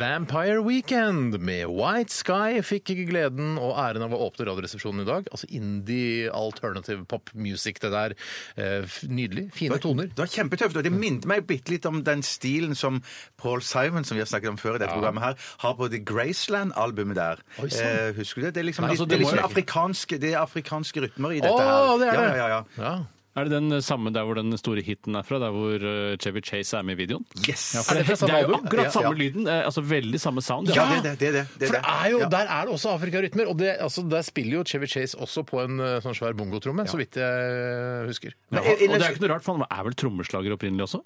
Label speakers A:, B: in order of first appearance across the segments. A: Vampire Weekend med White Sky fikk ikke gleden og æren av å åpne Radioresepsjonen i dag. Altså indie alternative pop music, det der. Eh, f- Nydelig. Fine toner.
B: Det var kjempetøft, og det minte meg bitte litt om den stilen som Paul Simon, som vi har snakket om før i dette programmet her, har på The Graceland-albumet der.
A: Oi, sant.
B: Eh, husker du det? Det er liksom,
A: Nei, altså,
B: litt- det
A: det
B: er
A: må
B: liksom
A: jeg-
B: afrikanske, det er afrikanske rytmer i
A: Å,
B: dette her.
A: det er det!
B: Ja, ja, ja.
A: Ja.
C: Er det den samme der hvor den store hiten er fra? Der hvor eh, Chevy Chase er med i videoen?
B: Yes!
A: for det- er fra samme
C: jo
A: album?
B: Ja,
C: akkurat samme
B: ja.
C: lyden. eh, Altså veldig samme sound.
B: Ja, det er det. det, er det, det, er
A: For det
B: det.
A: er jo,
B: Ja.
A: Der er det også afrikarytmer. Og det, altså, der spiller jo Chevy Chase også på en eh, sånn svær bongotromme, så vidt jeg eh, husker.
C: Ja, og det er ikke noe rart, for han er vel trommeslager opprinnelig også?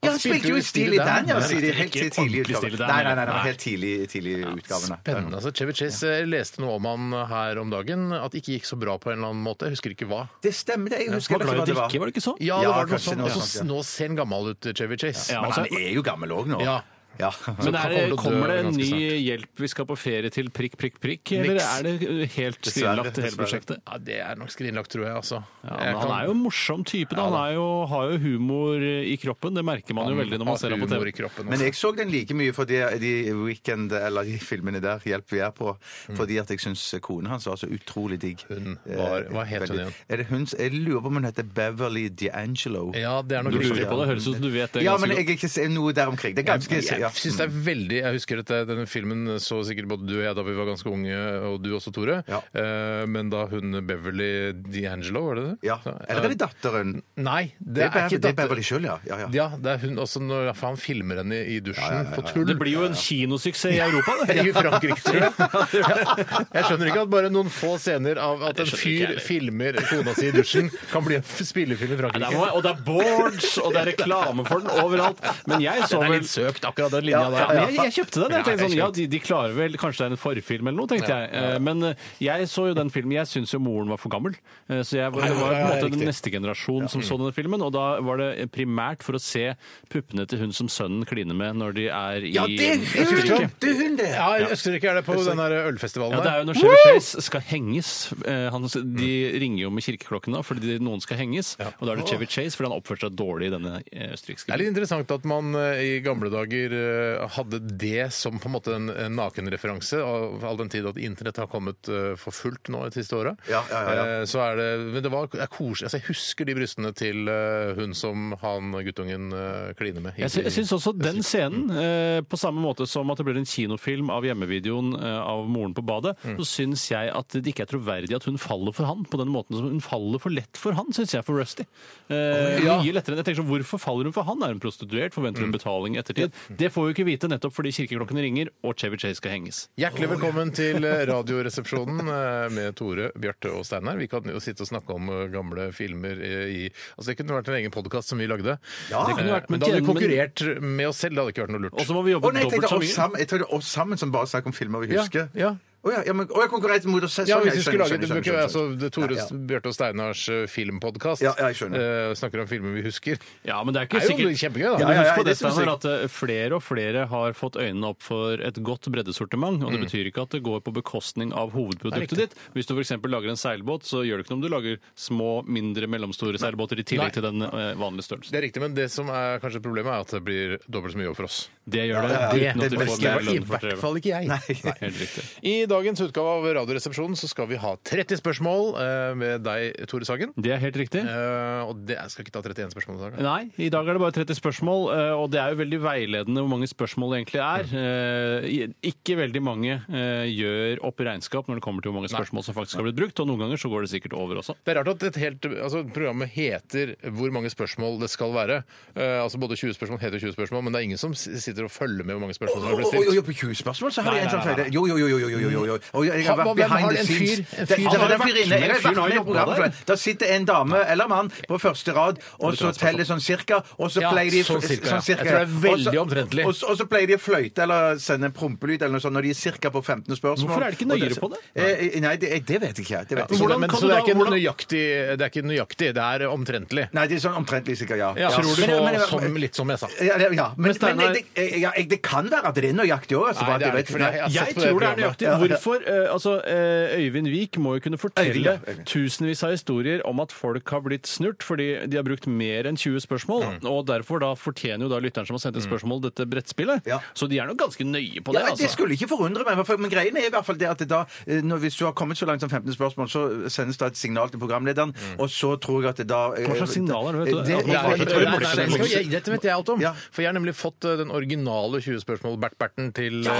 B: Ja, han spilte jo i stil i den, ja, sier de. Helt
C: Ikke
B: tidlig i
C: ordentlig stil i
B: utgaven.
C: den,
B: Nei, nei, nei, det var
C: nei.
B: helt tidlig, tidlig i utgaven. da.
A: Spennende. altså Chevy Chase eh, leste noe om han her om dagen, at det ikke gikk så bra på en eller annen måte. Jeg husker ikke hva.
B: Det stemmer, det. Jeg husker
C: Han
B: ikke hva
C: var glad i å
B: det var.
C: drikke, var det ikke sånn?
A: Ja, det
B: Ja,
A: var noe
B: kanskje
A: sånt.
B: noe
A: Og så
B: sånt, ja.
A: nå ser han gammel ut, Chevy Chase.
C: Ja,
B: Men
C: altså,
B: han er jo gammel òg nå.
A: Ja.
B: Ja.
A: han
C: men
A: kommer
C: er
A: til å
C: det,
A: dø
C: kommer det en
A: ganske
C: ny
A: snart.
C: hjelp vi skal på ferie til prikk, prikk, prikk? Eller
B: Niks.
C: er det eh, helt skrinlagt, det hele
B: dessverre.
C: prosjektet?
A: Ja, Det er nok skrinlagt, tror jeg. altså.
C: Ja, men han er jo en morsom type. Da. Han er jo, har jo humor i kroppen. Det merker man jo veldig når man ser ham på TV.
B: Men jeg så den like mye for de, de weekend, eller de filmene der, Hjelp vi er på, fordi at jeg syns konen hans var så utrolig digg.
A: Mm. Hun
B: Eh,
A: var- hva het hun
B: Veldig-
A: igjen?
B: Er det hun, jeg lurer på om hun heter Beverly D'Angelo.
A: Ja, det er nok
C: Du lurer
A: riktig.
C: på det, høres ut som du vet det
B: Ja, men
C: ganske
B: jeg er ikke se- noe der omkring. Det er ganske ja.
A: Jeg synes det er veldig Jeg husker at eh, denne filmen så sikkert både du og jeg da vi var ganske unge, og du også, Tore.
B: Ja.
A: Eh, Men da hun Beverly D'Angelo, var det det? eh,
B: ja. Eller er det datteren?
A: Nei, det,
B: Det
A: er
B: er,
A: ikke
B: Beverly- det er
A: datter-
B: Beverly sjøl, ja. Ja, ja.
A: Ja, det er hun også når for han filmer henne i dusjen på tull.
C: Det blir jo en kinosuksess i Europa, det.
A: I Frankrike, tror jeg. Ja. Jeg skjønner ikke at bare noen få scener av at en
C: skjønner ikke
A: fyr
C: jeg
A: filmer
C: heller.
A: kona si i dusjen, kan bli en f- spillefilm i
C: Nei, det
A: Frankrike.
C: er, og det er boards, og det er reklame for den overalt. Men jeg så
A: Den er
C: vel
A: litt søkt, akkurat den linja
C: Ja,
A: der.
C: men jeg, jeg kjøpte den.
A: Ja,
C: Jeg tenkte
A: jeg
C: sånn, ja,
A: skjønte.
C: de, de klarer vel Kanskje det er en forfilm eller noe, tenkte jeg. Eh, Men eh, jeg så jo den filmen Jeg syns jo moren var for gammel. Eh, Så jeg var,
A: ja,
C: jeg var på
A: ja,
C: en
A: ja,
C: måte den
A: riktig.
C: neste generasjon som så denne filmen. Og da var det primært for å se puppene til hun som sønnen kliner med når de er i Østerrike.
B: Det er hun, det!
A: Ja, i Østerrike er det på den der ølfestivalen
C: Ja, det er
A: der.
C: jo når Chevy Chase skal henges. Eh, Han, de ringer jo med kirkeklokken da, fordi de- noen skal henges. Og da er det Chevy Chase, fordi han oppførte seg dårlig i denne eh,
A: Det er
C: østerrikske
A: litt interessant at man eh, i gamle dager eh, hadde det som på en måte en en nakenreferanse, av- all den tid at internett har kommet eh, for fullt nå de siste åra.
B: Ja, ja, ja, ja.
A: Eh, Så er det Men det var det er koselig. Altså, jeg husker de brystene til eh, hun som han guttungen eh, kliner med. i-
C: Jeg, sy jeg syns også den scenen, eh, på samme måte som at det blir en kinofilm av hjemmevideoen eh, av moren på badet,
A: Mm.
C: så syns jeg at det ikke er troverdig at hun faller for han på den måten som hun faller for lett for han, syns jeg, for Rusty. Eh,
A: ja. Mm.
C: Mye lettere enn jeg tenker sånn, Hvorfor faller hun for han? Er hun prostituert? Forventer hun betaling i ettertid? Det får vi jo ikke vite nettopp fordi kirkeklokkene ringer og Chevy Chase skal henges.
A: Hjertelig velkommen til eh, Radioresepsjonen eh, med Tore, Bjarte og Steinar. Vi kan jo sitte og snakke om eh, gamle filmer eh, i Altså, det kunne vært en egen podkast som vi lagde.
B: Det
C: kunne vært,
A: Eh, men
C: men
A: da hadde vi
C: tjen-
A: konkurrert med oss selv. Det hadde ikke vært noe lurt.
C: Og så må vi
B: Å
C: jobbe
B: nei, jeg
C: dobbelt
B: tenkte
C: så
B: oss
C: mye.
B: sammen, jeg tenkte oss sammen som bare snakker om filmer vi
A: Ja,
B: husker.
A: ja.
B: Å ja, ja, men, å, jeg konkurrerte mot oss selv.
A: ja,
B: Sånn,
A: hvis
B: jeg
A: vi skulle
B: skjønner,
A: lage det, bruker
B: skjønner,
A: vi
B: skjønner,
A: altså det Tore,
B: Ja, ja.
A: Bjarte og Steinars eh, filmpodkast.
B: Ja, ja, jeg skjønner.
A: Eh, snakker om filmer vi husker.
C: Ja, men det
A: Det
C: er
A: er
C: ikke
A: jo
C: sikkert
A: kjempegøy, da.
C: Men
B: Ja, ja, ja,
C: husk på
B: det
C: det,
B: synes jeg.
C: Steinar, at eh, flere og flere har fått øynene opp for et godt breddesortiment. Og det betyr ikke at det går på bekostning av hovedproduktet ditt. Hvis du f.eks. lager en seilbåt, så gjør det ikke noe om du lager små, mindre, mellomstore seilbåter i
A: Nei.
C: tillegg til den eh, vanlige størrelsen.
A: Det er riktig, men det som er kanskje problemet, er at det blir dobbelt så mye jobb for oss.
C: Det gjør det. uten at du får mer
A: i
C: lønn for
A: hvert
C: strevet.
A: fall ikke jeg.
C: Helt riktig.
A: I dagens utgave av Radioresepsjonen så skal vi ha 30 spørsmål eh, med deg, Tore Sagen.
C: Det er helt riktig.
A: Eh, og det, jeg skal ikke ta 31 spørsmål i dag. da.
C: Nei, i dag er det bare 30 spørsmål, eh, og det er jo veldig veiledende hvor mange spørsmål det egentlig er. Eh, i- Ikke veldig mange eh, gjør opp regnskap når det kommer til hvor mange spørsmål som faktisk har blitt brukt, og noen ganger så går det sikkert over også.
A: Det er rart at et helt, altså, programmet heter 'Hvor mange spørsmål det skal være'. Eh, altså Både 20 spørsmål heter 20 spørsmål, men det er ingen som s- sitter og følger med hvor mange spørsmål som har blitt
B: Å, å, å,
A: stilt.
B: å, på 20 spørsmål så har
C: Nei,
B: de en sånn
C: nei, nei,
B: feil. Jo, jo, jo, jo, jo, jo, jo, jo. Og jeg har
A: Hva-
B: vært
A: hvem har
B: behind the
A: en fyr- en
B: scenes. Det- altså,
A: fyr- Han
B: det var
A: har
B: en
C: vært
B: fyr inne.
C: med,
B: Jeg har
C: fyren
B: vært
C: har
B: med i
C: jobba
B: programmet.
C: der.
B: for Da sitter en dame eller mann på første rad, og så teller sånn cirka, og så
A: Ja,
B: pleier de
A: sånn cirka, ja. Jeg tror det er veldig
B: Og så-
A: omtrentlig.
B: Og så, og så pleier de å fløyte eller sende en prompelyd eller noe sånt når de er cirka på 15 spørsmål.
C: Hvorfor er det ikke
B: Og
C: nøyere på det?
B: Eh, Nei, det, det vet ikke jeg. Det vet
A: Så, det,
B: ikke.
C: Hvordan
A: men,
C: kan
A: så
C: du
A: det, er
C: da-
A: ikke
C: hvordan-
A: nøyaktig, det er ikke nøyaktig, det er omtrentlig.
B: Nei, det er sånn omtrentlig sikkert, ja.
A: Ja, tror du
B: Men-
A: så,
B: men-
A: som, litt som jeg sa.
B: Ja, det- ja. Men, men
C: Steinar-
B: det, ja, jeg- det kan være at det er nøyaktig òg. Altså,
A: Nei,
B: for alt
A: det er det ikke,
B: jeg vet.
A: for det har jeg
C: Jeg
A: sett på det
C: tror det er
A: programmet.
C: nøyaktig.
B: Ja.
C: Hvorfor? eh, altså, eh, Øyvind Wiik må jo kunne
B: Øyvind,
C: fortelle
B: ja, Øyvind.
C: tusenvis av historier om at folk har blitt snurt fordi de har brukt mer enn 20 spørsmål, og derfor da fortjener jo da lytteren som har sendt inn spørsmål, dette brettspillet.
B: Ja.
C: Så de er nok ganske nøye på det,
B: Ja, Det
C: altså.
B: skulle ikke forundre meg, for- men greien er i hvert fall det at det da, eh, når, hvis du har kommet så langt som 15 spørsmål, så sendes det et signal til programlederen,
C: Mm.
B: og så tror jeg at det da eh,
C: Hva slags signal er det, vet du?
B: Det-
C: At man
B: Ja,
C: bare-
B: jeg
A: Nei,
B: tror det
A: nei,
B: blir-
A: nei, nei, jeg- Dette vet jeg alt om.
B: Ja.
A: For jeg har nemlig fått eh, den originale 20-spørsmål-bert-berten til, eh,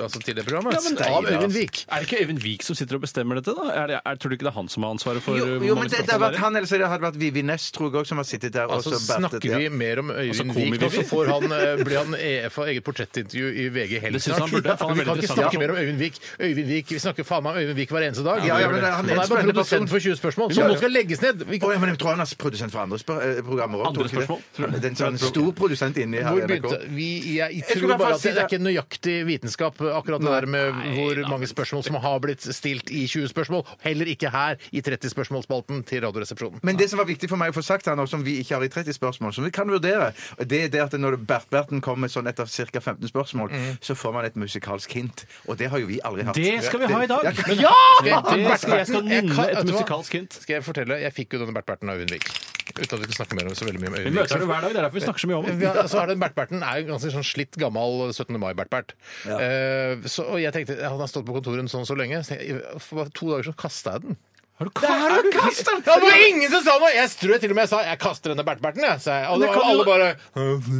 A: altså til det programmet.
C: Ja, men det-
A: av Øyvind Vik.
C: Er det ikke Øyvind Wiik som sitter og bestemmer dette, da? Er det, er, tror du ikke det er han som har ansvaret for
B: Jo,
C: eh, hvor
B: jo,
C: mange
B: men det, det
C: spørsmål
B: hadde vært
C: er?
B: han, eller så hadde det vært Vivi Næss, tror jeg også, som har sittet der.
A: Altså
B: og så
A: snakker
B: bertet, ja.
A: vi mer om Øyvind
C: komi-
A: Vik, og så får han, eh, blir han EF av eget portrettintervju i VG helt
C: Det synes jeg han
A: snart.
C: burde, for han er
A: Vi kan ikke
C: veldig interessant.
A: snakke mer om Øyvind Vik. Øyvind Vik, Vi snakker faen meg om Øyvind Vik hver eneste dag.
B: Ja, ja, men han er en
A: han er bare
B: spennende person.
A: produsent for 20 spørsmål, som
B: Ja, ja.
A: nå skal legges ned! Vi
B: Å, ja, men jeg tror han er produsent for andre spør eh, programmer også,
C: Andre
B: tror jeg ikke det?
C: spørsmål, tror jeg.
B: Den som er en sånn stor produsent inni her.
A: Hvor
B: i NRK.
A: begynte vi? Jeg
B: skulle i
A: tror
B: hvert
A: bare
B: fall
A: at
B: si
A: det er
B: det.
A: ikke nøyaktig vitenskap, akkurat det der med hvor mange spørsmål som har blitt stilt i 20 spørsmål. Heller ikke her i 30-spørsmålsspalten til Radioresepsjonen.
B: Men det som var viktig for meg å få sagt her nå, som vi ikke har i 30 spørsmål, som vi kan vurdere, det er det at når Bert Berten kommer sånn etter ca. 15 spørsmål, så får man et musikalsk hint. Og det har jo vi aldri hatt.
C: Mm. Det skal vi ha i dag!
B: Ja,
C: Men- Det skal jeg skal
A: Jeg
C: nynne
A: kan- vet
C: et
A: du hva?
C: musikalsk hint.
A: Skal jeg fortelle? Jeg fikk jo denne Bert-Berten av Øyvind Vik. Uten at vi skal snakke mer om så veldig mye om
C: Vi
A: Øyvind Vik.
C: møter henne hver dag, det er derfor vi snakker så mye om
A: Vi
C: henne.
A: har- så er den Bert-Berten er jo en ganske sånn slitt gammel 17. mai-Bert-Bert. Eh, så- og jeg tenkte, Han har stått på kontoret sånn så lenge. Så tenkte jeg, for bare to dager så kasta jeg den.
C: Har du
B: Har du kastet den?
A: Ja, det var ingen som sa noe! Jeg tror jeg til og med sa 'jeg kaster denne Bert-Berten', jeg. sa jeg. Og
C: Men
A: da var
C: det kan
A: alle
C: jo-
A: bare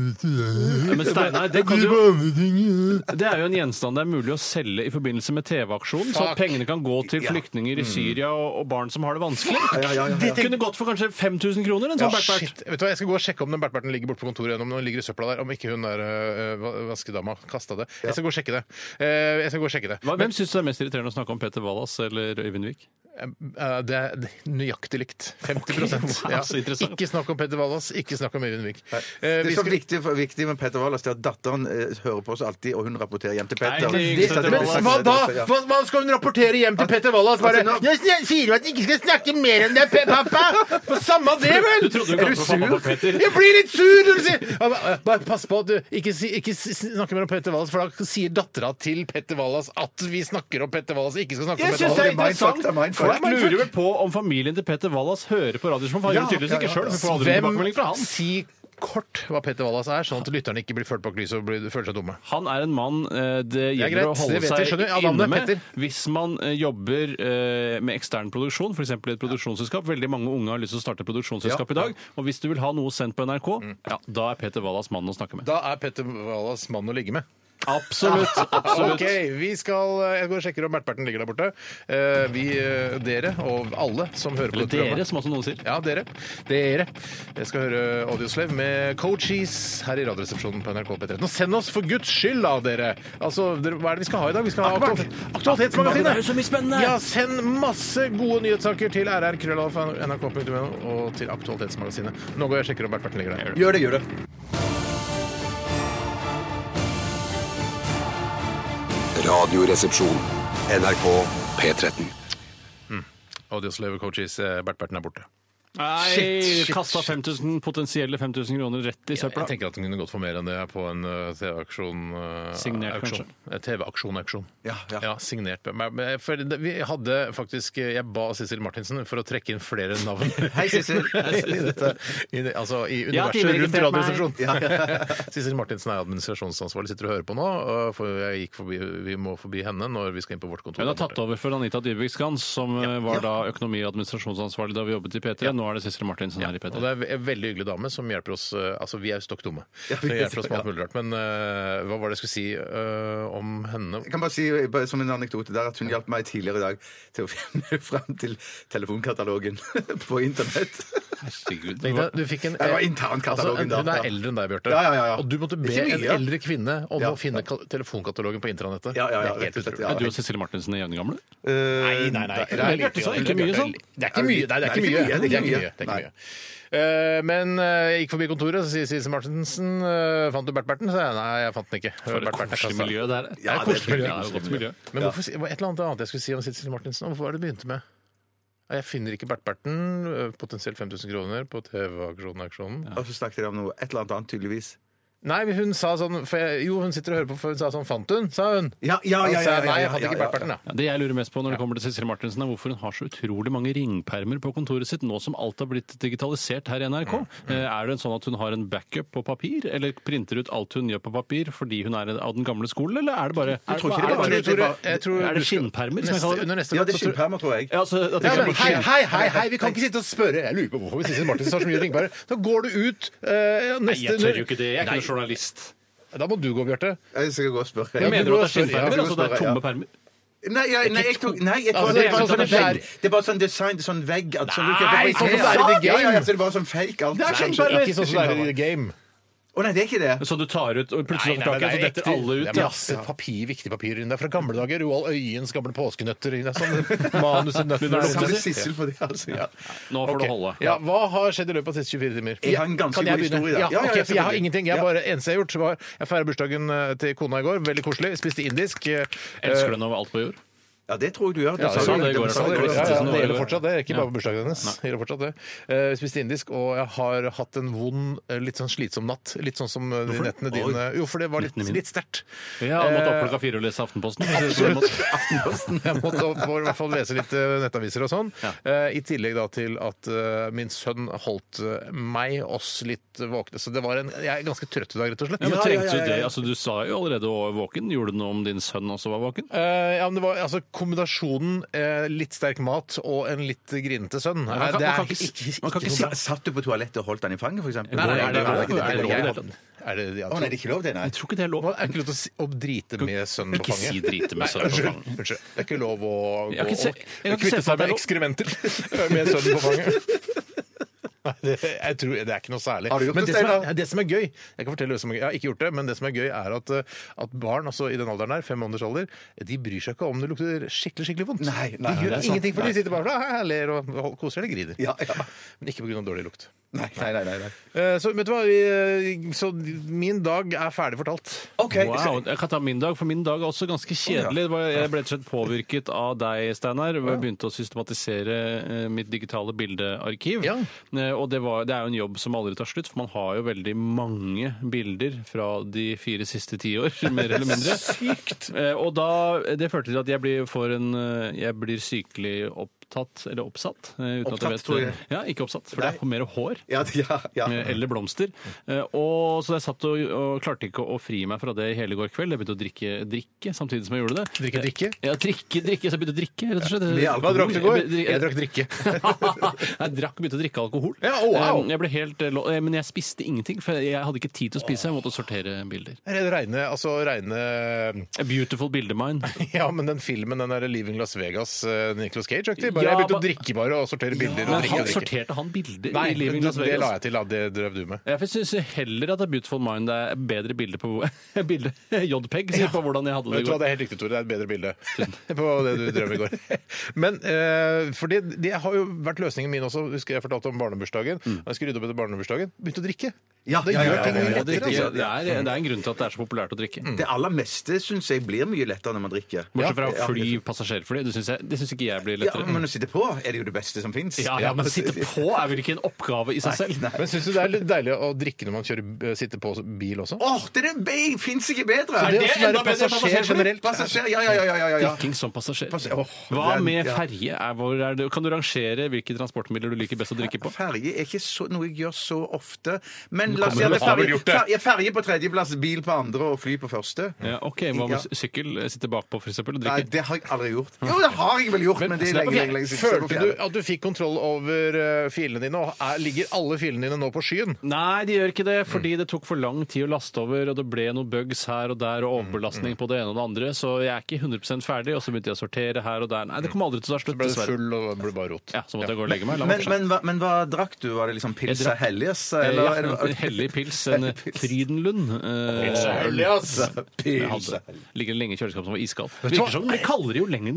C: Ja, Men Steinar, det, kan du, det er jo en gjenstand det er mulig å selge i forbindelse med TV-aksjonen, så at
A: Fuck.
C: pengene kan gå til flyktninger i Syria og, og barn som har det vanskelig. Det kunne gått for kanskje 5000 kroner, en
A: Ja,
C: sånn backpack.
A: shit. Vet du hva, Jeg skal gå og sjekke om den Bert-Berten ligger borte på kontoret. Om den ligger i søpla der Om ikke hun der øh, va- vaskedama kasta det. Jeg skal gå og sjekke det. Eh, jeg skal gå og sjekke det.
C: Hva- Hvem syns du er mest irriterende å snakke om, Peter Wallas eller Øyvind Wiik?
A: Eh, det er nøyaktig likt. 50
C: wow,
A: ja.
C: så interessant.
A: Ikke snakk om Petter Wallas, ikke snakk om Øyvind Vik. Eh,
B: Det
A: vi
B: som er
A: skal-
B: viktig, for, viktig med Peter Wallers, det er at datteren eh, hører på oss alltid, og hun rapporterer hjem til Petter.
C: Nei, det-
B: Så det
A: men
B: blir sagt-
A: hva da?
B: Ja.
A: Hva, hva skal hun rapportere hjem til Petter Wallas? Bare,
B: Altså, nå-
A: jeg, jeg sier jo at jeg ikke skal snakke mer enn det, pe- pappa! For samme det, vel!
C: Du trodde hun kalte for pappa for Peter.
A: Jeg blir litt sur! når du sier- Ja, men, eh, Bare pass på at du ikke, si, ikke si- snakker mer om Petter Wallas, for da sier dattera til Petter Wallas at vi snakker om Petter Wallas, ikke skal snakke om
C: Jeg
A: Petter
C: syns det er
A: Wallas.
B: mindfuck,
C: interessant.
B: det er mindfuck.
C: Folk lurer vel på om familien til Peter Wallas hører på Radioresepsjonen. for Han
B: Ja,
C: gjør det tydeligvis
B: ja,
C: ikke
B: ja,
C: sjøl.
B: ja.
C: Vi får aldri tilbakemelding fra han.
A: si kort hva Petter Wallas er, sånn at lytterne ikke blir ført bak lyset og blir, føler seg dumme?
C: Han er en mann eh, det
A: er
C: gjelder
A: greit,
C: å holde
A: det vet jeg,
C: seg
A: skjønner jeg. Ja,
C: inne
A: navnet,
C: med
A: Petter.
C: hvis man eh, jobber eh, med ekstern produksjon, f.eks. i et produksjonsselskap. Veldig mange unge har lyst til å starte et produksjonsselskap i dag. Og hvis du vil ha noe sendt på NRK, ja, da er Peter Wallas mannen å snakke med.
A: Mm. Da er Petter Wallas mann å ligge med.
C: Absolutt! absolutt.
A: Ok, vi skal, Jeg går og sjekker om Bert-Berten ligger der borte. Eh, Vi, eh, dere og alle som hører på
C: Eller
A: dette programmet.
C: dere, som også noen sier.
A: Ja, dere. Dere. Jeg skal høre Audioslave med Coaches her i Radioresepsjonen på NRK P13. Og send oss for guds skyld, da, dere! Altså, dere, Hva er det vi skal ha i dag? Vi skal ha aktual- Aktualitetsmagasinet!
C: jo så mye spennende!
A: Ja, send masse gode nyhetssaker til rrkrøllalfa.nrk.no og til Aktualitetsmagasinet. Nå går jeg og sjekker om Bert-Berten ligger der.
B: Gjør det, gjør det.
D: Radioresepsjon. NRK P13.
A: Audioslave Coaches, eh, Bert-Berten er borte.
C: Nei,
A: Shit, shit,
C: kasta
A: shit.
C: 5000, potensielle 5000 kroner rett i søpla.
A: Jeg tenker at den kunne gått for mer enn det på en eh, TV-aksjon. eh,
C: Signert,
A: auksjon.
C: kanskje?
A: Eh, TV-aksjon-auksjon.
B: Ja, ja.
A: signert. Men- men- eh, For det- vi hadde faktisk eh, Jeg ba Sissel Martinsen for å trekke inn flere navn.
B: Hei, Sissel.
A: I dette, i, det- altså i
C: Jeg
A: universet
C: har tidligere
A: rundt
C: registrert meg.
A: Radioresepsjonen. Sissel Martinsen er administrasjonsansvarlig, sitter og hører på nå. og For jeg gikk forbi, vi må forbi henne når vi skal inn på vårt kontor.
C: Hun har tatt over for Anita Dybvik Skans, som eh, var da økonomi- og administrasjonsansvarlig da vi jobbet i P3. Nå er det Sissel Martinsen her i
A: Og
C: P3.
A: det er en veldig hyggelig dame som hjelper oss eh, Altså, vi er jo stokk dumme. Hun hjelper oss med alt mulig rart. Men eh, hva var det jeg skulle si eh, om henne?
B: Jeg kan bare si eh, bare som en anekdote der at hun hjalp meg tidligere i dag til å finne fram til telefonkatalogen på internett.
C: Herregud.
A: Tenk deg, Du fikk en,
B: Det var internkatalogen
A: altså, en- Hun
B: da,
A: er
B: ja.
A: eldre enn deg, Bjarte.
B: Ja, ja, ja, ja.
A: Og du måtte be
B: Ikke mye,
A: en
B: ja.
A: eldre kvinne om
B: Ja,
A: å finne ka- telefonkatalogen på internettet.
B: Ja, ja, ja,
A: det er helt
B: rett og slett,
A: utrolig.
B: ja. Eh,
C: Er du og Cecilie Martinsen er jevngamle?
B: Nei, nei, nei.
C: Det er litt- det er ikke mye sånn.
A: Det er ikke mye. Nei, det er ikke mye. Det er ikke mye. Det er ikke
B: Nei.
A: mye. Eh, Men eh, jeg gikk forbi kontoret, så sier Sise Martinsen eh, Fant du Bert-Berten? Så jeg nei, jeg fant den ikke.
C: For et
A: Bert Berten altså. er
C: koselig
A: kassa.
C: miljø det
B: Ja,
C: er. Det er
B: det er
C: koselig
B: veldig
C: miljø. Ja, det er et godt miljø.
A: Men hvorfor, si- et eller annet annet jeg skulle si om Sissel Martinsen. Hvorfor var det du begynte med? Ja, Jeg finner ikke Bert-Berten. eh, Potensielt 5000 kroner på TV-aksjonen.
B: Og så snakket de om noe, et eller annet annet tydeligvis.
A: Nei, men hun sa sånn for jeg, Jo, hun sitter og hører på, for hun sa sånn Fant hun? sa hun.
B: Ja, ja,
A: Og så sa
B: ja,
A: jeg,
B: ja, ja,
A: Nei, jeg
B: ja,
A: fant ikke
B: ja, ja.
A: Bertberten, da.
C: Ja, det jeg lurer mest på når det kommer til Cecilie Martinsen, er hvorfor hun har så utrolig mange ringpermer på kontoret sitt nå som alt har blitt digitalisert her i NRK.
A: Mm,
C: Eh, Er det sånn at hun har en backup på papir, eller printer ut alt hun gjør på papir fordi hun er av den gamle skolen, eller er det bare
B: Jeg tror ikke
C: er
B: det bare-
C: det bare-
A: Jeg tror-
B: det er bare-
A: jeg tror-
C: Er det skinnpermer, som jeg
A: Neste-
C: kaller det?
A: Under neste
B: Ja, det er
A: så tror-
B: skinnpermer, tror jeg.
C: Ja, altså, at det
A: Ja,
C: ikke er
A: men
C: bare
A: hei,
C: skinn-
A: hei, hei, hei, vi kan ikke sitte og spørre Jeg lurer på hvorfor Sissel Martinsen har så mye ringpermer. Da går du ut eh, neste
C: Nei, jeg tør jo ikke det. Jeg er ikke noen journalist.
A: Da må du gå, Bjarte.
B: Jeg skal gå og spørre.
A: Ja,
C: Jeg
A: men-
C: mener
A: du
C: du
A: må
C: at det er
A: spørre, ja, du
C: skinnpermer?
A: må
C: Altså det er
B: spørre, ja.
C: tomme permer?
B: Nei, jeg, nei, jeg tror, nei, jeg tror
A: Altså,
B: det,
A: det
B: er
A: er
B: bare
A: sånn
B: sånn
A: som det er.
B: vegg. Det er bare sånn design, sånn vegg at, som du kjøper
A: Nei, sånn
B: på
A: som
B: Ikea.
A: det er i The
B: Ja, ja, ja,
A: Game.
B: så det er bare sånn fake alt.
A: Det er
B: Nei,
A: skinnpermer. Ikke sånn som det er i
B: skinnpermer.
A: The Game.
B: Å nei, det er ikke det.
C: Så du tar ut, og plutselig har du tak i, så detter alle
A: Det
C: ut?
A: er
C: Ja.
A: masse papir, viktig papir inni der fra gamle dager. Roald Øyens gamle påskenøtter. Det er sånn manus og nøtter.
B: Så
A: og
B: kan det
A: sånn.
B: Sissel på det, altså. Ja.
C: Nå får
A: Ok.
C: det holde.
A: Ja, hva har skjedd i løpet av de siste 24 timer?
B: Jeg har en ganske
A: Kan jeg
B: god
A: begynne?
B: historie, da.
A: Ja,
B: Ja, ja,
A: ok,
B: ja,
A: for jeg har
B: selvfølgelig.
A: ingenting. Jeg
B: Ja.
A: bare, eneste jeg har gjort, var jeg feira bursdagen eh, til kona i går. Veldig koselig. Spiste indisk. eh,
C: Elsker den over alt på jord?
B: ja, det tror jeg du gjør.
A: Ja, sånn
B: sa
A: det
B: du
A: sa
B: jo
C: det i
B: nettopp.
C: går,
A: Ja,
B: Sa
A: det Sånn
B: du jo
C: i går,
B: nettopp.
C: ja,
A: det gjelder
C: går.
A: fortsatt, det. Ikke bare på bursdagen hennes.
C: Nei.
A: Det gjelder fortsatt det. Eh, Jeg spiste indisk, og jeg har hatt en vond, eh, litt sånn slitsom natt. Litt sånn som eh, de nettene dine. Jo, for det var litt,
C: Nettene mine.
A: litt sterkt.
C: Ja, eh, han måtte opp klokka fire og lese Aftenposten. for å si det sånn.
A: Jeg måtte opp og i hvert fall lese litt eh, nettaviser og sånn. Eh, I tillegg da til at eh, min sønn holdt eh, meg, oss, litt våkne. Så det var en Jeg er ganske trøtt i dag, rett og slett.
C: Ja,
B: Ja,
C: men
B: ja,
C: trengte
B: ja,
C: du
B: ja.
C: det? Altså, du sa jo allerede du var våken. Gjorde du noe om din sønn også var våken?
A: Eh, ja, men det var altså Kombinasjonen eh, litt sterk mat og en litt grinete sønn
C: man kan-
A: eh, det
C: man
A: er
C: kan ikke-
A: ikke-
C: man kan ikke
A: ikke
B: Sa- Satt du på toalettet og holdt den i fanget, for eksempel?
C: Nei, nei,
B: Hvor
C: er det lov?
B: ikke-
C: Er det lov?
B: ikke-
A: Jeg- Er det de
B: Å nei, det er ikke lov, det, nei.
C: Jeg tror ikke det er lov.
A: Man er ikke lov til å, si, å drite med sønnen på
C: Ikke
A: fanget.
C: si drite med
A: Nei,
C: sønnen på
A: unnskyld,
C: fanget.
A: Unnskyld. Det er ikke lov å
C: Jeg har
A: gå
C: ikke se-
A: og-
C: jeg har ikke
A: kvitte
C: sett for
A: seg
C: meg
A: med
C: lov.
A: ekskrementer med sønnen på fanget. Nei, det, jeg tror, det er ikke noe særlig.
B: Har du gjort
A: men
B: det,
A: det, som er,
B: Steinar?
A: det som er gøy Jeg kan fortelle det som er gøy, jeg har ikke gjort det, men det som er gøy, er at, eh, at barn altså, i den alderen her, fem måneders alder, de bryr seg ikke om det lukter skikkelig skikkelig vondt.
B: Nei, nei,
A: de
B: det
A: gjør
B: er sant.
A: ingenting, for de sitter bare og sånn, "Hæ, hæ", ler og og koser eller griner.
B: Ja, ja.
A: Men ikke pga. dårlig lukt.
B: Nei, nei, nei, nei, nei.
A: Eh, Så vet du hva, Vi- eh, så min dag er ferdig fortalt.
B: OK. så-
C: Wow, jeg kan ta min dag, for min dag er også ganske kjedelig. Det var- Jeg ble rett og slett påvirket av deg, Steinar. hvor Jeg begynte å systematisere eh, mitt digitale bildearkiv.
A: Ja.
C: Eh, Og det, var, det er jo en jobb som aldri tar slutt, for man har jo veldig mange bilder fra de fire siste tiår, mer eller mindre. Sykt! Og da, det førte til at jeg blir, får en, eh, jeg blir sykelig opptatt, eller oppsatt. eh, Uten at
B: Opptatt, tror jeg.
C: Ja, ikke oppsatt, for det er mer hår.
B: Ja, ja, ja.
C: Eh, eller blomster. Eh, Og, så jeg satt og, og klarte ikke å fri meg fra det i hele går kveld. Jeg begynte å drikke drikke samtidig som jeg gjorde det.
A: Drikke drikke?
C: Ja, drikke drikke. Så jeg begynte å drikke, rett og slett.
B: Med alkohol. Hva drakk du i
A: går?
C: Jeg be-
A: Jeg drakk drikke.
C: jeg drakk, begynte å drikke alkohol.
A: Ja, å, wow.
C: Eh, Jeg ble helt, eh, lo- eh, men jeg spiste ingenting, for jeg hadde ikke tid til å spise. Jeg måtte sortere bilder.
A: Regne, altså regne
C: A beautiful bildemine.
A: Ja, men den filmen, den der 'Leaving Las Vegas', eh, Nicolas Cage, aktig. Bare,
C: Ja,
A: jeg begynte å
C: men-
A: drikke bare og sortere bilder og
C: Men
A: drikke
C: han
A: og drikke.
C: sorterte han bilder
A: Nei,
C: i Living
A: det,
C: Las Vegas?
A: det la jeg til, da. Det drev du med.
C: Jeg syns heller at A Beautiful Mind er bedre bilde på bilde, JPEG, sier på hvordan jeg hadde det i
A: Vet du hva,
C: går.
A: Det er helt riktig, Tore. Det er et bedre bilde på det du drev med i går. Men eh, for det, det har jo vært løsningen min også. Husker jeg fortalte om barnebursdagen.
C: Mm.
A: Jeg skulle rydde opp etter barnebursdagen. Begynte å drikke.
B: Ja,
A: det
B: ja, ja,
A: gjør
B: ja,
A: ting
B: ja, ja,
C: Og
A: lettere,
C: drikke-
A: altså.
C: Det er, det er en grunn til at det er så populært å drikke.
B: Det aller meste syns jeg blir mye lettere når man drikker.
C: Bortsett fra
B: Mm. Ja.
C: fly, passasjerfly. Det syns jeg- det syns ikke jeg blir
B: Ja, men
C: lettere.
B: å sitte på er det jo det beste som fins.
C: Ja, ja, men sitte på er vel ikke en oppgave i seg selv?
A: Men syns du det er litt deilig å drikke når man kjører, eh, sitter på bil også?
B: Åh, det er det fins ikke bedre!
A: det å være passasjer generelt
B: Passasjer, ja, ja, ja, ja, ja, ja.
C: Drikking som passasjer.
B: Pass- åh,
C: Hva
B: den-
C: med
B: ja.
C: ferje? Er, hvor er det, kan du rangere hvilke transportmidler du liker best å drikke på?
B: Ferge er ikke så, noe jeg gjør så ofte. Men la oss si
C: kommer
B: at det
C: du-
B: er
C: har vel
B: ferge,
C: gjort det?
B: fer- ja, ferge på tredjeplass, bil på andre og fly på første.
C: Ja, ok, Hva med
B: Ja.
C: sykkel? Sitte bakpå, for eksempel, og
B: Nei,
C: drikke?
B: det har jeg aldri gjort. Jo, det har jeg vel gjort, men, det er lenge, lenge, lenge siden.
A: Følte du at du fikk kontroll over eh, filene dine, og er, ligger alle filene dine nå på skyen?
C: Nei, de gjør ikke
B: Mm.
C: det, fordi det tok for lang tid å laste over, og det ble noen bugs her og der, og
B: Mm,
C: overbelastning på det ene og det andre, så jeg er ikke 100 ferdig, og så begynte jeg å sortere her og der. Nei,
B: Mm.
C: det kommer aldri til å ta slutt,
A: Ble du
C: dessverre.
A: full og ble bare rot?
C: Ja, så måtte jeg gå og legge meg. La meg
B: Men,
C: fortsette.
B: men, hva- men hva drakk du? Var det liksom Pilsa
C: drakk-
B: Hellias?
C: Eh,
B: Eller,
C: ja,
B: eller-
C: en hellig pils. En Frydenlund. eh,
A: Pilsa
C: øl.
A: Hellias.
C: Jeg hadde- Ligger lenge i kjøleskapet som var iskald.
A: du hva?
C: Virker som den blir kaldere jo lenger den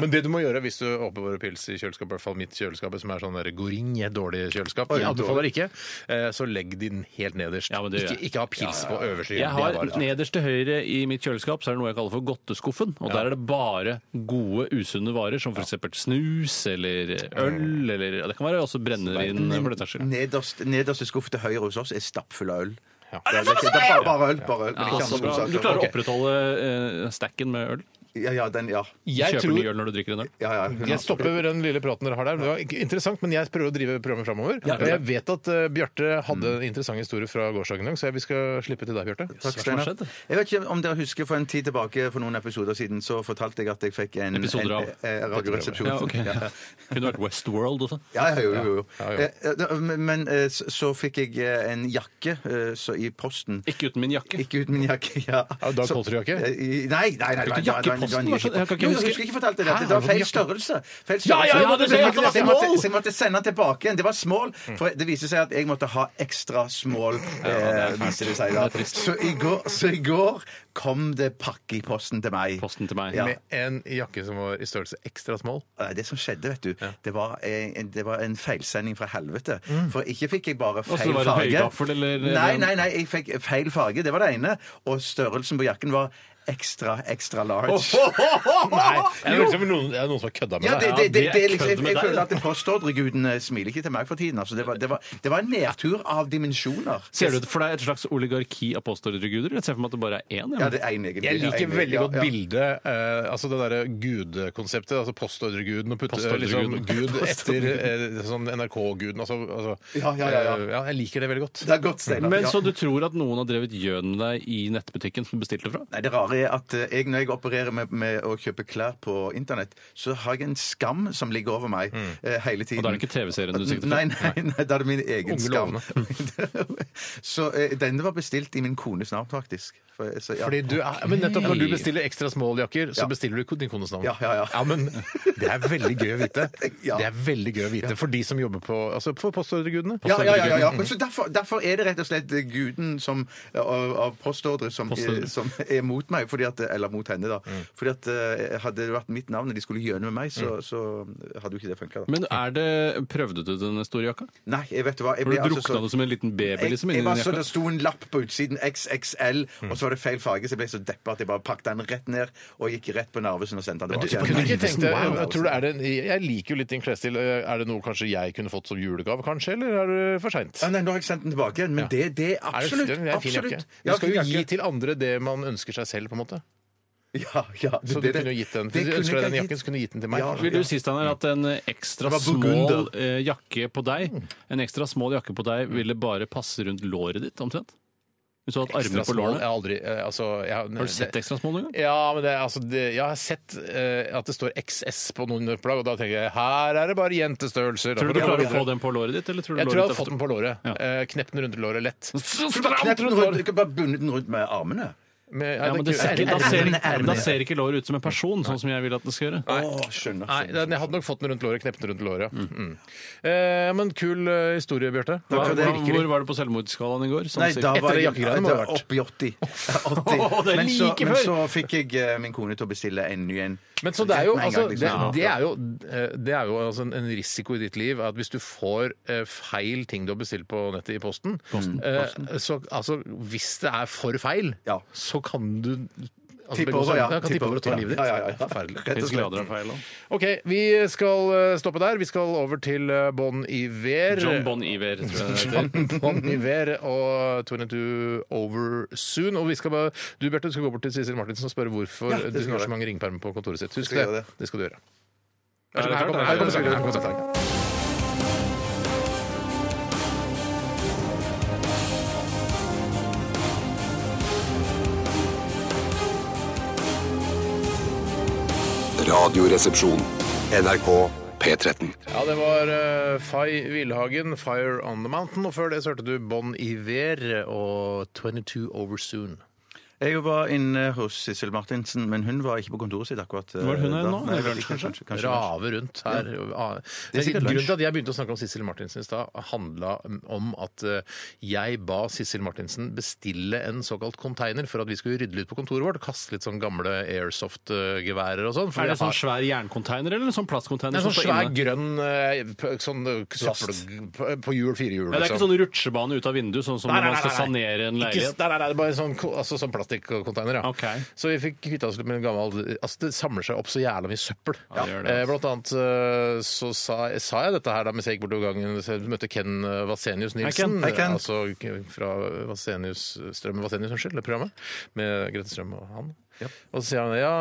A: Men det du må gjøre hvis du oppbevarer pils i kjøleskapet, i hvert fall mitt kjøleskap, som er sånn der gorinje, dårlig kjøleskap, jeg anbefaler ikke, eh, så legg den helt nederst.
C: Ja, men det gjør
A: ikke,
C: jeg.
A: ikke ha pils på øverste
C: Jeg
A: hylle. Det er
C: har
A: bare- sånn.
C: Nederst til høyre i mitt kjøleskap så er det noe jeg kaller for godteskuffen. Og der er det bare gode, usunne varer, som f.eks. snus eller øl eh, eller ja, Det kan være også brennevin. for den saks skyld.
B: nederst, nederste skuff til høyre hos oss er stappfull av øl.
A: Ja.
B: Det er ikke- det er bare, bare øl, bare øl, men ikke
C: så
B: andre
C: altså, bra. Du klarer
B: godsaker.
C: å opprettholde eh, stacken med øl?
B: Ja, ja, den, ja.
A: Jeg
C: Kjøper ny
A: tror
C: øl når du drikker en øl?
B: ja, ja hun-
A: jeg stopper den lille praten dere har der. Det var ikke interessant, men jeg prøver å drive programmet framover. Og jeg vet at eh, Bjarte hadde en interessant historie fra gårsdagen i dag, så jeg- vi skal slippe til deg, Bjarte.
B: Takk,
C: som har
B: Steinar. Jeg vet ikke om dere husker for en tid tilbake for noen episoder siden, så fortalte jeg at jeg fikk en,
C: Episoder
B: en,
C: av?
B: eh, radioresepsjon.
C: Ja, ok. Kunne vært Westworld også.
B: Ja, ja, jo, jo, jo.
A: Ja, ja.
B: Eh, eh, da- Men men, eh, så så fikk jeg eh, en jakke eh, så i posten.
C: Ikke uten min jakke.
B: Ikke ut min jakke. ja.
A: Ja, Dag
B: Så-
A: Kolterud-jakke?
B: Eh, i- Nei, nei, nei.
C: Fikk du
B: nei,
C: jakke i
B: det var en- det var en
C: posten?
B: ny
C: Hva skjedde? Jeg kan ikke
B: Jo, jeg
C: huske.
B: husker ikke fortalt deg
A: Hæ?
B: dette. Det var
A: Hvorfor
B: feil
A: jakke?
B: størrelse. Feil
A: Ja, ja,
B: størrelse.
A: ja, det
B: Så jeg
A: var
B: måtte-
A: det Mm.
B: jeg
A: var
B: måtte-
A: small!
B: Så jeg måtte sende den tilbake igjen. Det var small. For det viser seg at jeg måtte ha ekstra small, eh, viser det seg da. Så i går, så i går kom det pakke i posten til meg.
C: Posten til meg.
B: Ja.
A: Med en jakke som var i størrelse ekstra small.
B: Nei, Det som skjedde, vet du, det var en, det var en feilsending fra helvete. For ikke fikk jeg bare
C: Mm. så
B: feil
C: var det
B: farge.
C: høygaffel, eller-
B: Nei, nei, nei, jeg fikk feil farge. Det var det ene. Og størrelsen på jakken var ekstra, ekstra large.
A: Nei, det er, liksom noen, det er noen som har kødda med
B: Ah, Ja, det,
A: deg.
B: det, det,
C: Ja,
B: det
C: det
B: er liksom,
C: kødder
B: jeg,
C: med
B: jeg
C: deg,
B: føler
C: da.
B: at postordregudene smiler ikke til meg for tiden. Altså, det, var, det, var, det var en nedtur av dimensjoner.
C: Ser du det for deg et slags oligarki av påståelseguder? Jeg ser for meg at det bare er én.
B: Ja, det er en egentlig.
A: Jeg liker
B: Ja, en-
A: veldig
B: ja,
A: godt
B: ja.
A: bildet, eh, altså det derre gudekonseptet. Altså postordreguden, og putte eh, liksom,
C: Postordreguden.
A: gud etter eh, sånn NRK-guden. Altså, altså,
B: Ja, ja, ja, ja.
A: eh, jeg liker det veldig godt.
B: Det er godt, Steinar.
C: Men
B: Ja.
C: så du tror at noen har drevet gjøn med deg i nettbutikken som du bestilte fra?
B: Nei, det rare er at eh, jeg, når jeg opererer med, med å kjøpe klær på internett, så har jeg en skam som ligger over meg eh, hele tiden.
C: Mm. Og da er det ikke TV-serien du sikter til?
B: Nei, nei, nei, da er det min egen
A: Unge
B: skam. så eh, denne var bestilt i min kones navn, faktisk. For, eh, så, ja.
A: Fordi du er, men nettopp Når du bestiller ekstra small jakker, så bestiller du din kones navn.
B: Ja, ja, ja.
A: men Det er veldig gøy å vite.
B: Ja.
A: Det er veldig gøy å vite for de som jobber på altså for postordregudene.
B: ja, ja, ja, ja, ja. Men Så derfor, derfor er det rett og slett guden som, eh, av, av postordre som,
C: Postordre. Mm.
B: eh, som er mot meg, fordi at, eller mot henne, da. Fordi at eh, hadde det vært mitt navn og de skulle gjøne med meg, så, så hadde jo ikke det funka, da.
C: Men er det, prøvde du denne store jakka?
B: Nei, jeg vet du hva. Jeg
C: For
B: ble
C: du
B: altså
C: drukna
B: så-
C: det som en liten baby liksom
B: jeg, jeg
C: inni
B: var
C: den
B: så,
C: jakka?
B: Det sto en lapp på utsiden XXL, og så var det feil farge, så jeg ble så deppa at jeg bare pakket den rett ned og gikk rett på Narvesen og sendte den
A: Du,
B: tilbake.
A: kunne ikke tenkt deg,
B: liksom Wow. altså.
A: jeg, tror det er det, jeg liker jo litt din klesstil. eh, Er det noe kanskje jeg kunne fått som julegave, kanskje? Eller er det for seint?
B: Ja, nei, nå har jeg sendt den tilbake igjen, men
A: Ja.
B: det, det
A: Er det-
B: absolutt,
A: det er en fin jakke.
B: absolutt.
A: Du skal jo
B: fin
A: gi
B: jakke.
A: til andre det man ønsker seg selv, på en måte.
B: Ja, ja.
A: Så du
B: det- det-
A: kunne jo gitt den.
B: det
A: Hvis du
B: kunne
A: ønsker
B: jeg
A: deg den
B: gitt.
A: jakken, så kunne du gitt den til meg.
B: Ja.
C: Vil du si Steiner, at en ekstra
B: Det var
C: smal
B: burgunder. Mm.
C: eh, jakke på deg En ekstra smal jakke på deg ville bare passe rundt låret ditt, omtrent? Hvis du hadde hatt
A: Ekstra
C: armer på
A: small, jeg
C: lårene?
A: har aldri eh, altså, jeg,
C: Har du sett ekstra smal noen gang?
A: Ja, men det, er altså, det, jeg har sett eh, at det står XS på noen plagg, og da tenker jeg her er det bare jentestørrelser.
C: Tror du du
A: Da får det
C: klarer å
A: være
C: få den på låret ditt? Eller tror
A: det.
C: du
A: Jeg tror jeg
C: låret
A: hadde fått den på låret.
C: Ja.
A: Eh, Knept den rundt låret lett.
B: Du kan kneppe den rundt- Du kan bare bundet den rundt med armene.
A: Men, eh,
C: Ja, men det ser ikke, da, ser,
B: ermene, ermene.
C: da ser ikke låret ut som en person, sånn som jeg vil at det skal gjøre.
B: Å, skjønner.
A: Nei, den- jeg hadde nok fått den rundt låret. Knept den rundt låret. ja. Mm. Eh, men kul eh, historie, Bjarte.
C: Hva,
B: for det.
C: hva, hvor var det på selvmordsskalaen i går? Sånn
B: Nei,
C: cirka.
B: da
A: Etter
B: var
A: det
B: jeg
A: jakkegreiene må
B: da-
A: det ha vært.
B: opp i 80. 80.
C: Å, det er
B: men, så,
C: like
B: men
C: før.
B: så fikk jeg eh, min kone til å bestille en ny en.
A: Men så det er jo,
B: Med en gang,
A: altså, det,
B: liksom. Ja.
A: det er jo, eh, det er jo altså en, en risiko i ditt liv at hvis du får eh, feil ting du har bestilt på nettet i posten, eh, så altså, hvis det er for feil,
B: Ja.
A: så kan du altså,
B: Tippe
A: begå
B: over, ja.
A: seg- kan tippe over og ta
B: Ja.
A: livet ditt.
B: Ja, ja, ja.
A: Forferdelig.
B: Rett og
C: Fins
B: slett.
C: grader av feil da.
A: OK, vi skal eh, stoppe der. Vi skal over til eh, Bon Iver.
C: John Bon Iver, tror jeg det heter.
A: Bon Iver og 22 Over Soon. Og vi skal bare, du Bjarte, du skal gå bort til Sissel Martinsen og spørre hvorfor
B: Ja, det
A: du
B: skal
A: har
B: jeg.
A: så mange ringpermer på kontoret sitt. Husk det.
B: skal gjøre
A: det.
B: det.
A: skal du gjøre.
C: Er det
A: Her
C: klart,
A: kommer-
C: eller?
A: her kommer saken, her kommer saken.
D: Radioresepsjon. NRK P13.
A: Ja, det var uh, Fay Wilhagen, 'Fire On The Mountain'. Og før det så hørte du Bon Iver og 22 Over Soon.
B: Jeg var inne hos Sissel Martinsen, men hun var ikke på kontoret sitt akkurat. eh,
C: Var hun her
B: da.
C: nå?
B: Nei,
C: Eller
B: vel,
C: kanskje?
B: kanskje, kanskje lunsj.
A: Rave rundt her. Ah,
B: Det er sikkert
A: grunnen
B: lunsj.
A: til at jeg begynte å snakke om Sissel Martinsen i stad, handla om at eh, jeg ba Sissel Martinsen bestille en såkalt container for at vi skulle rydde litt på kontoret vårt. Kaste litt sånn gamle airsoft-geværer og sånn. for
C: Er det
A: jeg har-
C: sånn svær jerncontainer eller sånn
A: Det
C: plastcontainer?
A: er sånn
C: som står
A: svær,
C: inne?
A: grønn eh, p- sånn, eh, søppel på- på hjul, firehjul.
C: Ja, det er ikke
A: liksom.
C: sånn rutsjebane ut av vinduet, sånn som
A: Nei,
C: når
A: nei,
C: man skal
A: nei, nei.
C: sanere en
A: Ikke,
C: leilighet.
A: nei, nei, nei, det er bare sånn, altså, sånn plastikkonteiner. Ja.
C: Ok.
A: Så vi fikk kvitta oss litt med en gammel Altså, det samler seg opp så jævla mye søppel.
C: Ja, det gjør det,
A: Eh,
C: altså.
A: Blant annet eh, så sa, sa jeg dette her da mens jeg gikk bortover gangen. Så jeg møtte Ken eh, Vasenius Nilsen.
B: Hei, Ken.
A: eh, Altså fra Vasenius, Strømmen Vasenius, unnskyld, det programmet. Med Grete Strøm og han. Og så sier han ja,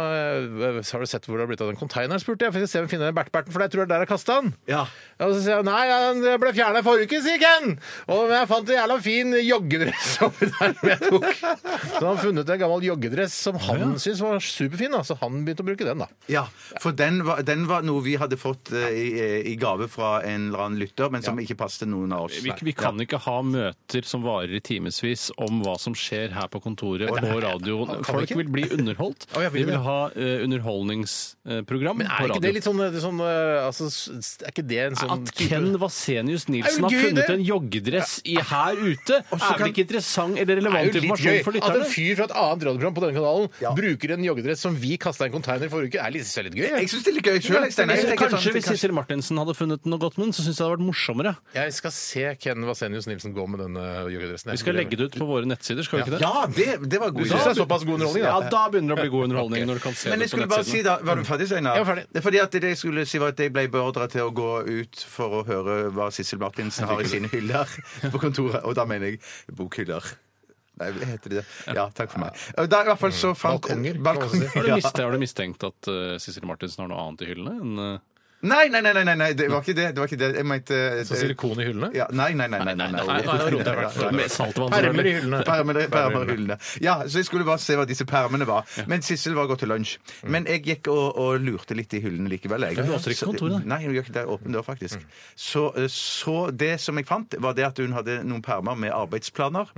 A: eh, har du sett hvor det har blitt av den konteineren, spurte jeg. For jeg ser om jeg finner den bertberten, for jeg tror det er der jeg kasta den.
B: Ja.
A: Ja, og så sier han nei, den ble fjerna i forrige uke, sier Ken. Og jeg fant en jævla fin joggedress oppi der som jeg tok. Så han har funnet en gammel joggedress som han syntes var superfin, da. så han begynte å bruke den, da.
B: Ja, for den var, den var noe vi hadde fått eh, i, i gave fra en eller annen lytter, men som ikke passet noen av oss.
C: Vi, vi kan ikke ha møter som varer i timevis om hva som skjer her på kontoret og på radioen.
A: kan vi
C: Folk
A: ikke?
C: vil bli underholdt.
A: Å, ja, vil de
C: De
A: det?
C: vil ha eh, underholdningsprogram
A: Men
C: på
A: er ikke det
C: radio.
A: litt sånn, eh, sånn eh, altså, s- Er ikke det en sånn
C: At Ken Vasenius
A: Er
C: Nilsen
A: jo
C: har
A: gøy,
C: funnet
A: det.
C: en joggedress i her ute, er vel
B: kan-
C: ikke interessant eller
A: Det er
C: relevant
A: jo litt gøy
C: informasjon for
A: at en
C: lytterne?
A: fyr fra et annet radioprogram på denne kanalen bruker en joggedress som vi kasta i en conteiner i forrige uke. Det er litt, det er litt gøy.
B: Jeg
A: Jeg.
B: syns det er litt gøy sjøl.
C: Jeg synes Kanskje hvis Sissel Martinsen hadde funnet noe godt med den, så syns jeg det hadde vært morsommere.
A: jeg skal se Ken Vasenius Nilsen gå med denne joggedressen.
C: Vi skal legge det ut på våre nettsider, skal vi ikke det?
B: Ja, det, det var god
A: Du synes det er såpass god underholdning, da?
C: Ja, da begynner det å bli god underholdning når du kan se
B: Men jeg
C: det på
B: skulle bare si
C: nettsidene.
B: da, Var du ferdig, Steinar?
A: Jeg var ferdig.
B: Det er fordi at det jeg skulle si var at jeg ble beordra til å gå ut for å høre hva Sissel Martinsen har i sine hyller på kontoret. Og da mener jeg bokhyller. Nei, heter det det? Ja, takk for meg. Og Da i hvert fall så fant
A: Balkonger, kan man
B: balkonger,
A: si.
C: Har du,
B: ja.
C: miste, har du mistenkt at eh, Sissel Martinsen har noe annet i hyllene? enn eh,
B: Nei, nei, nei, nei, nei, nei, det var ikke det. det, var ikke det. Jeg mente
A: Så silikon i hyllene?
B: ja, Nei, nei, nei. nei, nei, nei,
C: nei, nå roter jeg i hvert fall. Med saltvann,
A: Permer i
C: selvfølgelig.
A: hyllene.
B: Permer, permer, hyllene. Ja, så jeg skulle bare se hva disse permene var. Men Sissel var gått til lunsj. Men jeg gikk og, og lurte litt i hyllene likevel. Jeg.
C: Mm. Du låser ikke
B: Så-
C: kontoret, da? Mm.
B: Nei, hun gjør ikke det. Åpen dør, faktisk. Så, eh, så det som jeg fant, var det at hun hadde noen permer med arbeidsplaner.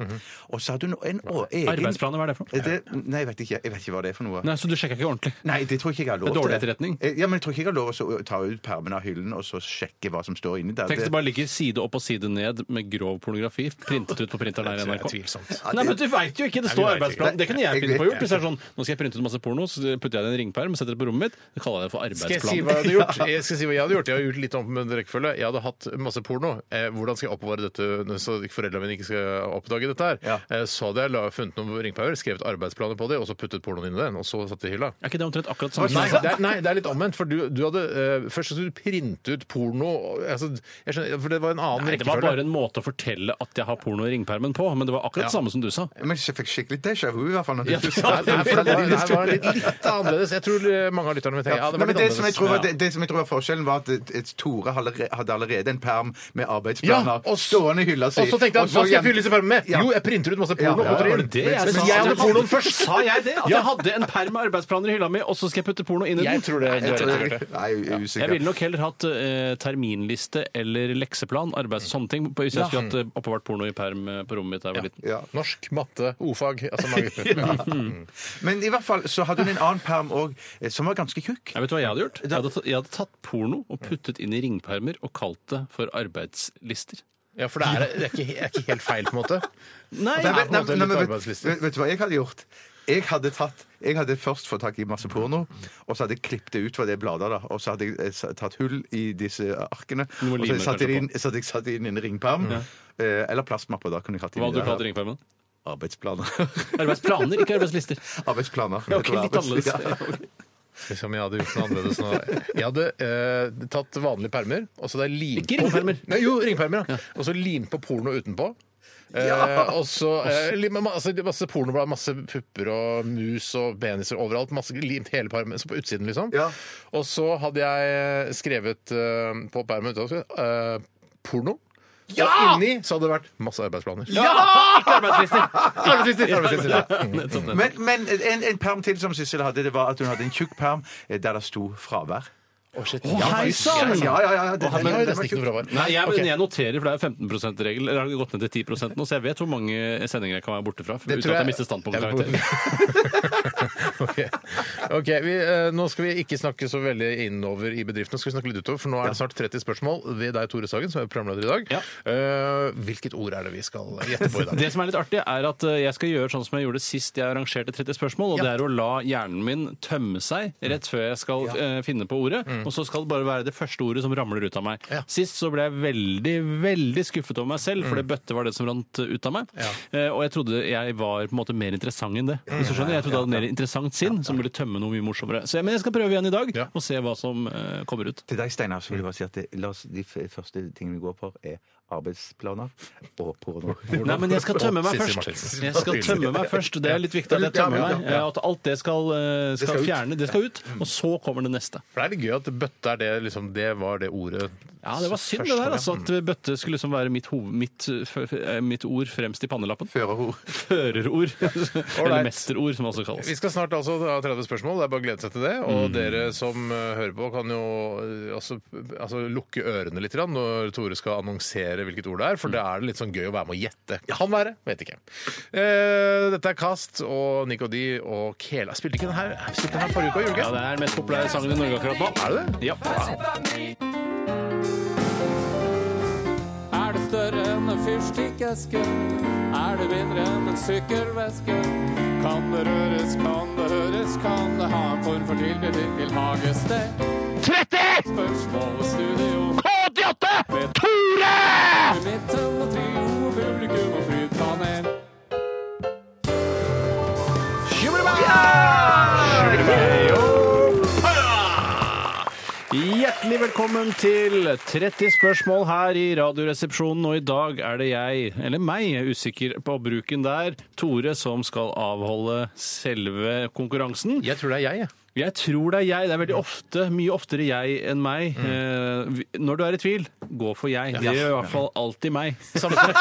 B: Og så hadde hun en å, egen Eh,
C: Arbeidsplaner, Mm-hmm. hva er det for noe?
B: Det, nei, jeg vet, ikke, jeg vet ikke hva det er for noe.
C: Nei, så du sjekker ikke ordentlig?
B: Nei, det tror jeg ikke jeg har lov
C: Det er dårlig
B: til.
C: etterretning.
B: Eh, Ja, men jeg tror ikke jeg har lov til å ta ut permen av hyllen og så sjekke hva som står inni der.
C: Tenk hvis
B: Det-
C: det bare ligger side opp og side ned med grov pornografi printet ut på printeren her i
A: Det er
C: NRK.
A: tvilsomt.
C: Nei, men Du veit jo ikke! Det
A: vet ikke.
C: står arbeidsplan. Det kunne jeg
B: Jeg
C: finne på å
B: vet
C: gjort. Hvis det er sånn, Nå skal jeg printe ut masse porno, så putter jeg det i en ringperm, setter det på rommet mitt. Det kaller jeg for
A: Skal jeg si hva
C: arbeidsplan.
A: jeg hadde gjort? Jeg skal si hva jeg hadde gjort. Jeg har gjort litt om med rekkefølge. Jeg hadde hatt masse porno. Eh, hvordan skal jeg oppbevare dette så foreldrene mine ikke skal oppdage dette her?
B: Ja.
A: Eh, så hadde jeg la, funnet noen ringpauer, skrevet arbeidsplaner på det, og så puttet pornoen inn i den, og så satt det i hylla.
C: Er ikke det omtrent akkurat samme?
A: Nei
C: som-
A: det, er, nei, det er litt omvendt. For du, du hadde eh, Først skulle du printe ut porno altså, jeg skjønner, For det var en annen
C: Nei, det var
A: rekkefølge.
C: bare en måte å fortelle at jeg har porno i ringpermen på, men det var akkurat det samme som du sa.
B: Men jeg fikk skikkelig déjà vu, i hvert fall. når du-
C: Ja,
A: Nei, nei, for det var, det her var litt, litt annerledes. Jeg tror eh, mange av lytterne vil tenke ja, det
B: Nei,
A: var litt
B: men det, som jeg
A: annerledes.
B: tror var, det, det som jeg tror var forskjellen, var at et, et Tore allerede, hadde allerede en perm med arbeidsplaner
A: Ja, og s-
B: stående i hylla si.
A: Og så tenkte jeg,
B: Og
A: hva skal jeg
B: hjem-
A: fylle disse permene med?
B: Ja.
A: Jo, jeg printer ut masse porno.
B: Ja, ja,
A: og putter
B: ja.
A: inn.
B: Var det det
C: jeg
A: Men
C: sa?
A: jeg hadde pornoen først!
C: Sa jeg det? At jeg hadde en perm med arbeidsplanere i hylla mi, og så skal jeg putte porno inn i den?
A: Jeg tror det.
B: Jeg tror
A: Jeg,
B: jeg- Nei, jeg er usikker.
C: Jeg ville nok heller hatt eh, terminliste eller lekseplan, arbeids og sånne ting. på- Hvis jeg skulle hatt eh, oppbevart porno i perm eh, på rommet mitt da jeg var liten.
B: Ja. Mm.
A: Norsk, matte, ordfag altså mange.
B: Men i hvert fall så hadde hun en annen perm òg, som var ganske tjukk.
C: Jeg vet du hva jeg hadde gjort? Jeg hadde, tatt- jeg hadde tatt porno og puttet inn i ringpermer og kalt det for arbeidslister.
A: Ja, for det er, det er, ikke, det er ikke helt feil, på en måte.
B: Nei,
C: Nei,
A: er
B: men-
A: på en måte
B: nei, nei,
A: litt
B: men vet,
A: arbeidsliste.
B: vet, vet du hva jeg hadde gjort? Jeg hadde, tatt, jeg hadde først fått tak i masse porno, og så hadde jeg klippet det ut fra det bladet. da, Og så hadde jeg eh, sa- tatt hull i disse arkene.
C: Du må
B: Og
C: lime
B: så satte jeg det
C: kanskje
B: inn, så hadde jeg satt det inn i en ringperm. eh, Eller plastmapper. Da kunne jeg hatt det
C: Hva hadde du kalt
B: inn i
C: ringpermen?
B: arbeidsplaner.
C: Arbeidsplaner, ikke arbeidslister.
B: Arbeidsplaner.
C: Ja, ok, litt annerledes.
B: Ja.
A: Liksom jeg hadde gjort noe annerledes nå. Jeg hadde eh, tatt vanlige permer, og så hadde jeg limt
C: Ikke ringpermer.
A: Nei, jo, ringpermer, ja. Og så limt på porno utenpå. Eh, og så eh, lim- masse, masse pornoblad, masse pupper og mus og peniser overalt. Masse limt hele permen, så på utsiden, liksom.
B: Ja.
A: Og så hadde jeg skrevet eh, på permen utenfor eh, porno. Og inni så hadde det vært masse arbeidsplaner.
C: Ikke arbeidslister!
A: Arbeidslister, arbeidslister, ja.
C: Nettopp, nettopp.
B: Men, men en, en perm til som Sissel hadde, det var at hun hadde en tjukk perm eh, der det sto fravær.
A: Å, shit.
C: Å, hei sann!
B: Ja, ja, ja, ja, det,
A: Her har
B: det- det
A: vi
B: var
A: nesten ikke noe
B: tjukt.
A: fravær.
C: Nei, jeg,
A: Ok.
C: men jeg noterer, for det er jo 15 %-regel. Eller har det gått ned til 10 nå, så jeg vet hvor mange sendinger jeg kan være borte fra. Uten at jeg mister standpunktkarakter.
A: Ok, Ok, vi, eh, Nå skal vi ikke snakke så veldig innover i bedriften, nå skal vi snakke litt utover, for nå er det snart 30 spørsmål ved deg, Tore Sagen, som er programleder i dag.
C: Ja.
A: Eh, hvilket ord er det vi skal gjette på i dag?
C: Det som er litt artig, er at eh, jeg skal gjøre sånn som jeg gjorde sist jeg arrangerte 30 spørsmål, og
A: Ja.
C: det er å la hjernen min tømme seg rett før jeg skal eh, finne på ordet. og så skal det bare være det første ordet som ramler ut av meg.
A: Mm. Ja. Mm.
C: Sist så ble jeg veldig, veldig skuffet over meg selv, for det bøtte var det som rant ut av meg. Eh, og jeg trodde jeg var på en måte mer interessant enn det. Hvis du skjønner, Jeg trodde jeg hadde mer interessant sinn som ville tømme noe mye morsommere. Så, jeg- men jeg skal prøve igjen i dag
A: Ja.
C: og se hva som eh, kommer ut.
B: Til deg, Steinar, så vil jeg bare si at det, la oss, de f- første tingene vi går for, er arbeidsplaner og porno.
C: Nei, men jeg skal tømme meg
A: Sissy
C: først.
A: Martinsen.
C: Jeg skal tømme meg først. Det er litt viktig at jeg
B: Ja,
C: tømmer
B: ja, ja.
C: meg. eh, At alt det skal, eh, skal
B: ut.
C: fjerne. Det skal ut. Mm. Og så kommer det neste.
A: For det er litt gøy at bøtte er det, liksom, det var det ordet
C: Ja, det var synd
A: først
C: det der,
A: var,
C: altså. At bøtte skulle liksom være mitt, hoved, mitt, eh, f- eh, mitt ord fremst i pannelappen.
B: Førerord.
C: Førerord. Eller
A: Ålreit.
C: mesterord, som altså kalles.
A: Vi skal snart altså ha 30 spørsmål, det er bare å glede seg til det.
C: Mm.
A: Og dere som eh, hører på, kan jo eh, altså, altså lukke ørene litt grann når Tore skal annonsere hvilket ord det
C: Mm.
A: er, for da er det litt sånn gøy å være med å gjette. Kan være, vet ikke. Eh, dette er Kast og Nico D og Kela. Spilte ikke den her, spilte den her forrige uke, gjorde den ikke?
C: Ja, det er den mest populære sangen i Norge akkurat nå.
A: Er det det?
C: Ja.
E: Er det større enn en fyrstikkeske? Er det mindre enn en sykkelveske? Kan det røres, kan det høres, kan det ha en form for tilknytning til hagested? 30! Spørsmål og studio. K88! Tore! Midten og trio, publikum og flytpanel.
C: Hjertelig velkommen til 30 spørsmål her i Radioresepsjonen, og i dag er det jeg, eller meg, jeg er usikker på bruken der, Tore, som skal avholde selve konkurransen.
A: Jeg tror det er jeg, jeg.
C: Jeg tror det er jeg. Det er veldig ofte, mye oftere jeg enn meg. Eh, vi- Når du er i tvil, gå for jeg. Det gjør i hvert fall alltid meg.
A: Samme som,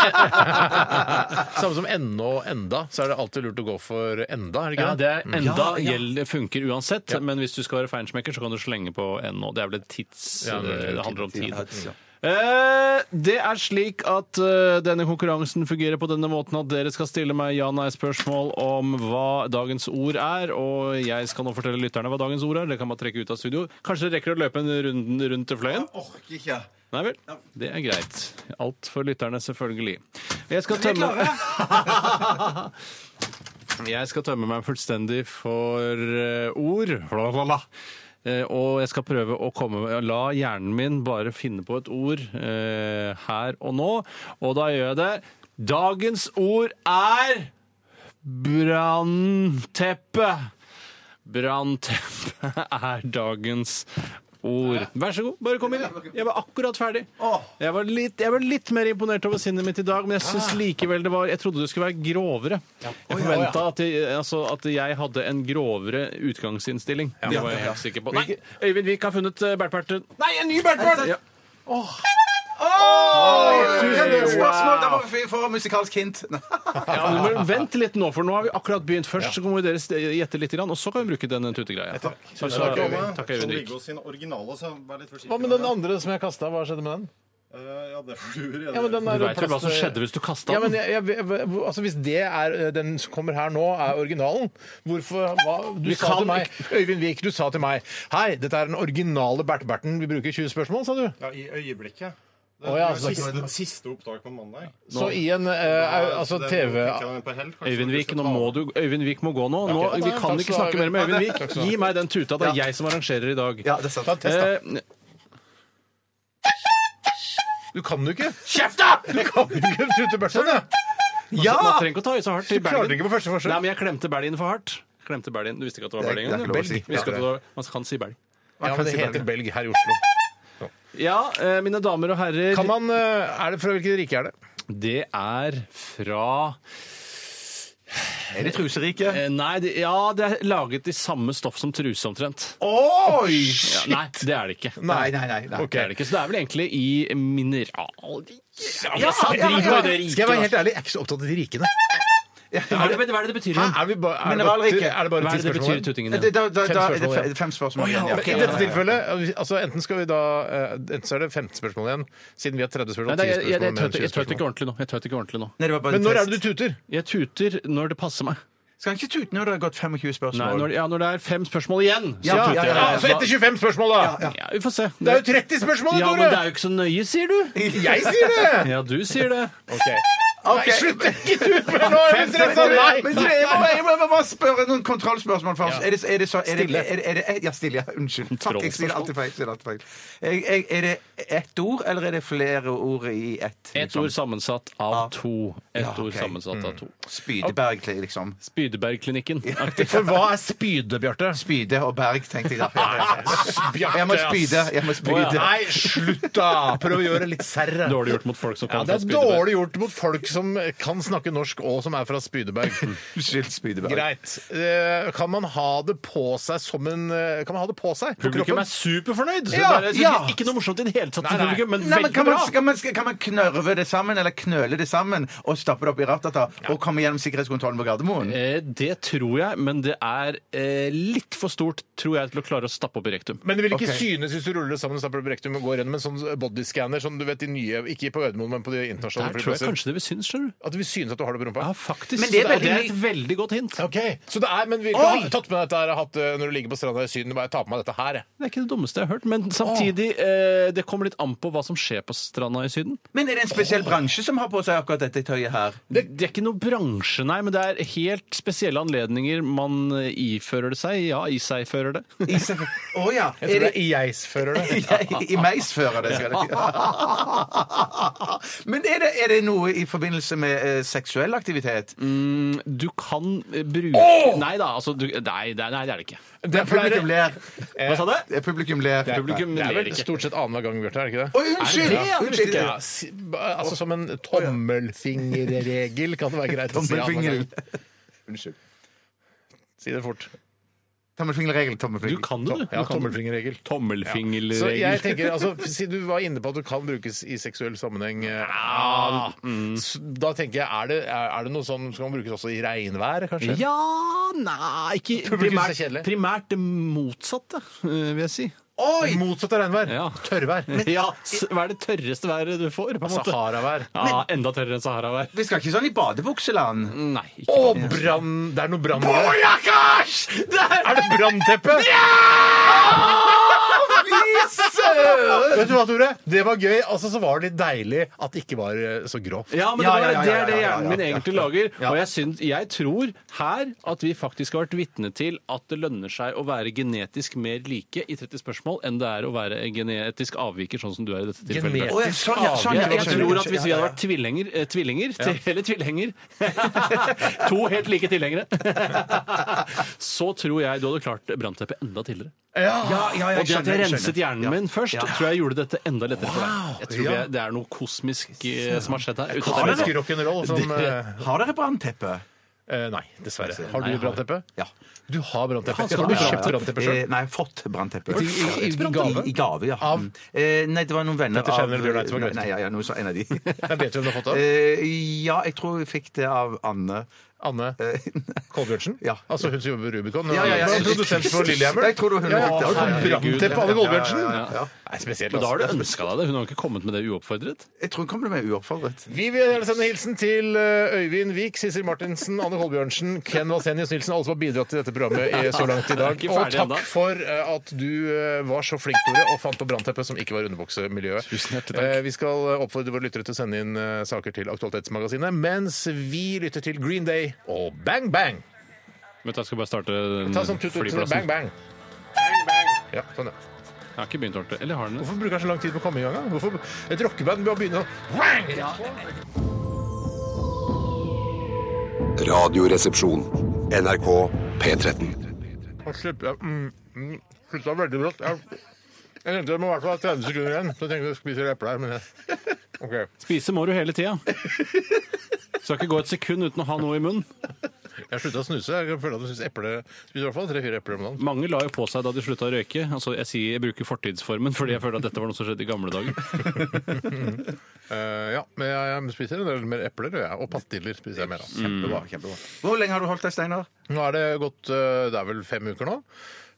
A: samme som ende og enda, så er det alltid lurt å gå for enda, er det ikke
C: Ja, det er enda
A: Mm. Ja, ja.
C: gjeld funker uansett, men hvis du skal være feinschmecker, så kan du slenge på NO. Det er vel et tids... eh,
A: Ja, det er
C: det,
A: tid.
C: handler om tid.
B: Ja.
C: Eh, Det er slik at eh, denne konkurransen fungerer på denne måten at dere skal stille meg ja-nei-spørsmål om hva dagens ord er, og jeg skal nå fortelle lytterne hva dagens ord er. Det kan man trekke ut av studio. Kanskje dere rekker å løpe en runde rundt til fløyen?
B: Orker ikke.
C: Nei vel. Det er greit. Alt for lytterne, selvfølgelig. Jeg skal tømme Jeg skal tømme meg fullstendig for eh, ord. Bla, bla, bla. Eh, og jeg skal prøve å komme La hjernen min bare finne på et ord eh, her og nå. Og da gjør jeg det. Dagens ord er brannteppe. Brannteppe er dagens ord. Vær så god, bare kom inn. Jeg var akkurat ferdig. Jeg var litt, jeg var litt mer imponert over sinnet mitt i dag, men jeg syns likevel det var Jeg trodde det skulle være grovere. Jeg forventa at, jeg- altså, at jeg hadde en grovere utgangsinnstilling. Det var jeg helt sikker på. Nei, Øyvind Vik har funnet eh, Bertberte. Nei, en ny Bertberte! Ja.
B: Spørsmål! Da må vi få musikalsk hint.
C: Ja, men du må vent litt nå, for nå har vi akkurat begynt først. Så må dere st- gjette litt, grann, og så kan vi bruke den tutegreia. Takk, takk, takk, Øyvind. takk, Øyvind Vik.
F: Viggo sin originale, så vær litt forsiktig.
A: Hva med den andre som jeg kasta, hva skjedde med den?
F: Eh, ja, det får du gjøre.
A: Ja, men den er
C: Du veit vel hva som
A: plast-
C: skjedde hvis du kasta
A: Ja, men
C: den?
A: jeg, jeg, jeg, altså Hvis det er eh, den som kommer her nå, er originalen, hvorfor hva, Du
C: Vi
A: sa
C: kan
A: til meg Øyvind Vik, du sa til meg Hei, dette er den originale Bert-Berten. Vi bruker 20 spørsmål, sa du.
F: Ja, I øyeblikket. Det,
A: Å, ja,
F: det er
A: så-
F: siste, siste opptak på mandag.
A: Så i en eh, au- altså
F: Det-
A: TV
F: nå fikk jeg den på hell, kanskje.
C: Øyvind Vik, nå må du, Øyvind Vik må gå nå. nå
A: Ok.
C: vi kan
A: Takk skal du
C: ikke
A: ha,
C: snakke mer med
A: Øyvind.
C: Øyvind
A: Takk
C: Vik.
A: skal du ha.
C: Gi meg den tuta. Det er jeg som arrangerer i dag.
B: Ja, det er sant.
C: Eh,
A: Du kan jo ikke! Kjeft, da! Du kan jo ikke tute Bertsen, da! Ja!
C: Man trenger ikke å ta i så hardt. i
A: Du klarer
C: belgen.
A: det ikke på første forsøk.
C: Nei, men jeg klemte belgen for hardt. Klemte belgen. Du visste ikke at det
B: Det er-
C: var belgen?
B: det er ikke lov å
C: eller? Belg.
B: si.
C: Visste ikke
B: Ja,
C: at det var- Man kan si belg.
A: Ja, men det heter belg her i Oslo.
C: Ja, eh, mine damer og herrer.
A: Kan man, eh, er det Fra hvilket rike er det?
C: Det er fra
B: Er det truseriket?
C: eh, Nei, det, ja, det er laget i samme stoff som truse, omtrent.
B: Oi!
C: Ja, nei, det er det ikke.
B: Nei, nei, nei. nei.
C: Det er det ikke, så det er vel egentlig i mineralriket.
A: ja,
C: Ja,
A: ja. Skal jeg være
C: helt
A: helt ærlig, jeg er ikke så opptatt av de rikene.
C: Hva er det hva er det det betyr?
A: Hæ?
C: igjen?
A: Er, vi ba, er, det bare,
B: Mm. Mineralrike.
A: er det bare
C: Hva er
A: ti
C: det det
A: spørsmål
C: betyr
A: igjen?
C: i tutingen?
B: Da,
C: igjen?
B: da,
A: Fem
B: da, da
A: spørsmål
B: er det fe-
A: igjen.
B: fem spørsmål igjen. ja.
A: Men I dette tilfellet altså enten skal vi da eh, Enten så er det 15 spørsmål igjen, siden vi har 30 spørsmål.
C: Nei, det,
A: 10
C: jeg, jeg, jeg,
A: spørsmål, men
C: tøt,
A: 20
C: jeg tøt ikke
A: spørsmål.
C: ordentlig nå. Jeg tøt ikke ordentlig nå.
B: Nei, det var bare
A: Men når
B: test.
A: er det du tuter?
C: Jeg tuter når det passer meg.
B: Skal han ikke tute når det har gått 25
C: Nei,
B: spørsmål?
C: når, ja, når det er fem spørsmål igjen, så
B: Ja,
C: tuter
B: ja,
C: jeg.
A: Ja, så etter 25 spørsmål, da!
C: Ja, vi får se.
A: Det er jo 30 spørsmål,
C: ja, men det
A: Tore!
C: er jo ikke så nøye, sier du.
A: Jeg sier det!
C: Ja, du sier det.
A: Ok.
B: Ok.
A: Fem, fem, fem, nei.
B: Nei, men jeg må bare- jeg må bare spørre noen kontrollspørsmål først.
A: Ja.
B: Er det, er det så, er det,
A: Stille.
B: er det, er det, ja, stille. ja. Unnskyld. Fuck, jeg sier alltid feil. Sier alltid feil. Jeg, jeg, er det ett ord, eller er det flere ord i ett? liksom?
C: Ett ord sammensatt av to. Ett
B: Ja, ok. Mm.
C: ord sammensatt av to.
B: Spydeberg, liksom.
C: Spydebergklinikken.
A: For hva er spyde, Bjarte?
B: Spyde og berg, tenkte jeg da. Jeg må spyde. Jeg må spyde.
A: Nei, slutt, da! Prøv å gjøre det litt serre.
C: Dårlig gjort mot folk som
A: Ja, det
C: kommer fra
A: er
C: Spydeberg.
A: dårlig gjort mot folk som kan snakke norsk og som er fra Spydeberg.
B: Unnskyld, Spydeberg.
A: Greit. Eh, Kan man ha det på seg som en eh, Kan man ha det på seg? På
C: Publikum
A: kroppen?
C: er superfornøyd! Så
B: Ja,
C: det er- jeg synes
B: ja.
C: Ikke noe morsomt i det hele tatt
A: Nei,
C: til
A: nei.
C: publikum, men
B: Nei, men
C: veldig
B: kan, man,
C: bra!
B: kan, man, kan man knørve det sammen, eller knøle det sammen, og stappe det opp i ratata, og komme gjennom sikkerhetskontrollen på Gardermoen?
C: Eh, Det tror jeg, men det er eh, litt for stort, tror jeg, til å klare å stappe opp i rektum.
A: Men det vil ikke
B: Ok.
A: synes hvis du ruller det sammen og stapper det på rektum og går gjennom en sånn bodyscanner som du vet de nye Ikke på Ødemoen, men på de
C: Der
A: internasjonale
C: tror jeg
A: flyplasser.
C: kanskje det vil synes, skjønner du.
A: At det vil synes at du har det på rumpa.
C: Ja, faktisk.
B: Men det er
C: Så det
B: veldig
C: er et veldig godt hint.
A: Ok, Så det er, men vi
B: Oi!
A: kan ha tatt med dette her, hatt, eh, når du ligger på stranda i Syden. Bare ta på meg dette her, jeg.
C: Det er ikke det dummeste jeg har hørt, men samtidig eh, Det kommer litt an på hva som skjer på stranda i Syden.
B: Men er det en spesiell bransje som har på seg akkurat dette tøyet her?
C: Det, er ikke noe bransje, nei, men det er helt spesielle anledninger man eh, ifører det seg. Ja, i seg fører det.
B: I seg- Å ja.
A: Jeg tror det er jeg-fører det.
B: I- I meisfører det, skal det ikke Men er det, er det noe i forbindelse med eh, seksuell aktivitet?
C: Du kan eh, bruke Nei da, altså du, nei, det er- nei, det er det ikke.
A: Det pleier-
B: Publikum ler.
C: Hva sa du?
B: Eh, Publikum ler.
C: Publikum
A: Det er
C: ler
A: vel
C: ikke.
A: stort sett annenhver gang, Bjarte, er det ikke
B: Å,
A: det?
B: unnskyld!
C: Er det det?
B: unnskyld.
A: Ja, si- ba- altså som en tommelfingerregel kan det være greit å si annenhver
B: Tommelfingeren.
A: gang. Si det fort.
B: Tommelfingerregel.
C: Du
B: Tommelfinger.
C: kan det, du.
A: Ja,
C: Du kan det.
A: tommelfingerregel. Så jeg
C: Tommelfingerregel.
A: tenker, altså, Siden du var inne på at det kan brukes i seksuell sammenheng, eh, ja, Mm. s- da tenker jeg er det, er er det noe sånn som kan brukes også i regnvær, kanskje?
C: Ja, nei ikke
A: Publikum er
C: primært,
A: kjedelig.
C: primært det motsatte, eh, vil jeg si.
A: Det Motsatt av regnvær.
C: Ja.
A: Tørrvær.
C: Ja, s- Hva er det tørreste været du får? på en måte?
A: Saharavær.
C: Ja, Enda tørrere enn Sahara-vær.
B: Vi skal ikke sånn i badebukseland.
C: Nei. ikke
A: Og
C: det.
A: brann Det er noe brann der.
B: Jakkers!
A: Er det brannteppe? Vet du hva, Tore? Det var gøy. Altså, så var det litt deilig at det ikke var eh, så grovt.
C: Ja, men
B: Ja,
C: det,
B: ja,
C: var,
B: ja,
C: det er det
B: ja, ja,
C: hjernen
B: ja,
C: min
B: ja,
C: egentlig lager. Og jeg, syns- jeg tror her at vi faktisk har vært vitne til at det lønner seg å være genetisk mer like i 30 spørsmål enn det er å være en genetisk avviker, sånn som du er i dette tilfellet.
A: Genetisk
C: Bjarte.
B: Å, ja, sånn, ja, sånn, ja,
C: Jeg, jeg
B: skjønner,
C: tror at
B: skjønner.
C: hvis vi hadde vært tvillinger, eh, tvillinger til- eller tvillinger To helt like tilhengere. Så tror jeg du hadde klart brannteppet enda tidligere.
B: Ja, ja, ja,
C: Og det at jeg
B: skjønner,
C: renset
B: skjønner.
C: hjernen min først, tror jeg gjorde dette enda lettere for deg. Jeg tror jeg, det er noe kosmisk eh, som har skjedd her. uten at jeg vet
A: Amerikansk
C: det.
A: rock'n'roll som eh,
B: Har dere brannteppe?
A: eh, Nei, dessverre. Har du
C: Nei, jeg har-
A: brannteppe?
B: Ja.
A: Du har brannteppe.
C: skal
A: Har
C: du
A: du kjøpt brannteppe sjøl?
B: Eh, Nei, jeg har fått brannteppe.
A: du fått
B: I- i-
A: brannteppe?
B: I, I gave, ja.
A: Av?
B: Mm. Eh, nei, det var noen venner
A: Petter Schauner eller Bjørn Eidsvåg
B: Nei,
A: Grøthe?
B: nei, ja, ja, noe så, en av de.
A: Jeg vet hvem du har fått av.
B: Eh, ja, jeg tror jeg fikk det av Anne.
A: Anne
B: Eh,
A: Kolbjørnsen?
B: Ja.
A: Altså hun som jobber på Rubicon?
B: Ja, ja, ja.
A: Hun er Produsent for Lillehammer?
B: Jeg tror det var hun
A: ja, ja.
B: riktig.
A: Har du fått
B: Herregud.
A: brannteppe Anne Kolbjørnsen?
B: Ja, ja, ja, ja.
A: Nei, spesielt.
C: Men da har
A: Altså.
C: du ønska deg det. Hun har ikke kommet med det uoppfordret.
B: Jeg tror hun kom med uoppfordret.
A: Vi vil gjerne sende hilsen til eh, Øyvind Vik, Sissel Martinsen, Anne Kolbjørnsen, Ken Vasenius Nilsen, alle som har bidratt til dette programmet i så langt i dag.
C: Det er ikke
A: Og
C: ferdig
A: takk
C: enda.
A: for eh, at du eh, var så flink, Tore, og fant på brannteppet som ikke var underbuksemiljøet.
C: Tusen hjertelig takk.
A: Eh, Vi skal oppfordre våre lyttere til å sende inn eh, saker til Aktualitetsmagasinet, mens vi lytter til Green Day og Bang Bang.
C: Vet du, Jeg skal bare starte den
A: Ta sånn tut, tut,
C: Mm,
A: bang,
C: flyplassen.
A: bang. Ja, sånn, ja.
C: Jeg har ikke begynt ordentlig. Eller har den det?
A: Hvorfor bruker han så lang tid på å komme i gang? da? Hvorfor Et rockeband bør begynne å
D: Radioresepsjon. NRK P13.
A: Han slipper mm, mm, Slutta veldig brått. Jeg, jeg tenkte det må i hvert fall ha 30 sekunder igjen. Så tenkte jeg å spise eple her, men jeg OK.
C: Spise må du hele tida. Skal ikke gå et sekund uten å ha noe i munnen.
A: Jeg slutta å snuse. Jeg føler at jeg synes eple Spiser i hvert fall tre-fire epler om dagen.
C: Mange la jo på seg da de slutta å røyke. Altså, jeg, sier, jeg bruker fortidsformen fordi jeg føler at dette var noe som skjedde i gamle dager.
A: Eh, ja, men jeg, jeg spiser en del mer epler gjør jeg, og pastiller. spiser jeg mer av.
B: Kjempebra. kjempebra. Hvor lenge har du holdt deg, Steinar?
A: Nå er det gått eh, Det er vel fem uker nå.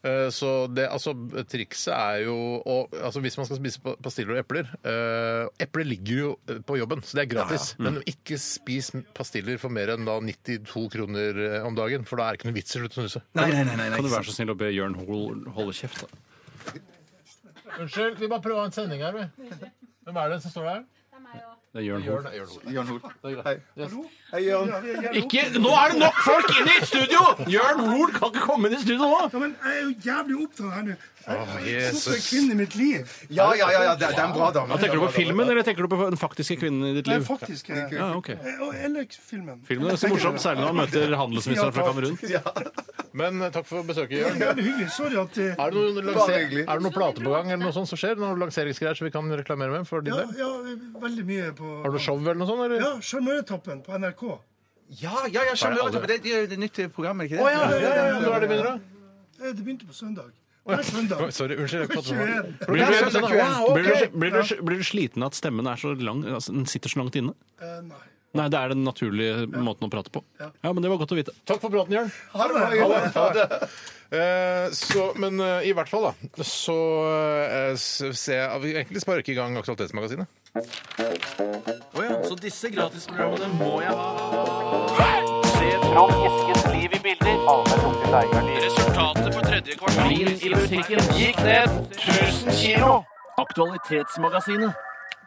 A: Eh, Så det, altså, trikset er jo å altså, Hvis man skal spise pa- pastiller og epler eh, Epler ligger jo eh, på jobben, så det er gratis. Men ikke spis pastiller for mer enn da 92 kroner eh, om dagen, for da er det ikke noe vits i å slutte å snuse.
B: Nei, nei, nei. nei,
C: Kan du være så snill å be Jørn Hoel holde kjeft? da?
A: Unnskyld, vi bare prøver en sending her, vi. Hvem er det som står der?
C: Det Det gjør han.
B: Jørn Hoel. Hei. Hei, Jørn.
C: Ikke, nå er det nok folk inne i studio! Jørn Hoel kan ikke komme inn i studio nå!
G: Ja, men jeg er jo jævlig opptatt av henne. Hvorfor er
A: Jesus.
G: kvinnen i mitt liv?
B: Ja, ja, ja, ja, det, det er en bra dame.
C: Ja, tenker du på filmen, eller tenker du på den faktiske kvinnen i ditt
G: Nei,
C: liv?
G: faktisk. Jeg,
C: Ja, ok.
G: jeg, og jeg liker filmen.
C: Filmen er så morsom, særlig når han møter handelsministeren fra Kamerun.
A: Men eh, takk for besøket, Jørn.
G: Det er hyggelig. Sorry at eh,
A: Er det noen
B: var
A: lanser-
B: hyggelig.
A: er det noen plate på gang eller noe sånt som skjer? Noen lanseringsgreier som vi kan reklamere med for din
G: ja,
A: del?
G: ja, veldig mye på
A: Har du show eller noe sånt? Eller?
G: Ja, Sjarmøretappen på NRK.
B: Ja, Ah, ja, ja, skjønner du. Det er jo et nytt program, er det ikke det?
A: Å, ja, ja, ja, ja. Når er det begynner, da?
G: Eh, Det begynte på søndag. Hver søndag.
A: Oi, Sorry, unnskyld. Jeg kan ikke ta-
G: 21.
C: Blir
B: Ja,
C: du,
A: blir
B: søndag kveld.
C: blir, du, blir, du, blir du sliten av at stemmen er så lang, altså, den sitter så langt inne?
G: Eh, Nei.
C: Nei, det er den naturlige måten å prate på. Ja, men det var godt å vite.
A: Takk for praten, Jørn.
B: Ha det bra, Jørn.
A: Eh, så, men eh, i hvert fall, da, så eh, s- ser jeg at vi egentlig sparker i gang Aktualitetsmagasinet.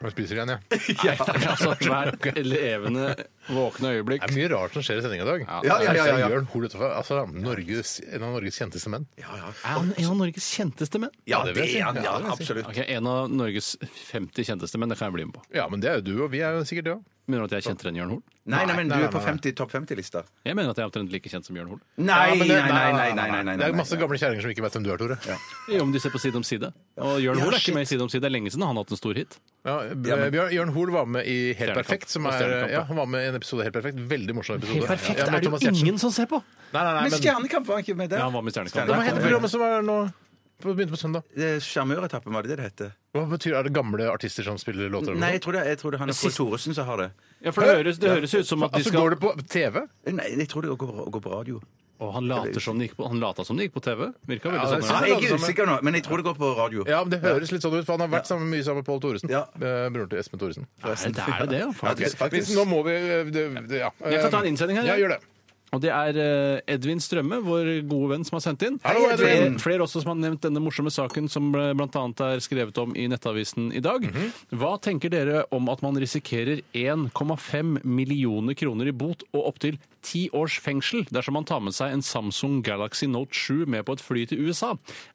A: Jeg spiser igjen, jeg.
C: Ja, altså, hver levende våkne øyeblikk.
A: Det er mye rart som skjer i sendinga i dag.
B: Ja, ja, ja, ja, ja.
A: Jørn Hoel utenfor. Altså, Norges, en av Norges kjenteste menn.
C: Er han en av Norges kjenteste menn?
B: Ja,
A: det
B: det
A: vil jeg si.
B: er han.
A: Ja, det
B: Ja,
A: vil jeg si.
B: absolutt.
C: Ok, En av Norges 50 kjenteste menn, det kan jeg bli med på.
A: Ja, men det er jo du, og vi er jo sikkert det òg.
C: Mener du at jeg er kjentere enn Jørn Hoel?
B: Nei, nei, men du
A: Nei, nei,
B: er på
A: nei,
B: 50, topp 50-lista.
C: Jeg mener at jeg er omtrent like kjent som Jørn Hoel.
B: Nei,
A: men
B: nei,
A: det-
B: nei, nei, nei, nei, nei, nei.
A: Det er masse gamle kjerringer som ikke vet hvem du er, Tore. Ja.
C: Om de ser på Side om side. Og Jørn
B: Ja,
C: Hoel er
B: shit.
C: ikke med i Side om side. Det er lenge siden han har hatt en stor hit.
A: eh, Bjørn, Jørn Hoel var med i Helt
C: Stjernekamp.
A: perfekt. Som
C: Og
A: er,
C: Stjernekamp, ja.
A: ja, han var med i en episode av Helt perfekt. Veldig morsom episode.
C: Helt perfekt
A: Ja, med
C: er det
A: Thomas
C: jo
A: Giertsen.
C: ingen som ser på!
A: Nei, nei, nei,
B: Men
A: men,
B: Stjernekamp var han ikke med der?
C: Ja, han var med i Stjernekamp.
A: Hva heter programmet som er nå? på- Begynte på søndag.
B: Det er Sjarmøretappen, var det det det heter?
A: Hva betyr Er det gamle artister som spiller låter?
B: Nei, jeg tror det, jeg tror det er han er Pål
C: Sist-
B: Thoresen som har det.
C: Ja, for det høres, det høres ut som at de
A: Altså,
C: skal
A: Går det på TV?
B: Nei, jeg tror det går, går på radio.
C: Å, han later som det gikk på, han later som det gikk på TV. Virka
A: Ja,
C: veldig
A: det
C: sånn.
B: Ja,
A: synes
C: ja.
A: jeg.
B: jeg er usikker nå, men jeg tror det går på radio.
A: Ja, men Det høres litt sånn ut, for han har vært sammen mye sammen med Pål Thoresen.
B: Ja.
A: eh, Broren til Espen Thoresen.
C: Nei, det er det, ja,
B: Ja,
C: faktisk.
B: det-
A: Hvis,
B: faktisk.
A: nå må vi eh, det, det, ja.
C: Jeg kan ta en innsending her,
A: Ja,
C: jeg.
A: gjør det.
C: Og det er eh, Edvin Strømme, vår gode venn, som har sendt inn.
A: Hallo, Edvin.
C: Flere, flere også som har nevnt denne morsomme saken som ble- blant annet er skrevet om i Nettavisen i dag.
A: Mhm.
C: Hva tenker dere om at man risikerer 1,5 millioner kroner i bot og opptil ti års fengsel dersom man tar med seg en Samsung Galaxy Note 7 med på et fly til USA?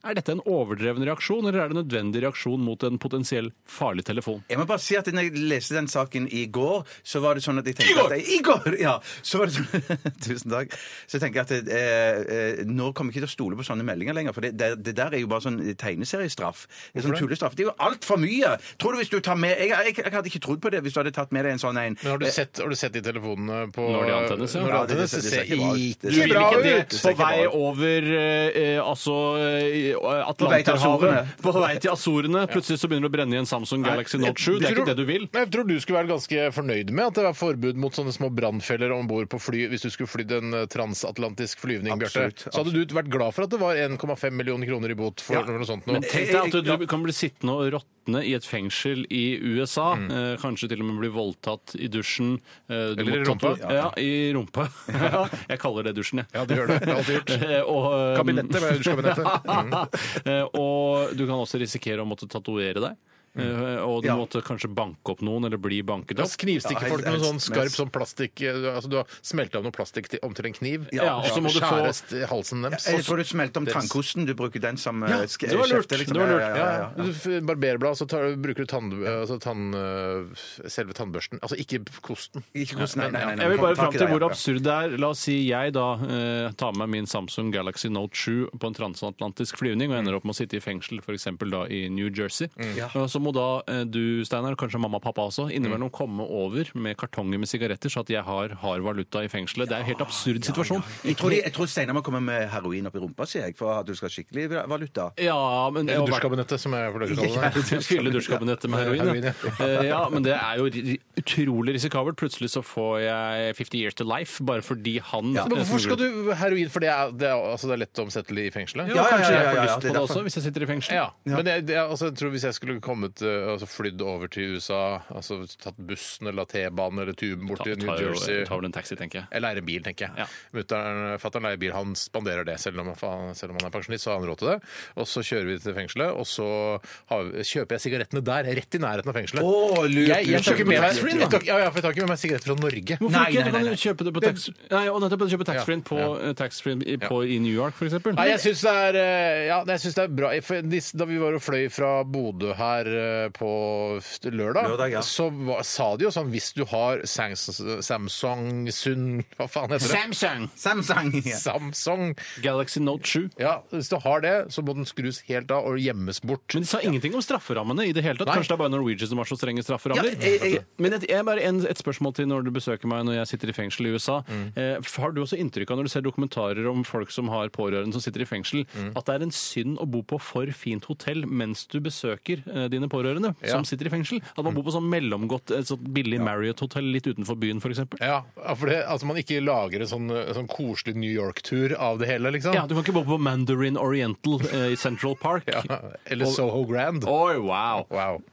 C: Er dette en overdreven reaksjon, eller er det en nødvendig reaksjon mot en potensiell farlig telefon?
B: Jeg må bare si at når jeg leste den saken i går, så var det sånn at jeg tenkte I går! At jeg, I går! Ja, så var det sånn, Tusen takk. Så tenker jeg at eh, eh, nå kommer jeg ikke til å stole på sånne meldinger lenger, for det, det, det der er jo bare sånn tegneseriestraff. Det er sånn tullestraff. Det er jo altfor mye! Tror du hvis du tar med jeg, jeg, jeg hadde ikke trodd på det hvis du hadde tatt med deg en sånn en.
A: Men har du sett, har du sett de telefonene på
C: Når de antennes, ja.
A: når de
B: Ja, det-
A: antennes?
B: det- det ser
A: ser
B: ikke bra ut.
A: ikke
B: Det ser
A: bra
B: ikke bra
A: ut!
B: ut.
C: På vei over eh, eh, altså eh,
B: vei til
C: Atlanterhavet.
B: Azorene.
C: På vei til Azorene. Plutselig så begynner det å brenne i en Samsung Galaxy Note 7. Det er ikke det du vil.
A: Nei, Jeg tror du skulle vært ganske fornøyd med at det var forbud mot sånne små brannfeller om bord på fly hvis du skulle flydd en eh, transatlantisk flyvning, Bjarte.
B: Absolutt,
A: Så hadde du vært glad for at det var 1,5 millioner kroner i bot for noe sånt nå.
C: Men tenk deg at du kan bli sittende og råtne i et fengsel i USA.
A: Mm.
C: Eh, kanskje til og med bli voldtatt i dusjen. Eh, du
A: Eller i
C: må
A: rumpa.
C: tato- Ja, i rumpa. Ja, jeg kaller det dusjen, jeg.
A: Ja, det gjør det. Jeg har alltid gjort.
C: Eh, og, eh,
A: Kabinettet, hva er dusjkabinettet?
C: Eh, og du kan også risikere å måtte tatovere deg.
A: Mm.
C: Eh, Og du
B: Ja.
C: måtte kanskje banke opp noen, eller bli banket
A: Da
C: opp.
A: knivstikker
B: Ja,
A: folk med
B: helt-
A: sånn skarp
B: helt smes.
A: sånn plastikk eh, Altså du har smelta av noe plastikk til, om til en kniv.
C: Ja, og så må du få-
A: Skjæres til halsen deres.
B: Jeg tror du smelter om
A: Deres-
B: tannkosten. Du bruker den som eh, sk-
C: det var lurt.
B: skjefte, liksom.
C: Det var lurt.
B: Ja,
A: Ja,
B: ja, ja, ja.
A: ja. Du f- barberer blad, så tar, bruker du tann, altså tann, øh, selve tannbørsten. Altså ikke kosten.
B: Ikke kosten, nei, nei, nei, nei.
C: Jeg vil bare
B: Tak
C: fram
B: i
C: til
B: deg,
C: hvor
B: ja.
C: absurd det er. La oss si jeg da eh, tar med min Samsung Galaxy Note 7 på en transatlantisk flyvning og ender opp med å sitte i fengsel f.eks. da i New Jersey. Og Så må da eh, du, Steinar, og kanskje mamma og pappa også, innimellom komme over med kartonger med sigaretter, så at jeg har hard valuta i fengselet. Det er en helt absurd situasjon.
B: Jeg tror, de- jeg tror Steinar må komme med heroin opp i rumpa, sier jeg, for at du skal ha skikkelig valuta.
C: Ja, men
A: Eller dusjkabinettet, som jeg pleier å kalle det.
C: Fylle dusjkabinettet med heroin.
A: Heroin,
C: Ja. Eh, ja, men det er jo ri- utrolig risikabelt. Plutselig så får jeg 50 years to life bare fordi han
A: Men Hvorfor skal du heroin? For det er, det er, altså, det er lett omsettelig i fengselet.
C: Ja,
B: Ja, ja,
C: kanskje
B: ja,
C: jeg
B: ja,
C: får
B: ja, det
C: lyst
B: er
C: på det
B: derfor.
C: også hvis jeg sitter i fengsel.
A: Ja, men jeg, jeg, altså, jeg tror hvis jeg skulle kommet kommet, eh, altså flydd over til USA, altså tatt bussen eller T-banen eller tuben bort
C: Ta,
A: til New
C: tar, jo,
A: Jersey.
C: tar vel en taxi, tenker jeg.
A: Jeg leier en bil, tenker jeg.
C: Ja.
A: Mutteren, Fatter'n leier bil, han spanderer det. Selv om, han, selv om han er pensjonist, så har han råd til det. Og så kjører vi til fengselet, og så har, vi- kjøper jeg sigarettene der, rett i nærheten av fengselet.
B: Å, lurt,
A: jeg, jeg
B: lurt,
A: tar ikke
B: lurt,
A: med meg,
B: lurt,
A: jeg tar, ikke- ja, ja, for jeg tar ikke med meg sigaretter fra Norge.
C: Hvorfor
B: Nei,
C: ikke?
B: nei,
C: Du kan
B: nei,
C: jo kjøpe det på tax... Nei, og nettopp kjøpe taxfree-en på,
A: Ja,
C: eh, taxfree-en i- på i New York, for eksempel.
A: Nei, jeg syns det er eh, Ja, jeg synes det er bra. For dis- Da vi var og fløy fra Bodø her eh, på f- lørdag,
B: Lørdag, ja.
A: så var, sa de jo sånn Hvis du har Sangs- Samsung Sun Hva faen heter det?
C: Samsung!
B: Samsung. Ja.
A: Samsung.
C: Galaxy Note 7.
A: Ja, hvis du har det, så må den skrus helt av og gjemmes bort.
C: Men de sa ingenting om strafferammene i det hele tatt.
A: Nei.
C: Kanskje det er bare Norwegian som har så strenge strafferammer.
B: Ja, jeg- jeg-
C: Men et, jeg har bare en, et spørsmål til når du besøker meg når jeg sitter i fengsel i USA.
A: Mm.
C: Eh, har du også inntrykk av når du ser dokumentarer om folk som har pårørende som sitter i fengsel,
A: Mm.
C: at det er en synd å bo på for fint hotell mens du besøker eh, dine pårørende
A: Ja. Mm.
C: som sitter i fengsel? At man bor på sånn mellomgodt, et sånt billig Marriott-hotell litt utenfor byen, f.eks.?
A: Ja, ja, for det, altså man ikke lager en sånn, eh, sånn koselig New York-tur av det hele, liksom.
C: Ja, du kan ikke bo på Mandarin Oriental eh, i Central Park.
A: Ja, Eller Soho Grand.
C: Oi, wow!
A: Wow.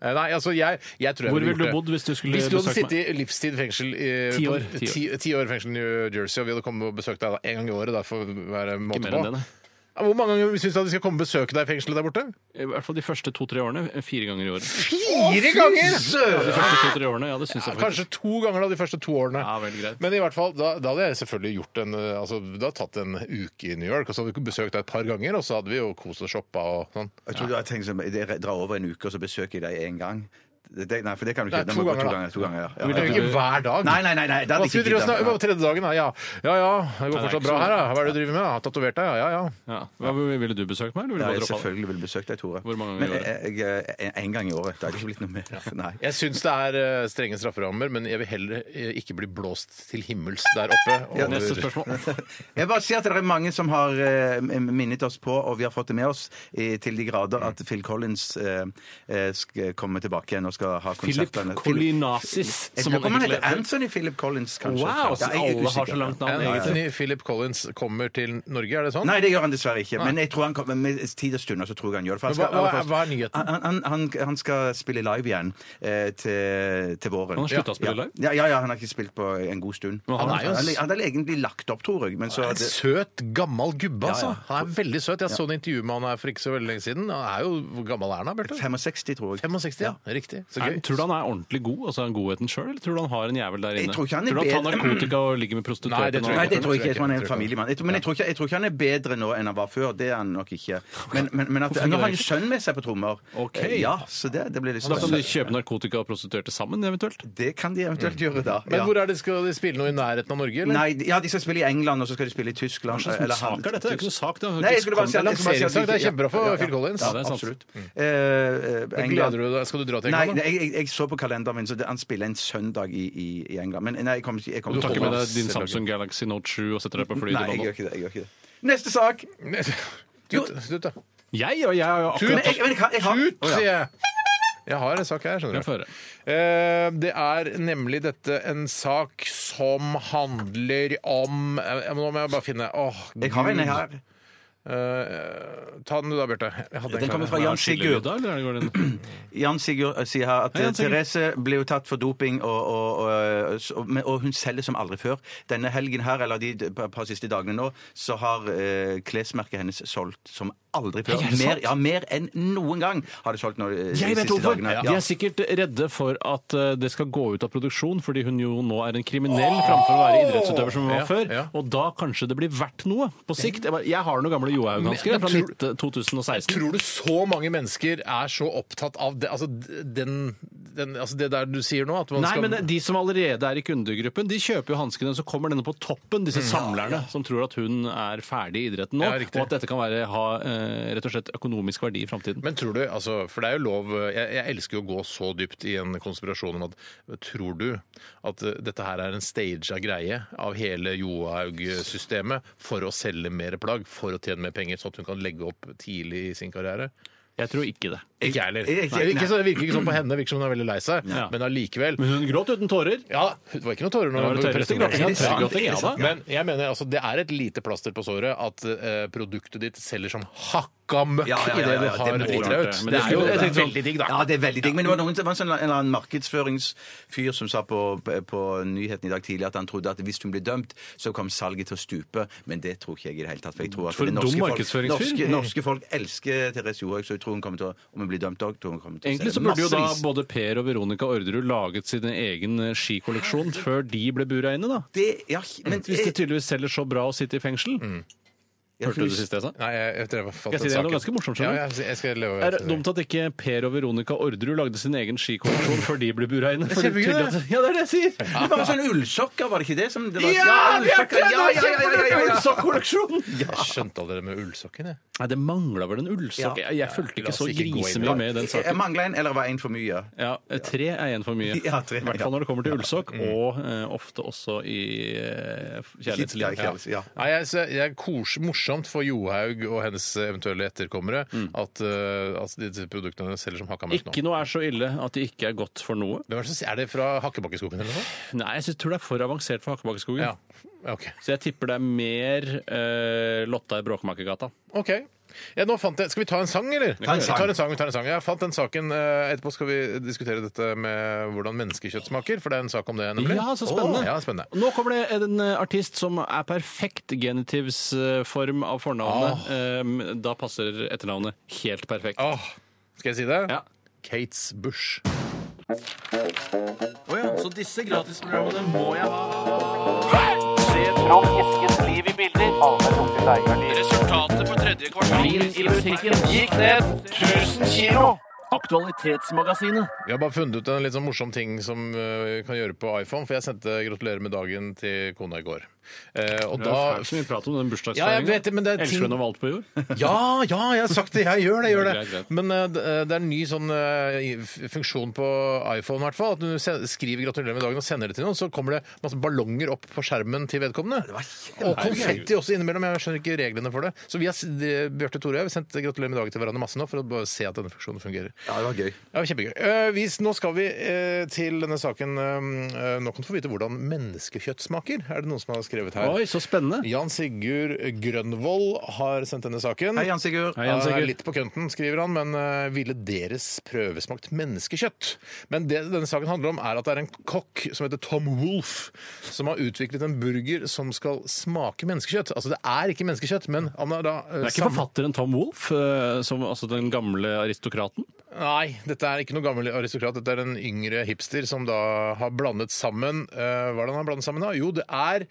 A: Eh, Nei, altså jeg, jeg tror jeg
C: Hvor
A: ville
C: ville du
A: gjort det.
C: bodd hvis du skulle
A: Hvis du hadde
C: besøkt meg?
A: sittet i livstid fengsel i,
C: Ti
A: på-
C: år, ti år.
A: Ti, ti år i fengsel i New Jersey, og vi hadde kommet og besøkt deg da, en gang i året, da, for å være
C: Ikke
A: måte
C: mer
A: på.
C: enn det, nei.
A: Ja, Hvor mange ganger syns du at vi skal komme og besøke deg i fengselet der borte?
C: I hvert fall de første to-tre årene. Fire ganger i året.
A: Fire ganger!
C: De første to-tre årene, ja, det syns
A: Ja,
C: jeg faktisk.
A: kanskje to ganger da, de første to årene.
C: Ja, veldig greit.
A: Men i hvert fall, da, da hadde jeg selvfølgelig gjort en eh, altså, Da tatt en uke i New York, og så hadde vi besøkt deg et par ganger, og så hadde vi jo kost og shoppa og sånn.
B: Jeg tror du har tenkt sånn Jeg drar over en uke, og så besøker jeg deg en gang. Det, det- nei, for det kan du
A: Nei,
B: ikke. Det
A: to
B: må gå
A: ganger,
B: to
A: da.
B: ganger. To ganger ja.
A: Det er
B: ja,
A: jo
B: ja.
A: ikke hver dag.
B: Nei, nei, nei, nei, det hadde
A: Hva skal vi
B: jeg ikke
A: drive og
B: giddet.
A: snakke om? Tredje dagen, da. Ja ja, ja, det går
C: det er
A: fortsatt
C: ikke
A: bra
C: så-
A: her, da. Hva er det du driver med? da? Har tatovert deg? Ja, ja, ja.
C: Ja. Hva, ville du besøkt meg? Eller ville
B: Ja,
C: du
B: jeg
C: bare droppa det?
B: selvfølgelig vil besøke deg, Tore.
C: Hvor mange
B: Men
C: ganger i året?
B: jeg, jeg, en- en gang i året. Det har ikke blitt noe mer. Nei.
A: Jeg syns det er eh, strenge strafferammer, men jeg vil heller eh, ikke bli blåst til himmels der oppe. over-
C: Neste spørsmål.
B: Jeg bare sier at det er mange som har eh, minnet oss på, og vi har fått det med oss i, til de grader,
C: Mm.
B: at Phil Collins eh, eh, skal komme tilbake igjen og skal ha
C: Philip
B: konsertene.
C: Kolinasis,
B: Jeg
C: som
B: lurer på om
C: han
B: han
C: egentlig
B: heter
C: heter.
B: Anthony Philip Collins, kanskje.
C: Wow,
B: Ja, jeg
C: så
B: er
C: alle har
B: usikker.
C: så langt navn, egentlig.
A: Anthony Philip Collins kommer til Norge, er det sånn?
B: Nei, det gjør han dessverre ikke. Men jeg tror han kommer med tid og stunder så tror jeg han gjør det. for han
A: Men hva-
B: skal-
A: hva er- hva er nyheten?
B: Han, han, han, han skal spille live igjen eh, til, til våren.
C: Han har sluttet å spille
B: Ja.
C: live?
B: Ja, ja, ja, han har ikke spilt på en god stund.
C: Men han er jo-
B: han, han er egentlig lagt opp, tror jeg. Men så,
A: En søt, gammel gubbe, altså.
B: Ja, ja.
A: Han er veldig søt. Jeg så et intervju med han her for ikke så veldig lenge siden. Han er jo, Hvor gammel er han da, Bjarte?
B: 65, tror jeg.
A: 65, ja. Riktig. Så
C: Er,
A: gøy.
C: tror du han er ordentlig god, altså er han godheten sjøl, eller tror du han har en jævel der
B: Jeg
C: inne?
B: tror ikke han er
C: du at han
B: bedre-
C: har narkotika og ligger med prostituerte?
A: Nei, det tror
B: Nei,
C: og-
B: det tror jeg ikke. Jeg tror han er
A: Jeg tror
B: en
A: ikke.
B: familiemann. Jeg tror, men jeg tror, ikke, jeg tror ikke han er bedre nå enn han var før. Det er han nok ikke. Men, men, men at,
C: Hvorfor
B: nå
C: ikke
B: har
C: det?
B: han jo sønn med seg på trommer.
C: Ok.
B: Eh, Ja, så det, det blir litt
C: Så da kan de
B: spennende.
C: kjøpe narkotika og prostituerte sammen, eventuelt?
B: Det kan de
C: Mm.
B: eventuelt gjøre da.
A: Men
B: ja.
A: hvor er det, skal de spille noe i nærheten av Norge, eller?
B: Nei, de- ja, de skal spille i England, og så skal de spille i Tyskland.
C: Hva slags
B: eller
C: sak er dette? Det er jo ikke noe sak. Det er jo
B: Nei, jeg
C: ikke-
B: skulle bare si
A: Det er lanseringssak, det er kjempebra for Phil Collins.
B: Ja,
C: Ja, det er sant.
B: absolutt.
A: Men
B: Eh, eh,
A: Gleder
B: England.
A: du deg? Skal du dra til
B: Nei,
A: England? da?
B: jeg, jeg, jeg så på kalenderen min, så det, han spiller en søndag i, i, i England. Men nei, jeg kommer ikke jeg kommer
C: Du tar
B: til
C: ikke
B: å
C: med
B: holde
C: deg din
B: oss-
C: Samsung Galaxy Note 7 og setter deg på flyet
B: Nei, jeg
C: til London?
B: gjør ikke det. Jeg gjør ikke det. Neste sak!
A: Nei. Slutt, slutt, da.
C: Jeg, og jeg, har jo
B: Men
C: akkurat
B: jeg, men jeg, har- jeg har
A: Tut,
B: Å, ja.
A: sier jeg! Jeg har en sak her, skjønner
C: Jeg
A: du.
C: får høre.
A: Eh, Det er nemlig dette en sak som handler om eh, Nå må jeg bare finne Åh,
B: Jeg har en jeg her.
A: Eh, Ta den du da, Bjarte. Jeg hadde en
B: Den
A: klar.
B: kommer fra Jan Sigurd.
C: Da, eller går den?
B: Jan Sigurd eh, sier her at
C: Hei, Jan
B: eh, Therese ble jo tatt for doping, og, og, og, eh, så- men- og hun selger som aldri før. Denne helgen her, eller de d- par par siste dagene nå, så har eh, klesmerket hennes solgt som aldri før.
C: Hei, er det
B: Mer,
C: sant?
B: ja, mer enn noen gang har det solgt nå eh, de
C: Jeg vet
B: siste
C: hvorfor!
B: dagene.
C: De er sikkert redde for at eh, det skal gå ut av produksjon, fordi hun jo nå er en kriminell framfor å være idrettsutøver som hun var
A: Ja,
C: før.
A: ja.
C: Og da kanskje det blir verdt noe på sikt. Jeg, bare, jeg har noen gamle Johaug-hansker
A: Men-
C: fra eh,
A: men
C: 19- 2016.
A: Tror du så mange mennesker er så opptatt av det, altså, den, den, altså det der du sier nå? At man
C: Nei,
A: skal,
C: men eh, de som allerede er i kundegruppen, de kjøper jo hanskene, så kommer denne på toppen, disse samlerne som tror at hun er ferdig i idretten nå,
A: Ja, riktig.
C: og at dette kan være, ha eh, rett og slett økonomisk verdi i framtiden.
A: Men tror du, altså, for det er jo lov jeg, jeg elsker jo å gå så dypt i en konspirasjon om at Tror du at eh, dette her er en staged greie av hele Johaug-systemet for å selge mer plagg, for å tjene mer penger, sånn at hun kan legge opp tidlig i sin karriere?
C: Jeg tror ikke det.
A: Ikke jeg heller.
B: Ikke-
A: Ikke, så- det virker ikke sånn på henne, det virker som hun er veldig lei seg,
C: Ja.
A: men allikevel.
C: Men hun gråt uten tårer.
A: Ja, det var ikke noe tårer nå.
C: Det var det tørreste gråtingen.
A: Ja,
C: Tørrgråting,
A: det er sant.
C: ja da.
A: Men jeg mener, altså, det er et lite plaster på såret at eh, produktet ditt selger som hakket møkk
B: Ja, ja, ja,
A: i det
B: ja,
A: du
B: ja, det
A: har
B: må
A: dritt
C: du
A: deg
C: gjøre,
A: ut. Det er jo
C: men det skulle-
A: det
B: Jeg
A: er
B: tenkte sånn-
A: veldig digg, da.
B: Ja, det er veldig digg. Men det var, noen, det var en sånn en eller annen markedsføringsfyr som sa på, på nyheten i dag tidlig at han trodde at hvis hun ble dømt, så kom salget til å stupe. Men det tror ikke jeg i det hele tatt. For jeg tror at
C: For
B: det
C: en
B: norske
C: dum
B: folk-
C: markedsføringsfyr. Mm.
B: Norske, norske folk elsker Therese Johaug, så jeg tror hun kommer til å Om hun blir dømt òg, tror hun kommer til å
C: Egentlig så burde jo da både Per og Veronica Orderud laget sin egen eh, skikolleksjon før de ble bura inne, da.
B: det, ja, men
C: Hvis det tydeligvis selger så bra å sitte i fengsel. Hørte du det siste jeg sa?
A: Nei, jeg, jeg tror jeg fant den
C: Jeg sier det er noe
A: saken.
C: ganske morsomt,
A: Ja,
C: skjønner du.
A: jeg, jeg skal leve
C: Er det dumt at ikke Per og Veronica Orderud lagde sin egen skikolleksjon før de ble bura inne? For det er
A: kjempegøy,
C: tydelig at- ja, det er det jeg sier!
B: Det var sånn ullsokker, var det ikke det? Som det var, ullsokker,
C: Bjarte,
B: ja, ja, ja, ja, ja, ja.
C: Ullsokkolleksjon!
A: Jeg skjønte aldri det med ullsokken, jeg.
C: Nei, det mangla vel en ullsokk. Jeg, jeg fulgte
A: la
C: ikke
A: oss
C: så
A: ikke gå inn i
C: grisemye
A: det.
C: med i den
B: Jeg
C: saken.
B: mangla en, eller var en for mye?
C: Ja, Tre er én for mye. I
B: Ja, tre,
C: hvert
B: ja.
C: fall når det kommer til ullsokk, og eh, ofte også i eh,
B: Ja,
C: kjærlighetsliv.
B: ikke
C: Ja.
B: altså, ja.
A: Nei, jeg, så jeg er kos, morsomt for Johaug og hennes eventuelle etterkommere at, eh, at disse produktene selger som hakka møkk nå.
C: Mm. Ikke noe er så ille at det ikke er godt for noe.
A: Hvem er det som- Er det fra Hakkebakkeskogen eller noe? sånt?
C: Nei, jeg synes, tror det er for avansert for Hakkebakkeskogen.
A: Ja. OK.
C: Så jeg tipper det er mer eh, Lotta i Bråkmakergata.
A: Ok. Ja, nå fant jeg. Skal vi ta en sang, eller?
B: Ta en sang.
A: Vi tar en sang, vi tar en sang. Jeg fant den saken. eh, Etterpå skal vi diskutere dette med hvordan menneskekjøtt smaker, for det er en sak om det, nemlig.
C: Ja, så spennende.
A: Åh, ja, spennende.
C: Nå kommer det en eh, artist som er perfekt genitivsform av fornavnet. Eh, da passer etternavnet helt perfekt.
A: Åh, skal jeg si det?
C: Ja.
A: Kates Bush.
C: Så disse gratisprogrammene må jeg ha. Resultatet på tredje kvartal gikk ned 1000 kilo. Aktualitetsmagasinet.
A: Vi har bare funnet ut en litt sånn morsom ting som eh, vi kan gjøre på iPhone, for jeg sendte 'Gratulerer med dagen' til kona i går. Eh, og
C: Det er
A: da
C: fælt så mye prat om den
A: Ja, jeg vet det, men det er
C: bursdagsfeiringen. Elsker
A: ting-
C: hun over alt på jord?
A: Ja, ja, jeg har sagt det. Jeg gjør det. jeg gjør det.
C: Greit, greit.
A: Men eh, det det er en ny sånn eh, f- funksjon på iPhone, i hvert fall. At du se- skriver 'gratulerer med dagen' og sender det til noen, så kommer det masse ballonger opp på skjermen til vedkommende. Og konfetti også innimellom. Jeg skjønner ikke reglene for det. Så vi har, s- det- Bjarte Tore og jeg har sendt 'gratulerer med dagen' til hverandre masse nå for å bare se at denne funksjonen fungerer.
B: Ja, det var gøy.
A: Ja, Kjempegøy. Eh, vi, nå skal vi eh, til denne saken. eh, nå kan du få vite hvordan menneskekjøtt smaker. Er det noen som har skrevet her?
C: Oi, så spennende.
A: Jan Sigurd Grønvoll har sendt denne saken.
B: Hei, Jan Sigurd.
C: Hei, Jan
A: Han er
C: Sigurd.
A: litt på kønten, skriver han, men eh, ville deres prøvesmakt menneskekjøtt? Men det denne saken handler om, er at det er en kokk som heter Tom Wolff, som har utviklet en burger som skal smake menneskekjøtt. Altså, det er ikke menneskekjøtt, men han har da eh,
C: Det er ikke
A: sam-
C: forfatteren Tom Wolff, eh, som, altså den gamle aristokraten?
A: Nei, dette er ikke noen gammel aristokrat. Dette er en yngre hipster som da har blandet sammen eh, Hva er det han har blandet sammen, da? Jo, det er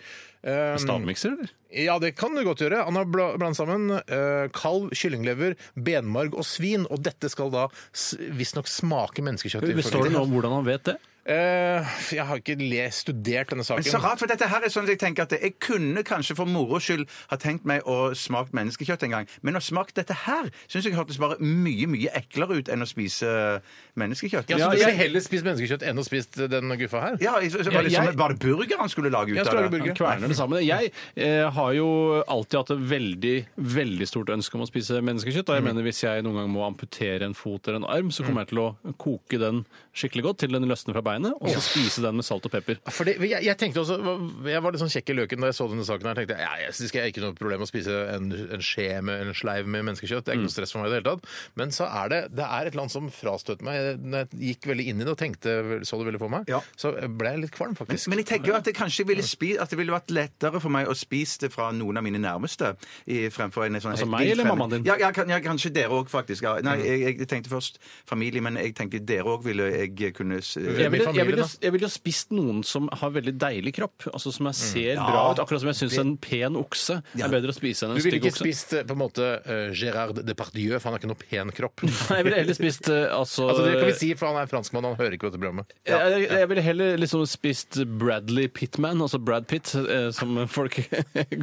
A: eh,
C: Stavmikser, eller?
A: Ja, det kan du godt gjøre. Han har bla- blandet sammen eh, kalv, kyllinglever, benmarg og svin. Og dette skal da s- visstnok smake menneskekjøtt.
C: Består det noe om hvordan han vet det?
A: Eh, jeg har ikke le studert denne saken.
B: Men så rart, for dette her er sånn at jeg tenker at jeg kunne kanskje for moro skyld ha tenkt meg å smake menneskekjøtt en gang, men å smake dette her syns jeg hørtes bare mye, mye eklere ut enn å spise menneskekjøtt.
A: ja,
B: Ja,
A: så du
B: jeg-
A: ville heller spist menneskekjøtt enn å spist den guffa her?
B: ja, jeg- så var det
C: Ja,
B: som
C: jeg-
B: bare burger han skulle lage ut
A: Jeg skal
B: av
A: lage burger.
B: det.
C: Han kverner det sammen. Jeg eh, har jo alltid hatt et veldig veldig stort ønske om å spise menneskekjøtt.
A: Mm.
C: Og jeg mener hvis jeg noen gang må amputere en fot eller en arm, så kommer jeg til å koke den skikkelig godt til den løsner fra beinet, og så spise den med salt og pepper.
A: Fordi, jeg, jeg tenkte også, jeg var litt sånn kjekk i løken da jeg så denne saken. her, tenkte jeg, ja, jeg synes ikke jeg har ikke noe problem med å spise en, en skje med en sleiv med menneskekjøtt. Det er
B: Mm.
A: ikke noe stress for meg i det hele tatt. Men så er det det er et eller annet som frastøtte meg. Jeg, når jeg gikk veldig inn i det og tenkte, så det veldig for meg,
B: Ja.
A: så ble jeg litt kvalm,
B: Men,
A: faktisk.
B: men jeg tenker jo at det kanskje ville, spi, at det ville vært lettere for meg å spise det fra noen av mine nærmeste. I, fremfor en sånn
C: Altså
B: helt
C: meg
B: vilt
C: eller
B: fremmed.
C: mammaen din? Mm.
B: Ja, ja, kan, ja kanskje dere òg, faktisk. Ja. Nei, jeg, jeg tenkte først familie, men jeg tenkte dere òg ville jeg kunne s-
C: Jeg ville, jeg,
A: familien,
C: ville,
A: da?
C: jeg ville jo spist noen som har veldig deilig kropp. altså
A: Mm.
C: Som jeg ser bra ut. Akkurat som jeg syns en pen okse er bedre å spise
A: du
C: enn en
A: ville
C: stygg
A: ikke
C: okse.
A: spist eh, på en måte eh, Gérard Depardieu, for han har ikke noe pen kropp.
C: Nei, jeg ville heller spist eh, altså,
A: Altså, det kan vi si, for han er franskmann, han hører ikke på dette programmet.
C: Jeg, jeg, jeg ville heller liksom spist Bradley Pittman, altså Brad Pitt, eh, som folk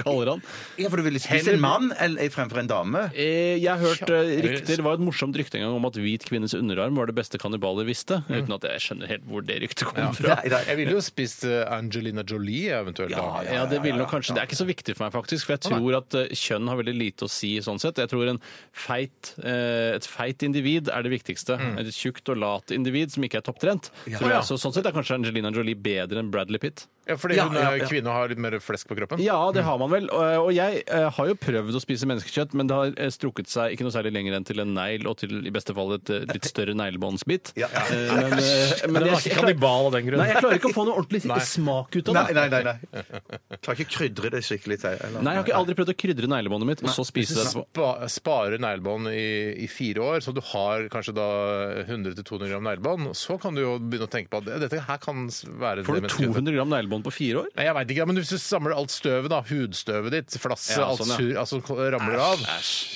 C: kaller han.
B: Ja, for du ville spist en mann eller, fremfor en dame?
C: Eh, Jeg har hørt eh, rykter, det var et morsomt rykte en gang om at hvit kvinnes underarm var det beste kannibaler visste,
A: Mm.
C: uten at jeg skjønner helt hvor det ryktet kom fra.
B: Nei, nei,
A: Jeg ville jo spist eh, Angelina Jolie, eventuelt. da.
C: Ja, det ville nok kanskje. Det er ikke så viktig for meg, faktisk. For jeg tror at eh, kjønn har veldig lite å si sånn sett. Jeg tror en feit, eh, et feit individ er det viktigste. Et tjukt og lat individ som ikke er topptrent. Så, vil jeg-
A: Ja.
C: så, sånn sett er kanskje Angelina Jolie bedre enn Bradley Pitt. Mm.
A: Ja, fordi
B: Ja,
A: hun
B: ja,
A: er
B: ja.
A: kvinne og har litt mer flesk på kroppen?
C: Ja, det har man vel. Og og jeg eh, har jo prøvd å spise menneskekjøtt, men det har eh, strukket seg ikke noe særlig lenger enn til en negl, og til i beste fall et eh, litt større neglebåndsbit.
B: Ja.
C: Eh, Men, eh, men
A: Men det
C: jeg-
A: var ikke
C: jeg klarer-
A: kannibal av den grunn.
C: Nei, jeg klarer ikke å få noe ordentlig smak ut av
B: Nei,
C: det.
B: nei, nei. nei. Klarer ikke krydre det skikkelig. Til, eller?
C: Nei, jeg har ikke aldri prøvd å krydre neglebåndet mitt, og så spise det etterpå.
A: Spa, spare neglebånd i, i fire år, så du har kanskje da 100-200 gram neglebånd. Så kan du jo begynne å tenke på at det- dette her kan s- være det
C: Får du
A: menneskekjøttet.
C: 200 gram neglebånd på fire år?
A: Nei, jeg vet ikke, men Hvis du samler alt støvet, da, hudstøvet ditt, flasset,
C: Ja,
A: alt
C: sånn, ja.
A: sur, altså, ko- ramler av,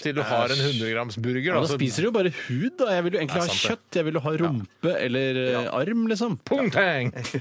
A: til du har en 100 grams burger da,
C: Men da
A: så-
C: spiser du jo bare hud, da. Jeg vil jo egentlig
A: Det er
C: ha
A: sant,
C: kjøtt. Jeg vil jo ha rumpe eller eh, arm, liksom.
A: Pungtang!
B: Nei, for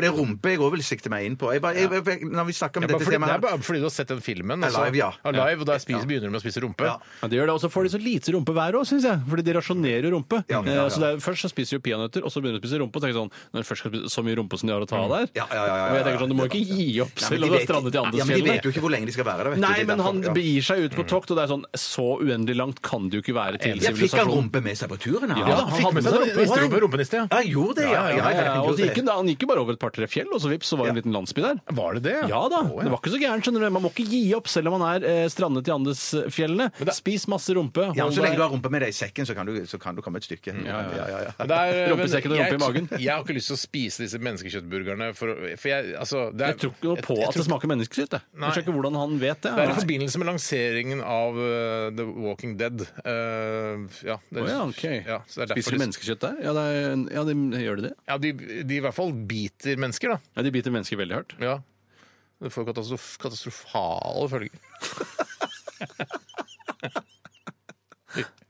B: det er rumpe jeg òg vil sikte meg inn på. Jeg bare, jeg, jeg, når vi snakker om
A: Ja, bare fordi,
B: dette
A: det er
B: temaet her
A: bare fordi du har sett den filmen.
B: Alive, ja.
A: Alive, og da spiser, begynner du med å spise rumpe.
B: Ja.
C: Ja, det gjør det. Og så får de så lite rumpe hver òg, syns jeg. Fordi de rasjonerer rumpe.
B: Ja, ja, ja.
C: Eh, Så det er, Først så spiser de jo peanøtter, og så begynner de å spise rumpe. Og tenker sånn Når de først skal spise så mye rumpe som de har å ta av der
B: Ja, ja, ja, ja, ja.
C: Og jeg tenker sånn, Du må ikke gi opp
B: Nei, men
C: selv
B: de
C: om du har
B: vet- ja,
C: strandet i
B: men De
C: Andesfjellene.
B: vet jo ikke hvor lenge de skal være der. vet du.
C: Nei,
B: Det er
C: men han
B: derfor, ja.
C: begir seg ut på tokt, og det er sånn Så uendelig langt kan det jo ikke være til
B: Jeg fikk han
C: sivilisasjon.
B: rumpe med seg på turen. han.
C: Ja,
A: Ja,
C: han
A: fikk
C: hadde
A: med seg
C: det.
A: rumpe- visste du om rumpeniste, ja.
B: Ja, han gjorde det, ja. ja, ja,
C: Ja, ja,
B: han
C: og
B: gjorde
C: så gikk
B: det.
C: han, han gikk jo bare over et par-tre fjell, og så vips, så var det en liten landsby der.
A: Var det det?
C: Ja da.
A: Å, ja.
C: Det var ikke så gærent, skjønner du. Man må ikke gi opp selv om man er eh, strandet i Andesfjellene. Spis masse rumpe.
B: Ja, men
C: hold
B: Så lenge
C: deg-
B: du har rumpe med deg i sekken, så kan du, så kan du komme et stykke. Ja, ja, ja, ja.
A: Men det er-
C: Rumpesekken og
A: men
C: rumpe i magen.
A: Jeg, jeg har ikke lyst til å spise disse menneskekjøttburgerne. For, å- for jeg, altså, det er,
C: Jeg tror ikke noe på
A: jeg- jeg
C: at det smaker menneskekjøtt. Jeg. jeg skjønner ikke hvordan han vet det.
A: Det er i forbindelse med lanseringen av eh, The Walking Dead. Eh, ja, det,
C: Å ja, ok.
A: ja, så det er
C: Spiser de
A: derfor-
C: menneskekjøtt der? Ja, det er, ja de, gjør de det?
A: Ja, de, de i hvert fall biter mennesker, da.
C: Ja, De biter mennesker veldig hardt.
A: Ja. Det får katastrof katastrofale følger.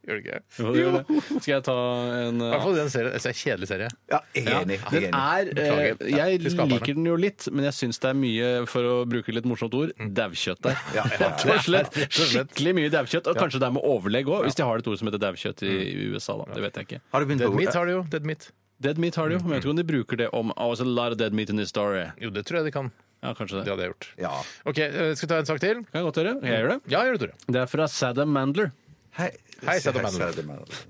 A: Gjør det ikke?
C: Jo, det gjør det. Skal jeg ta en
A: I hvert fall den serien. Altså, det er en kjedelig serie.
B: Ja, jeg er enig. jeg
C: Den er, eh,
A: Beklager. Ja,
C: jeg
A: til skaperne.
C: liker den jo litt, men jeg syns det er mye, for å bruke litt morsomt ord, daukjøtt der.
B: Ja, ja, ja.
C: Rett og slett. Skikkelig mye daukjøtt. Og kanskje det er med overlegg òg, hvis de har et ord som heter daukjøtt i i USA. da, Det vet jeg ikke.
B: Har du begynt
A: Dead Meat
B: på
A: har de jo. Dead Meat.
C: Dead meat har de jo, men jeg vet ikke om de bruker det om oh, it's a lot of dead meat in this story.
A: Jo, det tror jeg de kan.
C: Ja, kanskje
A: Det
C: det.
A: hadde jeg gjort.
B: Ja.
A: OK, eh, skal vi ta en sak til?
C: Kan jeg godt gjøre. Jeg gjør det.
A: Ja, gjør det, Tore.
C: Det er fra Saddam Mandler.
B: Hei,
A: Hei, Saddam Mandler.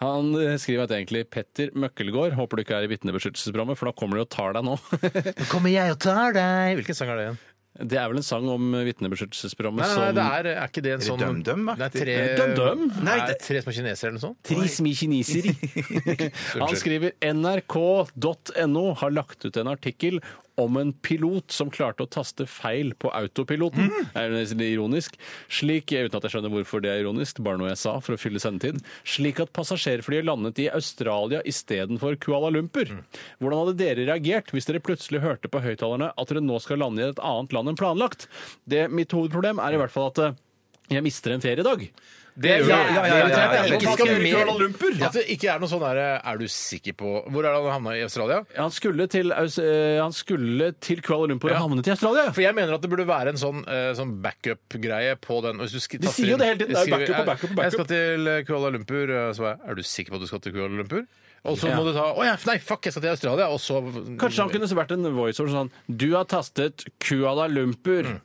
C: Han eh, skriver at egentlig Petter Møkkelgård Håper du ikke er i vitnebeskyttelsesprogrammet, for da kommer de og tar deg nå.
A: Nå kommer jeg og tar deg. Hvilken sang er det igjen?
C: det er vel en sang om vitnebeskyttelsesprogrammet
A: Nei, nei, nei,
C: som
A: det er, er ikke det en
B: det
A: sånn
B: Dum-Dum-aktig?
A: Det er tre,
C: Dum-Dum?
A: Nei,
B: Nei,
A: det...
B: det-
A: tre små kinesere eller noe sånt?
C: Trismi kineser. Han skriver nrk.no har lagt ut en artikkel om en pilot som klarte å taste feil på autopiloten. Det er jo nesten litt ironisk. Slik, uten at jeg skjønner hvorfor det er ironisk, bare noe jeg sa for å fylle sendetid, slik at passasjerflyet landet i Australia istedenfor Kuala Lumpur. Hvordan hadde dere reagert hvis dere plutselig hørte på høyttalerne at dere nå skal lande i et annet land enn planlagt? Det, mitt hovedproblem er i hvert fall at eh, jeg mister en feriedag.
A: Det
B: ja, ja, ja, ja, ja, ja.
A: Det
B: Ikke
C: skal
A: mer-
C: Kuala Lumpur.
A: At det ikke er noe sånn derre Er du sikker på Hvor er det han havna? I Australia?
C: Han skulle til, Aus- eh, han skulle til Kuala Lumpur
A: Ja.
C: og havnet i Australia.
A: For jeg mener at det burde være en sånn, eh, sånn backup-greie på den. Hvis du sk-
C: De
A: taster
C: sier jo
A: inn-
C: det hele tiden, det er jo
A: skriver,
C: backup og
A: "Jeg-
C: backup og backup."
A: Jeg skal til eh, Kuala Lumpur. eh, Så er jeg, er du sikker på at du skal til Kuala Lumpur? Og så
C: Ja.
A: må du ta Å ja, nei, fuck, jeg skal til Australia, og så
C: Kanskje han kunne vært en voiceover sånn Du har tastet Kuala Lumpur.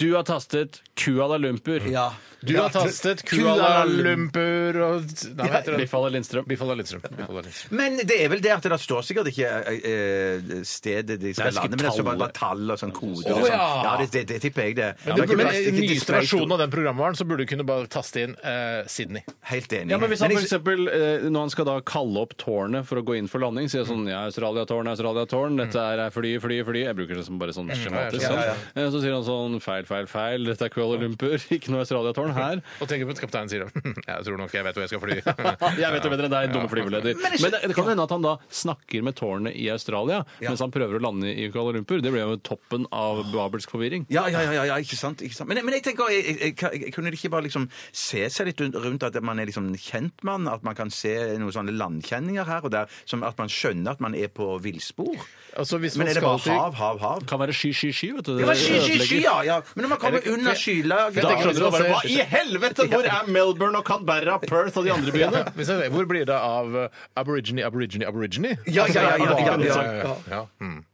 C: Du har tastet Kuala Lumpur.
B: Ja.
A: Du har tastet Kuala
C: Kuala
A: Lumpur og Nei, hva heter det?
C: Biffale Lindstrøm.
A: Bifalla Lindstrøm. Bifalla Lindstrøm.
B: Men det er vel det at det står sikkert ikke eh, stedet de skal
C: Det er sikkert
B: lande, men det står bare,
C: tallet.
B: bare tall og sånn kode.
A: Å,
B: og sånn.
A: ja.
B: ja det, det, det tipper jeg, det.
A: Men,
B: Det er
A: du,
B: ikke
A: men
B: bare-
A: i
B: ikke
A: den nyeste
B: display-
A: versjonen av den programvaren så burde du kunne bare taste inn eh, Sydney.
B: Helt enig.
C: Ja, men Hvis han
B: Men
C: for
B: jeg-
C: eksempel, eh, når han skal da kalle opp tårnet for å gå inn for landing, sier sånn ja, Australia-tårn, Australia-tårn, dette er fly, fly, fly Jeg bruker det som bare sånn skjematisk.
A: Ja,
B: ja,
C: sånn. Eh, Så sier han sånn feil, feil, feil, dette er Kuala Lumpur, ikke noe Australia-tårn her.
A: Og tenker på at kapteinen sier «Hm, Jeg tror nok jeg vet hvor jeg skal fly.
C: Jeg vet det bedre enn deg, dumme flyveleder. Men, det, det kan hende at han da snakker med tårnet i Australia mens han prøver å lande i Kuala Lumpur. Det ble jo toppen av babelsk forvirring.
B: Ja, ja, ja, ja, ja ikke, sant, ikke sant. Men, men jeg tenker, jeg, jeg, jeg, kan- jeg, kunne det ikke bare liksom se seg litt rundt- rundt at man er liksom kjent mann, at man kan se noen sånne landkjenninger her og der, som at man skjønner at man er på villspor?
A: Altså, hvis
B: Men
A: man
B: er det
A: skal
B: bare
A: til-
B: hav, hav, hav?
C: Kan være sky, sky, sky. vet du.
B: Det var sky, sky, sky,
C: ødelegger.
B: ja, ja. Men når man kommer
A: Eller-
B: under skylaget
A: Da
B: da-
A: skjønner du bare, hva i
C: sånn, helvete! Hvor er Melbourne og Canberra, Perth og de andre byene?
A: Hvis jeg- Hvor blir det av eh, aborigine, aborigine, aborigine?
B: Ja, ja, ja, ja, ja, ja, ja.
A: Ja, mm.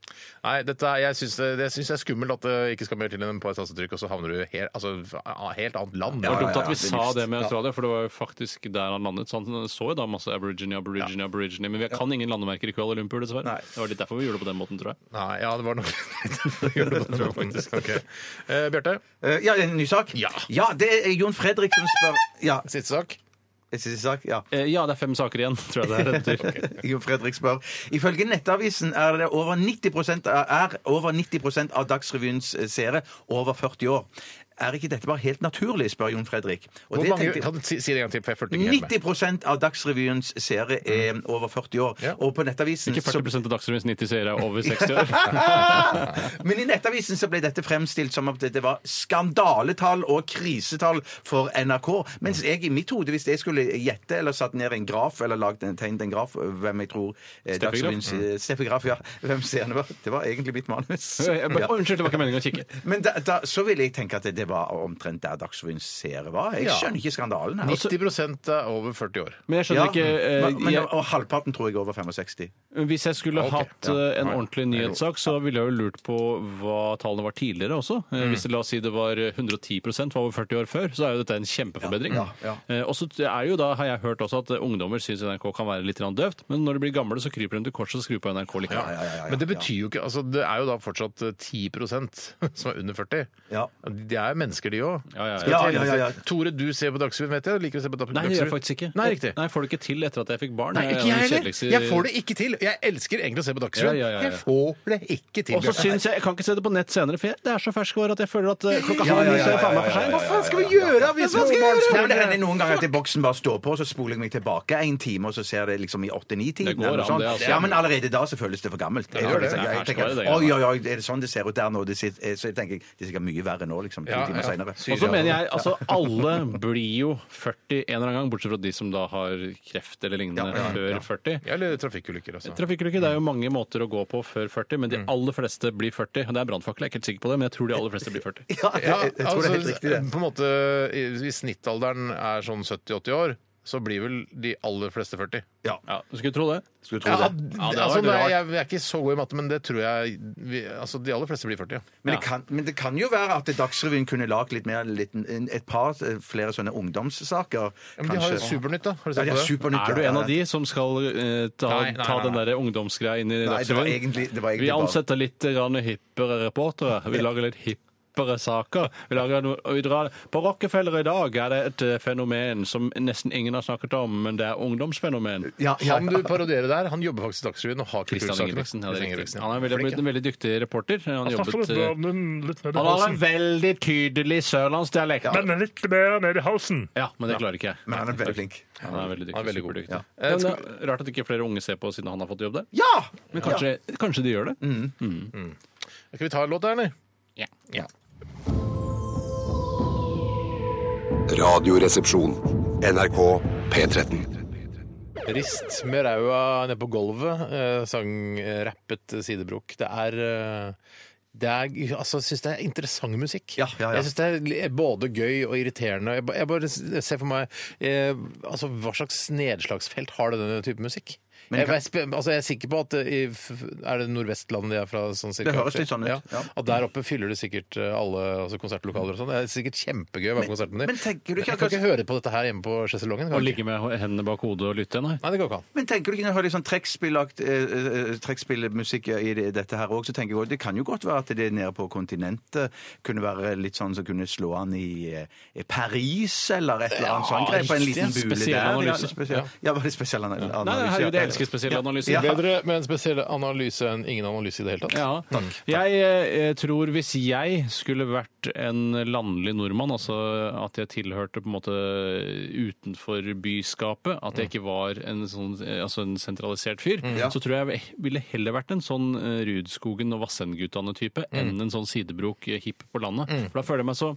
A: Nei, dette, er- jeg syns det, det syns jeg er skummelt at det ikke skal mer til enn et par tastetrykk, og så havner du i helt, altså, a- helt annet land.
C: Det var dumt at vi
B: det er
C: sa
B: livs-
C: det med Australia, for det var jo faktisk der han landet. Så han så jo da masse aborigine, aborigine, aborigine. Men vi kan ingen landemerker i Kuala Lumpur, dessverre. Det var litt derfor vi gjorde det på den måten, tror jeg.
A: Nei, ja, det var nok Det gjør det på den måten. Ok. Eh, Bjarte,
B: Eh, Ja, en ny sak?
A: Ja.
B: det er Jon Fredrik som spør Ja,
A: siste sak.
B: en siste sak? Ja.
C: Eh, Ja, det er fem saker igjen, tror jeg det er. det betyr.
B: Jon Fredrik spør Ifølge Nettavisen er det over 90 av- er over 90 av Dagsrevyens eh, seere over 40 år. Er ikke dette bare helt naturlig, spør Jon Fredrik. Og
A: Hvor
B: det
A: mange,
B: tenkte jeg-
A: kan du si, si det en gang til, for jeg fulgte ikke helt med.
B: 90 av Dagsrevyens seere er over 40 år.
A: Ja.
B: Og på Nettavisen
C: Ikke
B: så
C: 40 av Dagsrevyens 90 seere er over 60 år.
B: Men i Nettavisen så ble dette fremstilt som at det var skandaletall og krisetall for NRK. Mens jeg i mitt hode, hvis jeg skulle gjette eller satt ned en graf eller lagd en, tegnet en graf hvem jeg tror eh,
C: Steffi Graf? Mm.
B: Dagsrevyens eh, Steffi Graf, ja. Hvem seerne var. Det var egentlig mitt manus.
C: Jeg bare-
B: Ja.
C: Unnskyld, det var ikke meningen å kikke.
B: Men da, da, så ville jeg tenke at det var omtrent der Dagsrevyens seere var. Jeg
A: Ja.
B: skjønner ikke skandalen her.
A: 90 er over 40 år.
C: Men jeg
B: Ja,
C: Altså, skjønner
B: men,
C: ikke
B: men,
C: eh, jeg,
B: og halvparten tror jeg er over 65.
C: Hvis jeg skulle
A: Ok,
C: hatt
A: ja.
C: eh, en
A: Ja, Mm. ja.
C: ordentlig nyhetssak, så ville jeg jo lurt på hva tallene var tidligere også. Eh, Hvis det, la oss si det var eh, 110 var over 40 år før, så er jo dette en kjempeforbedring. Eh, Og så er jo da, har jeg hørt også, at eh, ungdommer syns NRK kan være litt grann døvt, men når de blir gamle, så kryper de til korset og skrur på NRK likevel.
A: Men det betyr jo ikke altså Det er jo da fortsatt eh, 10 som er under 40.
B: Ja.
A: De er jo mennesker, de òg.
C: Ja, ja, ja.
B: Ja, ja, ja, ja.
A: Tore, du ser på Dagsrevyen, vet jeg. Du liker å se på Dag-
C: Nei,
A: Dagsrevyen.
C: det gjør jeg faktisk ikke.
A: Nei, riktig.
C: Nei, jeg får det ikke til etter at jeg fikk barn.
A: Nei, ikke jeg heller. Jeg får
C: ikke
A: det ikke til. Jeg elsker egentlig å se på Dagsrevyen.
C: Ja, ja, ja, ja.
A: Jeg får det ikke til.
C: og så
A: Bjørn.
C: syns jeg Jeg kan ikke se det på nett senere, for jeg, det er så ferskvare at jeg føler at eh, klokka
B: ja,
C: halv ni
B: ja,
C: så er jeg
B: ja,
C: faen meg
B: ja,
C: for
B: ja,
C: sein.
B: ja, ja.
A: Hva skal vi gjøre hvis
B: Hva skal jeg
A: småbarns-
B: gjøre? Nei, men det hender noen ganger at boksen bare står på, så spoler jeg meg tilbake en time, og så ser det liksom i
C: Det
B: 8-9-tiden.
C: går
B: eller
C: an,
B: sånn.
C: det, altså.
B: Ja, men allerede da så føles det for gammelt. Jeg,
A: gjør det.
B: jeg,
C: Det er
B: jeg tenker,
C: ferskvare, det,
B: oi, oi, oi, er det sånn det ser ut der nå? Det sitter, eh, så jeg tenker det er sikkert mye verre nå, liksom, to
A: Ja,
B: timer
A: ja.
B: senere.
A: Syria.
C: Og så mener jeg, altså alle blir jo 40 en eller annen gang, bortsett fra de som da har kreft eller lignende før 40.
A: Ja, Mm. Eller trafikkulykker, altså.
C: Trafikkulykker det er jo mange måter å gå på før 40, men de aller fleste blir 40. Og det er brannfakkel, jeg er ikke helt sikker på det, men jeg tror de aller fleste blir 40.
B: Ja, det,
A: Ja,
B: jeg, jeg tror det er helt
A: altså,
B: riktig, det.
C: eh,
A: på en måte, i- Hvis snittalderen er sånn 70-80 år, så blir vel de aller fleste 40.
C: Ja, du skulle tro det.
B: Skulle tro
A: Ja,
B: det.
C: hadde
A: altså,
C: vært
A: nei,
C: rart.
A: jeg, jeg er ikke så god i matte, men det tror jeg vi, altså, De aller fleste blir 40. Ja.
B: Men det, kan, men det kan jo være at Dagsrevyen kunne lagd litt mer litt, et par eh, flere sånne ungdomssaker.
A: Ja, men de har jo
B: kanskje.
A: Supernytt, da. Har du
B: Ja,
A: sett
B: de
A: på
B: har
A: det?
B: Supernytt,
C: Er du
B: ja,
C: en
B: ja.
C: av de som skal eh, ta,
A: Nei, nei,
C: ta
A: nei,
C: den
A: nei.
C: der ungdomsgreia inn i
B: Nei, det var
C: Dagsrevyen?
B: egentlig, det var
C: Vi
B: egentlig bare
C: ansetter litt eh, grann hippere reportere. Vi lager litt hippere saker. Vi lager noe, og vi drar. På Rockefeller i dag er det et eh, fenomen som nesten ingen har snakket om, men det er ungdomsfenomen.
B: ja, ja,
A: Han du parodierer der, han jobber faktisk i Dagsrevyen og har
C: Kristian
A: kultursakene.
C: Ingebrigtsen.
A: Kristian
C: Ja, det er riktig.
A: Ingebrigtsen, ja.
C: Han er en
A: Flink,
C: veldig,
A: ja.
C: en veldig dyktig reporter. Han, jobbet, eh,
H: Han
C: han har en veldig tydelig sørlandsdialekt.
H: Den er litt mer ned i halsen.
C: Ja, men det klarer ikke jeg.
B: Men han er veldig flink.
C: Han er veldig dyktig.
A: Han er veldig god. eh,
C: superdyktig. Men det er Rart at ikke flere unge ser på siden han har fått jobb der.
B: Ja!
C: Men kanskje, kanskje de gjør det?
A: Mm, Skal vi ta en låt der, eller?
D: Radioresepsjon. NRK P13.
A: Rist med ræva nede på gulvet, eh, sang eh, rappet eh, Sidebrok. Det er eh, det er, altså, jeg syns det er interessant musikk.
B: Ja, ja, ja.
A: Jeg syns det er li- både gøy og irriterende. Jeg, ba- jeg bare s- ser for meg eh, altså, Hva slags nedslagsfelt har det denne type musikk?
B: Men
A: Jeg,
B: kan-
A: er spe- altså, jeg er sikker på at eh, i, f- er det Nordvestlandet de er fra? Sånn, cirka?
B: Det høres litt sånn ut,
A: Ja.
B: ja.
A: At der oppe fyller det sikkert eh, alle altså, konsertlokaler og sånn. Det er sikkert kjempegøy å være på konsert med dem.
B: men tenker du ikke
A: jeg kan
B: at-
A: ikke høre på dette her hjemme på sjeselongen.
C: Å
A: kan jeg ikke.
C: ligge med hendene bak hodet og lytte? Nei.
A: Nei, det går ikke an.
B: Men tenker du ikke når jeg hører litt sånn trekkspillakt, eh, eh, trekkspillmusikk i det- dette her òg, så tenker jeg også, det kan jo godt være at det nede på kontinentet kunne være litt sånn som kunne slå an i eh, Paris eller et eller annet
A: Ja,
B: sånt. På en
A: riktig,
B: liten bule
C: spesiell
B: der.
C: analyse.
B: Ja, spesiell, ja, var det spesiell ana- analyse?
C: Nei, nei, herregud,
B: ja.
C: jeg elsker spesielle analyser.
B: Ja.
A: Bedre med en spesiell analyse enn ingen analyse i det hele tatt.
C: Ja. Jeg eh, tror hvis jeg skulle vært en landlig nordmann, altså at jeg tilhørte på en måte utenfor byskapet, at jeg ikke var en, sånn, eh, altså en sentralisert fyr, så tror jeg jeg ville heller vært en sånn eh, Mm. Rudskogen og Vassendgutane-type enn en sånn sidebrok eh, hipp på landet. For da føler jeg meg så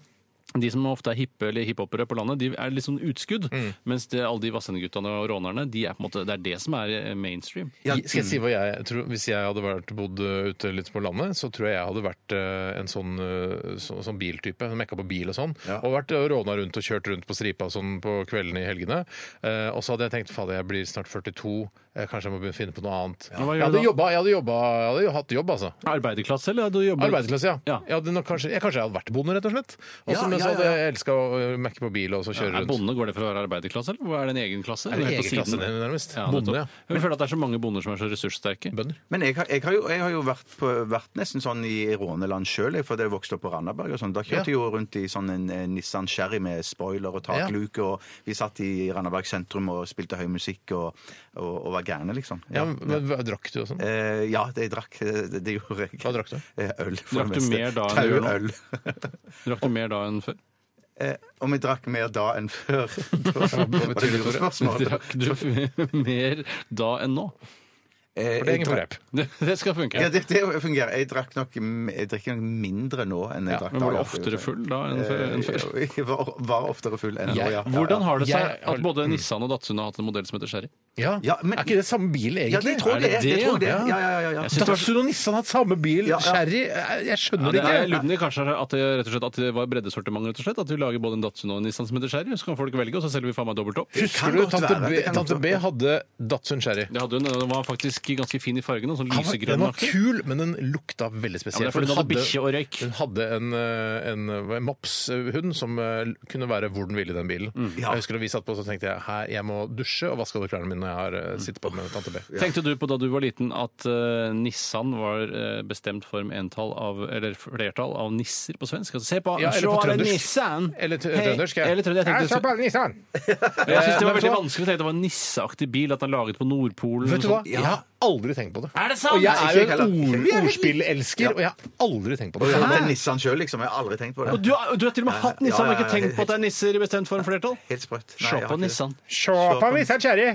C: de som ofte er hippe eller hiphopere på landet, de er litt sånn utskudd. Mens det, alle de Vassendguttene og rånerne, de er på en måte, det er det som er eh, mainstream.
A: Skal jeg si hva jeg tror? Hvis jeg hadde vært, bodd eh, ute litt på landet, så tror jeg jeg hadde vært eh, en sånn, eh, så, sånn biltype. som Mekka på bil og sånn. Og vært eh, råna rundt og kjørt rundt på stripa og sånn på kveldene i helgene. Eh, og så hadde jeg tenkt fader, jeg blir snart 42, eh, kanskje jeg må begynne å finne på noe annet.
C: hva
A: Jeg,
C: gjør du
A: hadde
C: da?
A: jobba, jeg, hadde jobba, jeg hadde jo hatt jobb, altså.
C: Arbeiderklasse, eller? Du jobber
A: Arbeidsklasse, ja.
C: Ja.
A: Jeg, hadde nok kanskje, jeg kanskje jeg hadde vært bonde, rett og slett. Og så
B: Ja,
A: men
B: ja,
A: så hadde
B: ja, ja.
A: jeg elska å eh, mekke på bil og så kjøre
C: Er
A: rundt.
C: bonde, går det for å være arbeiderklasse, eller er det en egen klasse?
A: det
C: Helt på
A: egen klasse,
C: siden.
A: det er nærmest.
C: Ja,
A: Bonde,
C: nettopp.
A: ja.
C: Jeg føler at det er så mange bonder som er så ressurssterke.
A: Bønder.
B: Men jeg har, jeg har jo, jeg har jo vært, på, vært nesten sånn i råneland sjøl, for jeg vokste opp på Randaberg. og sånn. Da kjørte jeg jo rundt i sånn en, en Nissan Sherry med spoiler og takluke, og vi satt i Randaberg sentrum og spilte høy musikk og, og, og var gærne, liksom.
A: Ja, men hva drakk du og sånn?
B: Eh, ja, det jeg drakk, det, det gjorde jeg.
A: Hva drakk du?
B: Eh, Øl, for
C: Drakk
B: det
C: du
B: meste.
C: mer da enn du gjør nå?
B: Tauøl.
C: Drakk du mer da enn før?
B: Eh, Om jeg drakk mer da enn før? Det var et lurespørsmål.
C: Drakk du f- mer da enn nå?
B: Eh,
A: For det er
B: jeg
A: ingen
B: drakk-
A: forep.
C: Det, det skal funke.
B: Ja, det, det fungerer. Jeg drakk nok, jeg drikker nok mindre nå enn jeg drakk
C: Men var du
B: da.
C: oftere full da enn før? Enn før?
B: Eh, Jeg var, var oftere full enn nå, ja.
C: Hvordan har det
A: Jeg
C: seg
A: har-
C: at både Nissan og Datsun har hatt en modell som heter Sherry?
A: Ja.
B: Ja, men-
A: Er ikke det samme bil,
B: Ja, det
A: egentlig?
B: tror jeg det er.
C: det
B: Det
C: det,
B: tror jeg det
C: ja?
B: er. Ja, ja, ja, ja.
C: Jeg synes det var så-
A: og Nissan har hatt samme bil.
B: Ja, ja.
A: Sherry eh, Jeg jeg
C: Ja,
A: skjønner
C: det er
A: det ikke.
C: lubne, kanskje at det, rett og slett, at det var breddesortiment, rett og slett. At vi lager både en Datsun og en Nissan som heter Sherry, så kan folk velge, og så selger vi faen meg dobbelt opp.
A: Husker
B: kan
A: du
B: godt
A: tante
B: være,
A: B,
B: det kan
A: tante
B: godt
A: B
B: være.
A: hadde Datsun Sherry?
C: Det hadde hun, den var faktisk ganske fin i fargen, og sånn
A: Han var- Den
C: lysegrønn.
A: var kul, men den lukta veldig
C: Ja, men det
A: spesielt.
C: er fordi den hadde bikkje og røyk.
A: Hun hadde en, eh, en, eh, mopshund som eh, kunne være hvor den ville i den bilen. Jeg husker da vi satt på, så tenkte jeg her, jeg må dusje og vaske alle klærne mine når jeg har eh, sittet på med tante B.
C: Tenkte du på da du var liten at eh, Nissan var eh, bestemt form entall av, eller flertall av nisser på svensk? Altså, se på,
A: Ja, eller
C: se
A: på
C: er det
A: trøndersk.
C: Nissan!
A: Eller t-
C: Hei,
A: trøndersk, jeg.
C: Eller trønder, jeg tenkte, jeg synes det var veldig vanskelig å tenke at det var en nisseaktig bil, at den er laget på Nordpolen.
A: Vet du
C: og
A: hva?
C: sånn.
A: Jeg har aldri tenkt på det.
C: Er det sant?
A: Og jeg
B: Nei,
A: er
B: ikke
A: jo
B: heller.
A: en
B: Vi er
A: ord,
B: helt-
A: ordspillelsker,
B: Ja.
A: og jeg har aldri tenkt på
B: Og
A: det.
B: det er Nissan sjøl, liksom. Jeg har aldri tenkt på det.
C: Og du, har- du har til og med hatt
B: Ja,
C: Nissan,
B: ja,
C: og ikke
B: ja,
C: tenkt på at det er nisser i bestemt form flertall?
B: Helt sprøtt. Nei,
C: Se
B: jeg har
C: på
B: ikke det.
C: Nissan.
A: Se på Nissan Cherry!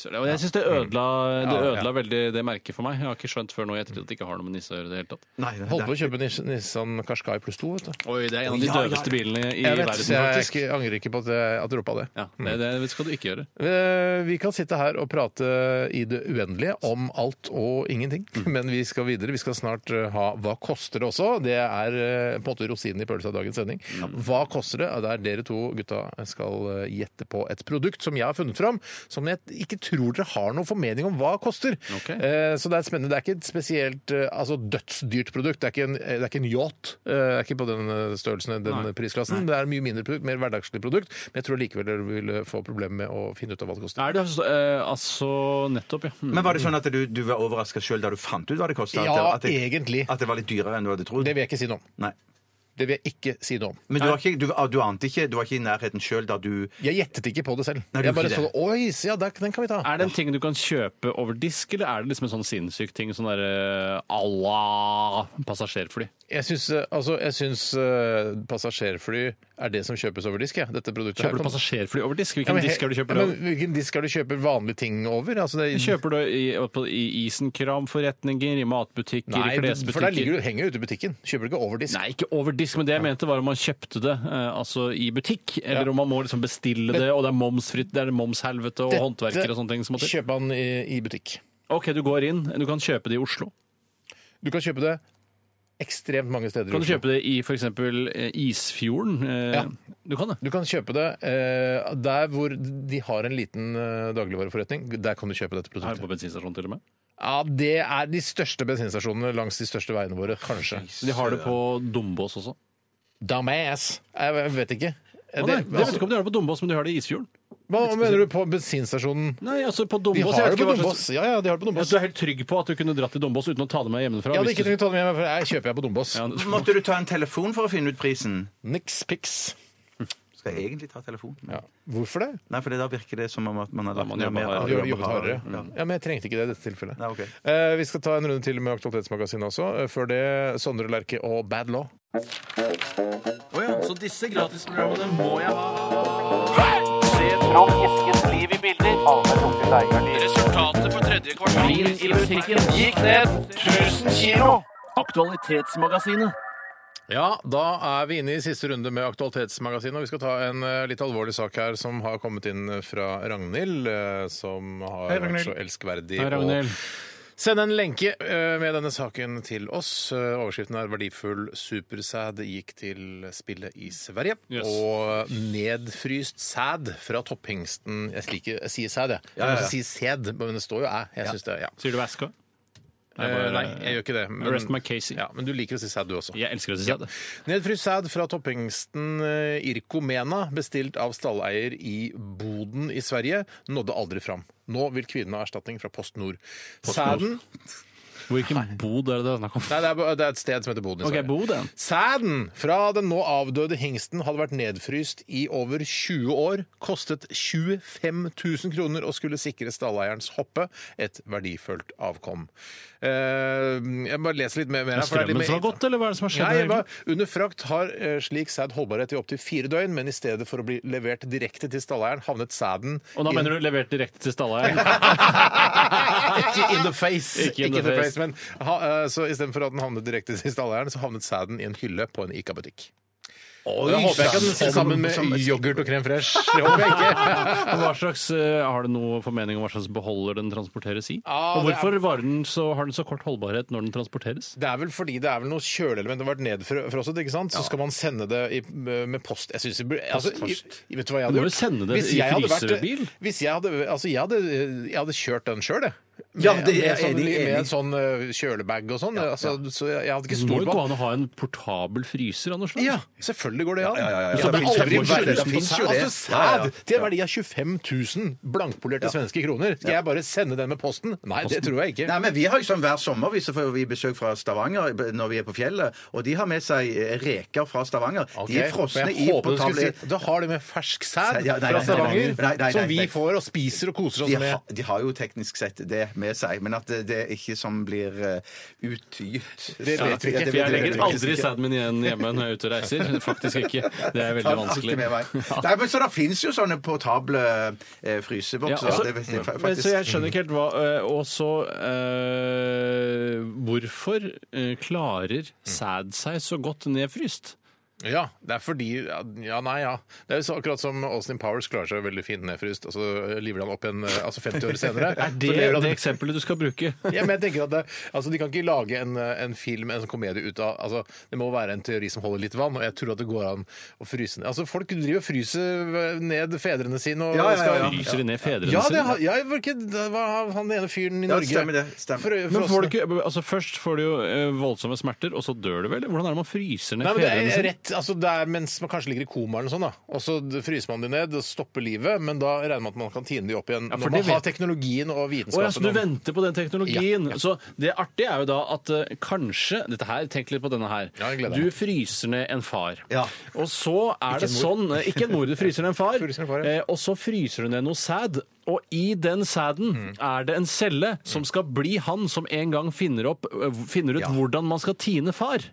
C: Søren, Og jeg syns det ødela, det
A: Mm. Ja, ja.
C: ødela veldig det merket for meg. Jeg har ikke skjønt før nå i ettertid at det ikke har noe med nisse å gjøre i det hele tatt.
B: Nei, nei,
A: Holdt på
B: nei.
A: å kjøpe Nis- Nissan Qashqai pluss 2. Vet du.
C: Oi, det er en av de døveste bilene i
A: Jeg vet,
C: verden,
A: så jeg
C: faktisk.
A: ikke, angrer ikke på at jeg, at jeg droppa det. Mm.
C: Ja, det, det skal du ikke gjøre.
A: Eh, Vi kan sitte her og prate i det uendelige om alt og ingenting,
C: Mm.
A: men vi skal videre. Vi skal snart eh, ha Hva koster det også? Det er eh, på en måte rosinen i pølsa i dagens sending. Hva koster det? Det er dere to gutta skal eh, gjette på et produkt som jeg har funnet fram, som jeg ikke tror dere har noen formening om hva koster.
C: Ok.
A: Eh, Så det er spennende. Det er ikke et spesielt eh, altså dødsdyrt produkt. Det er ikke en, eh, det er ikke en yacht. Eh, Det er ikke på den eh, størrelsen, den prisklassen. Det er et mye mindre produkt, mer hverdagslig produkt, men jeg tror likevel dere vil eh, få problemer med å finne ut av hva det koster.
C: Er det altså, eh, altså Nettopp, ja. Mm.
B: Men var det sånn at du, du var overraska sjøl da du fant ut hva det kosta?
A: Ja,
B: at, det- at,
A: egentlig.
B: det- at det var litt dyrere enn du hadde trodd?
A: Det vil jeg ikke si noe om.
B: Nei.
A: Det vil jeg ikke si noe om.
B: Men du, var ikke, du, ah, du ante ikke Du var ikke i nærheten sjøl da du
A: Jeg gjettet ikke på det selv.
B: Nei, du
A: jeg bare
B: gjorde
A: så
B: ikke det.
A: Oi, se, ja, der, den kan vi ta.
C: Er det en ting du kan kjøpe over disk, eller er det liksom en sånn sinnssyk ting? Sånn derre à la passasjerfly?
A: Jeg syns, eh, altså, jeg syns eh, passasjerfly er det som kjøpes over disk. Ja. Dette produktet
C: Kjøper du
A: kan-
C: passasjerfly over
A: Ja,
C: disk? Hvilken
A: men he-
C: disk er det du kjøper
A: ja,
C: det
A: men
C: over?
A: Hvilken disk er det du kjøper vanlige ting over? Altså, det,
C: Kjøper du i, på- i Isenkram-forretninger, i matbutikker,
A: Nei,
C: i
A: du- for der ligger
C: klesbutikker?
A: du, henger du ute i butikken. Kjøper du ikke over disk.
C: Nei, ikke over disk, men det jeg mente var om man kjøpte det eh, altså i butikk, eller om man må liksom bestille det, og det er momsfritt, det er momshelvete og
A: Dette
C: håndverkere og sånne ting som må til.
A: Kjøper han i, i butikk.
C: OK, du går inn, du kan kjøpe det i Oslo.
A: Du kan kjøpe det ekstremt mange steder. i
C: Kan du
A: Oslo.
C: kjøpe det i f.eks. Isfjorden? Eh,
A: Ja.
C: Du kan det.
A: Du kan kjøpe det eh, der hvor de har en liten eh, dagligvareforretning. Der kan du kjøpe dette
C: Her
A: produktet.
C: på bensinstasjonen til og med.
A: Ja, Det er de største bensinstasjonene langs de største veiene våre, kanskje.
C: De har det på Dombås også.
A: Dumbass! Jeg jeg vet ikke.
C: Å, nei,
A: Det,
C: jeg vet ikke om de har det på Dombås, men de har det i Isfjorden.
A: hva mener du på bensinstasjonen?
C: Nei, altså på
A: De
C: Dombås.
A: har
C: jeg
A: det
C: vet ikke
A: på
C: hva slags-
A: Dombås. Ja, ja, de har det på
C: Ja,
A: Dombås.
C: Du er helt trygg på at du kunne dratt til Dombås uten å ta det med hjemmefra?
A: Jeg hadde
C: hvis
A: ikke
C: du-
A: trengt å ta det med meg, for jeg kjøper jeg på Dombås.
C: Ja,
B: Måtte du ta en telefon for å finne ut prisen?
A: Niks piks.
B: Skal jeg egentlig ta telefonen?
A: Ja. Hvorfor det?
B: Nei, for da virker det som om at man har lagt
C: man
B: ned
C: jobber
B: mer
C: hardere.
B: av-
A: Du har jobbet hardere.
B: Ja.
A: Ja, Men jeg trengte ikke det i dette tilfellet.
B: Nei, ok.
A: Eh, Vi skal ta en runde til med Aktualitetsmagasinet også. Eh, Før det Sondre Lerche og Bad Law. Ja, da er vi inne i siste runde med Aktualitetsmagasinet, og vi skal ta en eh, litt alvorlig sak her som har kommet inn fra Ragnhild, eh, som har
H: Hei,
A: vært
H: Ragnhild.
A: så elskverdig
C: Hei, Ragnhild.
A: Send en lenke eh, med denne saken til oss. Eh, Overskriften er 'Verdifull supersæd gikk til spillet i Sverige'.
C: Yes.
A: Og nedfryst sæd fra topphengsten Jeg liker jeg sier sæd, jeg.
B: ja, ja.
A: Jeg sier sæd, men det står jo æ. Jeg synes det, ja.
C: Sier du Aska?
A: Eh, Nei, jeg gjør ikke det. men-
C: Rest my Casey.
A: Ja, men du liker å si sæd, du også.
C: Jeg elsker å si det.
A: Nedfryst sæd fra topphengsten eh, Irko Mena, bestilt av stalleier i Boden i Sverige, nådde aldri fram. Nå vil kvinnen ha erstatning fra Post Nord. Sæden
C: Hvilken bod er det det er snakk om?
A: Nei, det er, ba- det er et sted som heter Boden i
C: Ok,
A: Sverige.
C: Boden.
A: Sæden fra den nå avdøde hengsten hadde vært nedfryst i over 20 år, kostet 25 000 kroner og skulle sikre stalleierens hoppe et verdifullt avkom. Eh, jeg bare leser litt mer. mer her, for det er litt
C: Strømmen som
A: mer-
C: har gått, eller hva er det som har skjedd?
A: Nei,
C: egentlig?
A: hva- under frakt har eh, slik sæd holdbarhet i opptil fire døgn, men i stedet for å bli levert direkte til stalleieren, havnet sæden
C: Og da
A: i-
C: mener du levert direkte til stalleieren?
A: Ikke in the face!
C: Ikke in the face.
A: men ha, eh, så istedenfor at den havnet direkte til stalleieren, så havnet sæden i en hylle på en Ica-butikk. Og Jeg håper jeg ikke at den sitter sammen med yoghurt og krem fresh. Det håper jeg ikke.
C: Hva slags, eh, har du noe formening om hva slags beholder den transporteres i?
A: Ah,
C: og
A: det er-
C: hvorfor varer den så, har den så kort holdbarhet når den transporteres?
A: Det er vel fordi det er vel noe kjøleelement som har vært nedfrosset, ikke sant? Så skal man sende det i, med post. Jeg synes det blir altså, i- Vet du hva jeg
C: Du
A: hadde
C: må jo
A: gjort?
C: sende det i
A: jeg hadde vært-
C: frysebil.
A: Hvis jeg hadde Altså, jeg hadde, jeg hadde kjørt den sjøl, jeg.
B: Ja, det er
A: med,
B: jeg
A: sånn,
B: enig,
A: med en
B: enig.
A: sånn eh, kjølebag og sånn. altså, Så jeg, jeg hadde ikke
C: Det må
A: stor
C: jo gå an å ha en portabel fryser av noe slag.
A: Ja, selvfølgelig går det an.
B: ja, ja, ja.
A: Det
B: Ja,
A: er
B: det finnes
A: aldri
B: jo-
A: verdt-
B: det finnes jo det.
A: Altså,
B: Ja, ja,
A: sæd
B: ja.
A: til en verdi av 25 000 blankpolerte svenske kroner. Skal jeg bare sende den med posten? Nei, det tror jeg ikke.
B: Nei, men Vi har jo sånn hver sommer vi så får vi besøk fra Stavanger når vi er på fjellet. Og de har med seg eh, reker fra Stavanger.
A: Ok,
B: De er
A: men
B: frosne
A: jeg
B: i
A: håper du skulle
B: potable...
A: si, Da har de med fersk sæd
B: Sæd, ja, nei,
A: fra
B: nei,
A: Stavanger
B: nei, nei, nei,
A: som vi
B: nei.
A: får og spiser og koser
B: De,
A: oss med.
B: ha, de har jo teknisk sett det med seg, men at det, det er ikke som blir eh, utgytt.
A: Det
B: Ja,
A: vet vi ikke,
B: det-
A: for
B: det
C: Jeg
B: vet vi
C: legger
B: ikke.
C: aldri sæden min igjen hjemme når jeg er ute og reiser. Faktisk ikke. Det er
B: Ta
C: veldig
B: den alltid
C: vanskelig.
B: med meg. Nei, men Så det fins jo sånne portable eh, frysebokser.
C: Ja, altså-
B: det vet jeg fa-
C: Men,
B: faktisk.
C: så jeg skjønner ikke helt hva eh, Og så eh, Hvorfor eh, klarer
A: Mm.
C: sæd seg så godt nedfryst?
A: Ja, det er fordi Ja, nei, ja. Det er jo så akkurat som Austin Powers klarer seg veldig fint nedfryst, og så liver han opp en eh, Altså 50 år senere.
C: Er
A: så
C: det
A: lever han-
C: det eksempelet du skal bruke?
A: Ja, men jeg tenker at det, altså, De kan ikke lage en, en film, en sånn komedie ut av altså, Det må være en teori som holder litt vann, og jeg tror at det går an å fryse ned Altså, Folk driver og fryser eh, ned fedrene sine og
B: Ja, ja, ja, ja.
C: Lyser de ned fedrene
A: Ja, det
C: sine?
A: har, ja, jeg var ikke, det var han ene fyren i
B: Ja,
A: Norge.
B: stemmer det, stemmer.
A: For, for
C: Men får du ikke, altså først får du jo eh, voldsomme smerter, og så dør du vel? Hvordan er det man fryser ned
A: Nei, men det
C: fedrene
A: er
C: sine?
A: rett, altså det er mens man kanskje ligger i koma eller sånn, da. Og så fryser man de ned og stopper livet, men da regner man at man kan tine de opp igjen.
C: Ja,
A: når
C: for det
A: man har
C: vet-
A: teknologien og
C: Å, ja, så
A: vitenskapen.
C: du
A: om-
C: venter på den teknologien. Så det artige er jo da at eh, kanskje Dette her, Tenk litt på denne her.
A: Ja, jeg gleder
C: du
A: meg.
C: fryser ned en far.
B: Ja.
C: Og så er det sånn eh, Ikke en mor, du fryser ned en far.
A: Fryser ned en far, ja.
C: eh, og så fryser du ned noe sæd. Og i den sæden
A: Mm.
C: er det en celle som skal bli han som en gang finner, opp, eh, finner ut hvordan man skal tine far.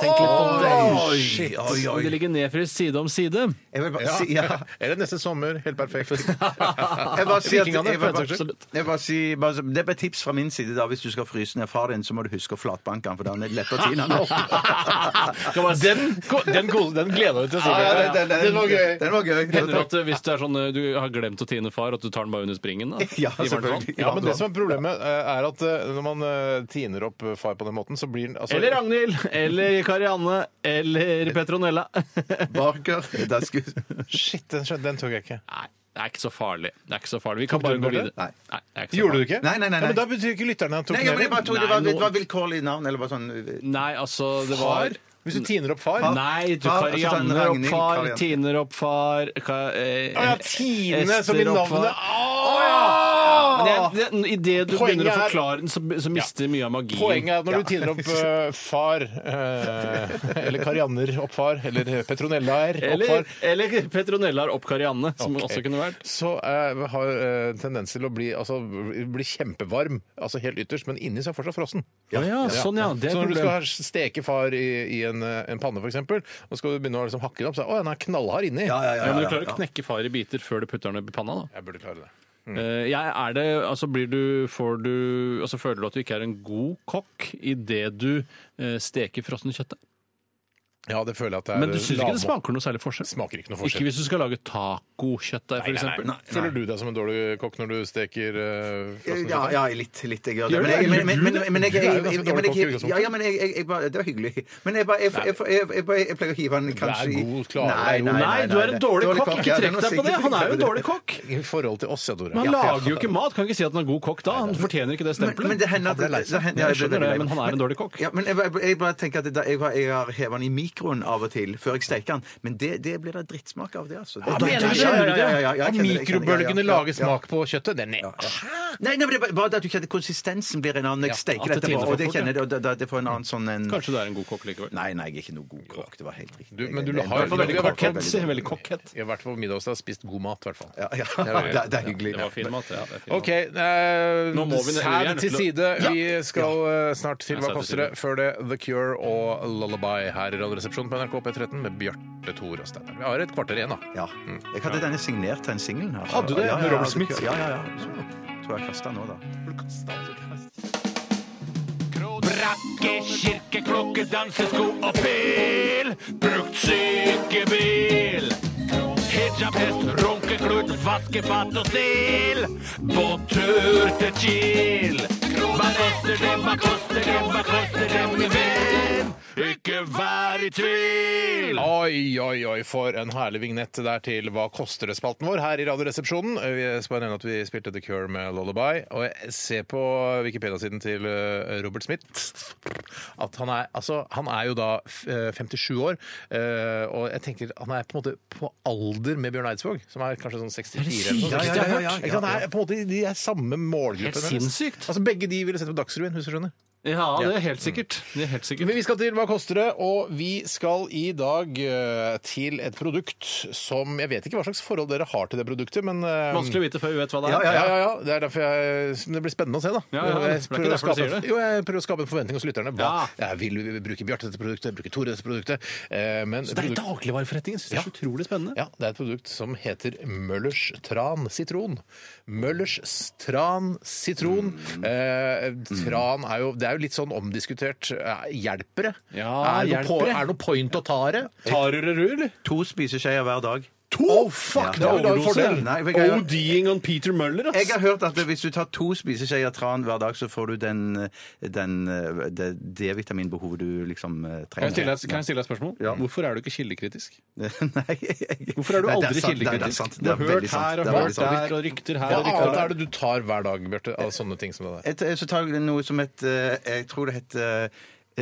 C: Tenk litt på det.
B: Oi, oi,
C: Og det
B: oi.
C: ligger nedfryst side om side.
B: Jeg vil bare
A: Ja.
B: si, ja.
A: Eller neste sommer. Helt perfekt.
B: Jeg bare sier at- jeg
A: Vikingene,
B: vil
A: for den
B: bare-
A: saks skyld.
B: jeg vil bare si- bare så- Det er bare et tips fra min side. da Hvis du skal fryse ned far din, så må du huske å flatbanke han, for da er det lettere å tine han opp.
A: Den, ko- den, ko- den gleder jeg meg til å se.
B: Ja, ja, den- den- den-
A: Den var gøy.
B: Den var gøy.
C: Hender det at eh, hvis det er sånn eh, du har glemt å tine far, at du tar den bare under springen? Da,
B: sånn? Ja,
C: I varmt
B: selvfølgelig.
C: vann?
A: Ja, men det som er Problemet eh, er at eh, når man eh, tiner opp eh, far på den måten, så blir den altså,
C: Eller Ragnhild, eller Karianne, eller Petronella.
B: Barker. Da skulle
A: Shit, den, skjønte- den tok jeg ikke.
C: Nei, det er ikke så farlig. Det er ikke så farlig. Vi kan bare
A: du den
C: gå
A: bort,
C: videre.
B: eller?
C: Nei, det er ikke så
A: Gjorde du
C: farlig.
A: ikke?
B: Altså, Nei, nei,
A: Ja,
B: nei,
A: men
B: nei.
A: da betyr ikke lytteren at han tok
B: Nei, ja, men jeg
A: den
B: bare
A: heller.
B: trodde det var,
C: Nei,
B: det
C: nå-
B: var vilkårlig navn, eller bare sånn
C: Nei, altså, det var
A: Far? Hvis du tiner opp far?
C: Nei, du
B: Far, altså, den
C: Karianne opp
B: Ragnhild,
C: far,
B: Karianne.
C: tiner opp far ka, eh,
A: Å ja, Tine, som i
C: Ester opp far.
A: navnet. Å
C: Men
A: ja!
C: jeg- det- Idet du
A: Poenget
C: begynner å
A: er-
C: forklare den, så, så mister mye av magien.
A: Poenget er at når du tiner opp eh, far, eh, eller Karianner opp far, eller Petronellaer opp
C: Eller,
A: far,
C: eller Petronella har opp Karianne, som
A: Ok.
C: også kunne vært.
A: så eh, har eh, tendens til å bli, altså, bli kjempevarm, altså helt ytterst, men inni så er fortsatt frossen.
C: Ja, ja, sånn ja, det
A: så
C: er
A: når du skal
C: problemet.
A: ha- steke far i, i en, eh, en panne, f.eks., og skal du begynne å liksom hakke den opp, så er å, den er knallhard inni.
C: Ja, men du klarer å knekke far i biter før du putter den opp i panna, da.
A: Jeg burde klare det.
C: Eh, Jeg er det, altså blir du, får du, altså føler du at du ikke er en god kokk idet du eh, steker frossen kjøttet?
A: Ja, det føler jeg at det er
C: Men du syns ikke det
A: lavmål.
C: smaker noe særlig forskjell?
A: Smaker ikke noe
C: Ikke
A: forskjell.
C: hvis du skal lage tacokjøttdeig,
A: Nei, nei, nei.
C: f.eks.
A: Føler du deg som en dårlig kokk når du steker uh,
B: Ja, ja, litt. litt jeg gjør det.
C: Gjør
B: Men
C: det?
B: jeg- men- men- men- men jeg-
A: Du er jo
B: jeg-
A: ganske
B: jeg-
A: dårlig
B: men
A: kokk i
B: jeg-
A: utgangspunktet.
B: Ja, ja, men jeg- jeg- jeg bare- Det var hyggelig. Men jeg bare- jeg- jeg- jeg- jeg- jeg- jeg pleier å hive den kanskje i-
A: god, klar,
B: Nei,
A: jo.
B: nei,
C: Nei,
B: nei,
C: du er
B: nei.
C: en dårlig kokk.
B: Ja,
C: Ikke
B: det er
C: trekk
B: noe
C: deg på det!
B: sikkert.
C: Han er jo en dårlig kokk!
A: I forhold til oss, ja, Tore.
C: Men han
A: Ja.
C: lager jo ikke mat. Kan ikke si at han er god kokk da. Han fortjener ikke det
B: Men, men
C: stempelet.
B: det hender at
A: ble lei seg.
B: det hender- ja,
C: Jeg
B: ble
C: skjønner det,
B: lei meg.
C: men han er en dårlig kokk.
B: Ja, men jeg, bare- jeg bare tenker at det, da- jeg, var- jeg har hevet den i mikroen av og til før jeg steker den. Men det, det blir da drittsmak av det, altså. Det,
A: Mener du
B: Ja,
A: det?
B: ja, ja, ja, ja, ja,
A: At
B: jeg kjenner det, jeg kjenner det, ja, ja,
A: mikrobølgene
B: ja,
A: lager
B: ja.
A: smak på kjøttet? Det er ned.
B: Nei, nei, men det er bare- bare det at du kjenner konsistensen blir en annen. Jeg
A: Ja,
B: steker
C: at det
B: dette
C: tiner
B: på,
C: for
B: og det
C: fort, ja.
B: kjenner jeg, og da- da- det får en annen sånn en
C: Kanskje du er en god kokk likevel.
B: Nei, nei, jeg er ikke noe god kokk. Det var helt riktig.
A: Du- men du
B: Jeg- jeg-
A: har-
B: jeg- jeg-
A: Veldig
B: jeg- jeg-
A: kokett,
B: jeg-
C: sier jeg, veldig kokett.
A: Jeg har vært på middag hos deg og spist god mat, i hvert fall.
B: Ja, ja. Det, er- det er hyggelig.
C: Det var fin mat. Ja, det er fin
A: OK. Eh,
C: Nå må vi- vi er
A: sæd
C: nødt
A: til
C: til å-
A: side. Vi skal eh, snart til
C: Ja,
A: Hva
C: sæd til
A: koster det? Før det The Cure og Lullaby her i Radioresepsjonen på NRK P13 med Bjarte Thor og Steinar. Vi har et kvarter igjen, da.
B: Ja. Jeg hadde denne signert, den singelen her.
A: Mm. Hadde du det?
B: Ja, ja,
A: Med
B: ja,
A: Robert Smith?
B: Ja, ja, ja. Så Tror jeg kastet den nå, da.
E: Brakke, kirke, klokke, dansesko og pil. Brukt sykebil. Hijab, hest, runkeklut, vaskefat og stil. På tur til Kiel. Hva koster det, hva koster det, hva koster det, min venn? Ikke vær i tvil!
A: Oi, oi, oi, for en herlig vignett der til Hva koster det-spalten vår her i Radioresepsjonen. Jeg skal bare nevne at vi spilte The Cure med Lullaby. Og jeg ser på Wikipedia-siden til eh, Robert Smith at han er, altså, han er jo da f- eh, 57 år. eh, Og jeg tenker han er på en måte på alder med Børn Eidsvåg, som er kanskje sånn 64 eller noe.
B: Ja, ja, ja, ja, ja.
A: Ikke sant? Han er på en måte, de er samme målgruppen.
C: Helt sinnssykt.
A: Altså, begge de ville sett på Dagsrevyen, hvis du skjønner.
C: Ja, det er helt sikkert. Det er helt sikkert.
A: Men vi skal til Hva koster det? Og vi skal i dag eh, til et produkt som Jeg vet ikke hva slags forhold dere har til det produktet, men eh,
C: Vanskelig å vite før vi vet hva det
B: Ja,
C: er.
A: ja, ja, ja. Det er derfor jeg, det blir spennende å se, da.
C: Ja, ja,
A: Jeg
C: det er ikke
A: prøver å
C: derfor
A: skape-
C: du sier det.
A: Jo, jeg prøver å skape en forventning hos lytterne. Hva?
C: Ja.
A: Jeg vil bruke Bjarte dette produktet, bruke Tore dette produktet. eh, Men
C: Det er
A: produkt-
C: dagligvareforretningen. Synes det er så utrolig spennende.
A: ja, det er et produkt som heter Møllers tran sitron. Møllers tran sitron.
C: Mm.
A: Eh, tran er jo, det er jo litt sånn omdiskutert. Eh, Hjelper det?
C: Ja,
A: er det noe po-
C: hjelper det?
A: er det noe point å ta det?
C: Tarurerud, eller?
B: To spiseskjeer hver dag.
A: To! fuck,
B: Ja.
A: det er jo en fordel.
B: Nei, jeg, jeg,
C: OD-ing on Peter Møller,
B: jeg
C: ass!
B: har hørt at hvis du tar to spiseskjeer tran hver dag, så får du den, den det D-vitaminbehovet du liksom eh,
C: Kan jeg
B: trenger.
C: stille deg, kan jeg stille deg et spørsmål?
B: Ja.
C: Hvorfor er du ikke kildekritisk?
B: Nei, jeg-
C: Hvorfor er du
B: Nei, det sant, det er- Det
C: aldri
B: er
C: kildekritisk?
B: sant.
C: Du
B: Det er
C: har hørt
B: veldig sant.
C: her
B: Det
C: og
B: er veldig
C: hørt
B: sant.
C: der og rykter her
A: Hva
C: og rykter
A: annet
C: der.
A: er det du tar hver dag, Bjarte, av sånne ting som det der?
B: Et, så tar jeg noe som et eh, Jeg tror det heter eh,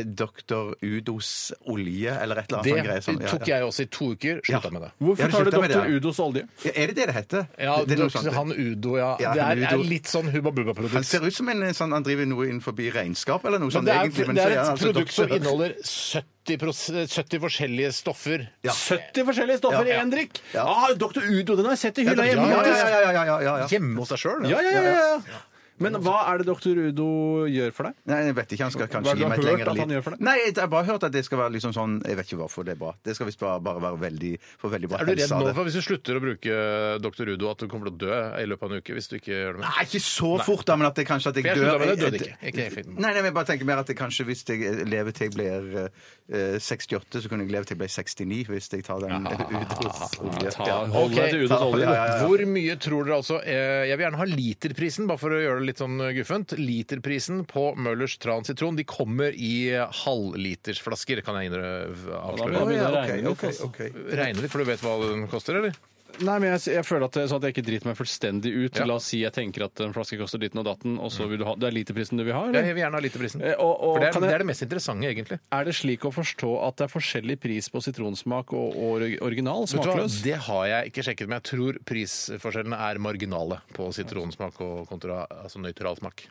B: Doktor Udos olje, eller et eller annet sånn greie. sånn, ja,
A: Det tok
B: ja.
A: jeg også i to uker. Slutta
B: Ja.
A: med det.
B: Ja,
C: Hvorfor
B: du
C: tar du
B: slutter med det,
C: Dr.
B: ja.
C: Udos olje?
B: Ja, er det det det heter?
A: Ja,
B: det, det er noe sånt.
A: han Udo, ja.
B: Ja,
A: det er,
B: han
A: er
B: Udo.
A: litt sånn Hubba
B: Han
A: Bubba-produkt.
B: ser ut som en sånn Han driver noe innenfor regnskap eller noe sånt,
A: det er,
B: egentlig. men
A: det
B: så
A: er et
B: han altså
A: produkt som
B: doktor.
A: inneholder 70, pros- 70 forskjellige stoffer.
C: 70 forskjellige stoffer i én drikk!
B: Ja.
C: Ah, Dr. Udo, den har jeg sett i hylla
B: Ja,
C: hjemme!
B: ja,
C: faktisk.
B: ja, ja, ja, ja, ja, ja.
A: Hjemme hos deg sjøl?
C: Ja, ja, ja, ja. Men hva er det doktor Udo gjør for deg?
B: Nei, jeg vet ikke, han skal
C: Hva
B: kanskje
C: har du
B: gi meg et
C: hørt
B: lengre
C: at
B: liv.
C: han gjør for deg?
B: Nei, jeg har bare hørt at det skal være liksom sånn Jeg vet ikke hvorfor det er bra. Det skal visst bare, bare være veldig, for veldig bra
A: Er du redd
B: helse av
A: nå
B: det.
A: for hvis du slutter å bruke Dr. Udo, at du kommer til å dø i løpet av en uke? hvis du ikke gjør det mer?
B: Nei, ikke så fort, da, men at det kanskje at jeg,
A: For jeg
B: dør
A: slutta med det,
B: jeg-
A: døde ikke. Ikke helt fint.
B: Nei, nei, men jeg bare tenker mer at det kanskje hvis
I: eh,
B: jeg lever til jeg blir eh, 68, så kunne jeg leve til jeg ble 69 hvis jeg tar den Udos-olje. Ja.
C: Hold deg til Udos olje.
B: ja, ja.
A: Hvor mye tror dere altså eh, Jeg vil gjerne ha literprisen, bare for å gjøre det litt sånn guffent. Literprisen på Møllers tran sitron. De kommer i eh, halvlitersflasker, kan jeg innrø-
C: Da
A: avsløre.
C: blir det
B: Ja, ok,
C: regnet litt,
B: ok,
C: altså.
B: ok.
A: Regner litt, for du vet hva den koster, eller?
C: Nei, men jeg, jeg føler at, det- sånn at jeg ikke driter meg fullstendig ut.
A: Ja.
C: La oss si jeg tenker at en flaske koster ditten og datten, og så vil du ha Det er literprisen du vil ha, eller?
A: Jeg vil gjerne ha literprisen.
C: Eh, og- og
A: For det er,
C: kan jeg-
A: det er det mest interessante, egentlig.
C: Er det slik å forstå at det er forskjellig pris på sitronsmak og, og original?
A: Vet du hva?
C: Smakløs?
A: Det har jeg ikke sjekket, men jeg tror prisforskjellene er marginale på sitronsmak og kontra altså nøytral smak.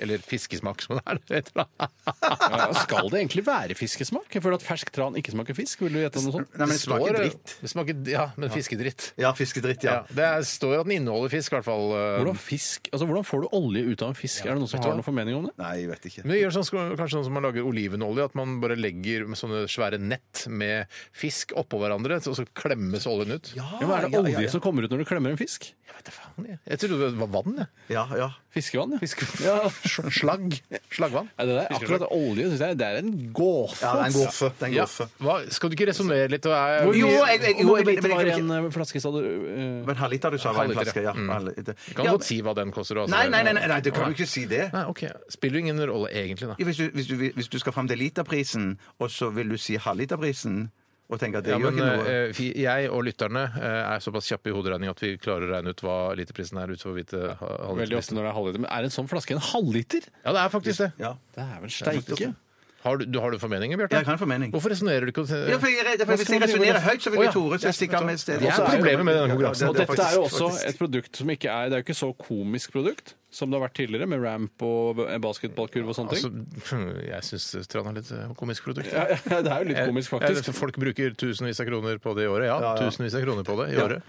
A: Eller fiskesmak, som det er. det heter, da.
C: Ja, skal det egentlig være fiskesmak? Jeg føler at fersk tran ikke smaker fisk. Vil du gjette noe sånt?
B: Nei, men det smaker
A: Står-
B: dritt.
A: Det smaker, ja, men fiskedritt.
B: Ja, fiskedritt,
A: Ja.
B: ja.
A: Det er, står at den inneholder fisk, i hvert fall. eh.
C: Hvordan, fisk, altså, hvordan får du olje ut av en fisk? Er det noen som
A: Vet du
C: har
A: hva?
C: noen formening om det?
B: Nei, jeg vet ikke.
A: Men vi gjør sånn, kanskje sånn som man lager olivenolje, at man bare legger med sånne svære nett med fisk oppå hverandre, og så klemmes oljen ut.
C: Ja, men er det olje som kommer ut når du klemmer en fisk?
A: Jeg vet da faen, jeg. Jeg trodde det var vann, jeg.
B: Ja, ja.
C: Fiskevann, ja.
A: Fisk-
C: ja.
A: Sl- Slagg. Slaggvann.
C: Nei, det der, akkurat olje synes jeg, det er en gåfe.
I: Ja, det er en
C: ass.
I: gåfe. Det er en
A: Ja.
I: gåfe.
A: Hva, skal du ikke resonnere litt? Og er,
I: Jo, jeg, jeg, jo,
C: Hvor
I: jeg, men
C: lite
I: jeg,
C: var
I: kan ikke-
C: en eh, flaske, sa du? eh,
I: men halvliter du sa var en
A: Halvliter,
I: flaske? Ja. halvliter.
A: kan
I: Ja,
A: godt si hva den koster. og altså-
I: Nei, nei, nei, nei, nei, du kan jo ikke si det.
A: Nei, ok. Spiller jo ingen rolle egentlig, da.
I: Ja, Hvis du, hvis, du, hvis du skal fram til literprisen, og så vil du si halvliterprisen og tenke at det
A: Ja,
I: gjør
A: men
I: ikke noe
A: eh, vi- jeg og lytterne eh, er såpass kjappe i hoderegning at vi klarer å regne ut hva literprisen er utover eh, hvite
C: Veldig ofte når det er halvliter. Men er en sånn flaske en halvliter?
A: Ja, det er faktisk det.
I: ja.
C: Det er vel steike.
A: Har du, du, har du formeninger, Bjarte?
I: Jeg kan formening.
A: Hvorfor resonnerer du ikke?
I: Ja, for jeg, for
A: Hva
I: hvis jeg
A: skal man drive
I: resonnerer
A: med?
I: høyt, så vil jo
A: Å, ja.
I: Tore så stikke av med stedet.
A: Det er problemet med denne
I: Ja,
A: konkurransen.
I: det-
C: Og
I: det
C: dette er jo også
I: faktisk-
C: et produkt som ikke er Det er jo ikke så komisk produkt som det har vært tidligere, med ramp og b- basketballkurv og sånne
A: Altså,
C: ting.
A: jeg syns Strand er litt eh, komisk produkt.
C: Ja, ja, det er jo litt
A: Jeg-
C: komisk,
A: jeg-
C: faktisk.
A: Folk bruker tusenvis av kroner på det i året. Ja, tusenvis av kroner på det i året.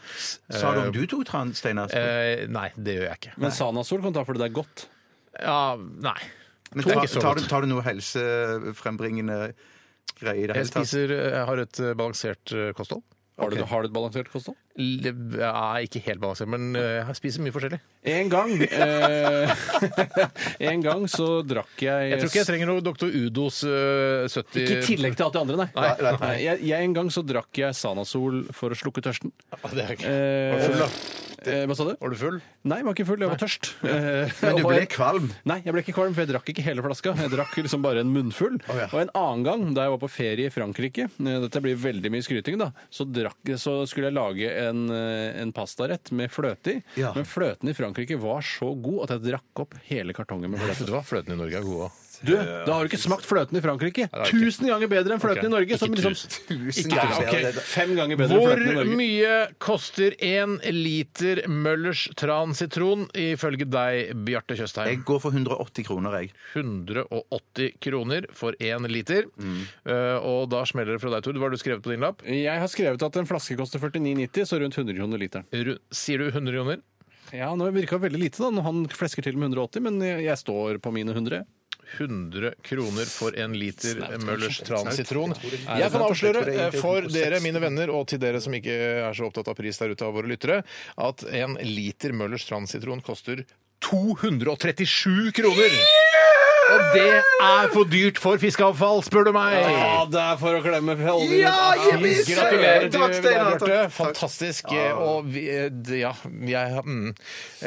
I: Sa du om du tok tran, Steinar?
A: Eh, nei, det gjør jeg ikke.
C: Men Sanasol kan ta fordi det er godt.
A: Ja, nei.
I: Men
A: to er
I: tar,
A: ikke så
I: tar,
A: godt.
I: du, tar du noe helsefrembringende greier i det
A: Jeg
I: hele tatt?
A: spiser eh, har et eh, balansert eh, kosthold.
C: Har, du, har du et balansert kosthold?
A: L- Ja, ikke helt balansert, men eh, jeg spiser mye forskjellig.
C: En gang eh, En gang så drakk jeg
A: Jeg tror ikke jeg trenger noe Dr. Udos eh, 70
C: Ikke i tillegg til alt det andre, nei.
A: Nei, nei,
C: Nei, Jeg, jeg En gang så drakk jeg Sanasol for å slukke tørsten.
A: Ja, det er ikke.
C: Eh,
A: Var du full, da?
C: eh, hva sa du?
A: Var du full?
C: Nei, jeg var ikke full, jeg var tørst. Eh,
I: Men du
C: og
I: ble
C: jeg-
I: kvalm.
C: Nei, jeg ble ikke kvalm, for jeg drakk ikke hele flaska. Jeg drakk liksom bare en munnfull.
I: ja.
C: Og en annen gang, da jeg var på ferie i Frankrike, eh, dette blir veldig mye skryting, da, så, drakk, så skulle jeg lage en, eh, en pastarett med fløte i.
I: Ja.
C: Men fløten i Frankrike var så god at jeg drakk opp hele kartongen med fløte.
A: Vet du hva, fløten i Norge er god òg.
C: Du, da har du ikke smakt fløten i Frankrike.
A: det har jeg ikke.
C: Tusen ganger bedre enn fløten
A: Ok,
C: i Norge. Som
A: ikke
C: liksom,
I: Tusen
C: Ikke-
I: tusen-
C: ok,
I: ja, det-
C: Fem ganger bedre enn
A: Hvor
C: fløten i Norge.
A: mye koster én liter Møllers tran sitron ifølge deg, Bjarte Tjøstheim?
I: Jeg går for 180 kroner, jeg.
A: 180 kroner for én liter. Eh, og da smeller det fra deg, Tord. Hva har du skrevet på din lapp?
C: Jeg har skrevet at en flaske koster 49,90, så rundt 100 kroner literen.
A: Ru- Sier du 100 kroner?
C: Ja, nå virka veldig lite da, når han flesker til med 180, men jeg jeg står på mine 100.
A: 100 kroner for en liter Møllers transitron.
C: det
A: Jeg kan avsløre eh, for dere, mine venner, og til dere som ikke er så opptatt av pris der ute av våre lyttere, at en liter Møllers transitron koster 237 kroner! Og det er for dyrt for fiskeavfall, spør du meg!
C: det er for å klemme holdningen. Ah,
I: Ja, gi meg
C: Fy,
I: søren!
A: Gratulerer til
I: Takk,
A: deg,
I: Steinar,
A: Bjarte.
I: takk.
A: Fantastisk. Og vi, eh, d- ja, jeg mm,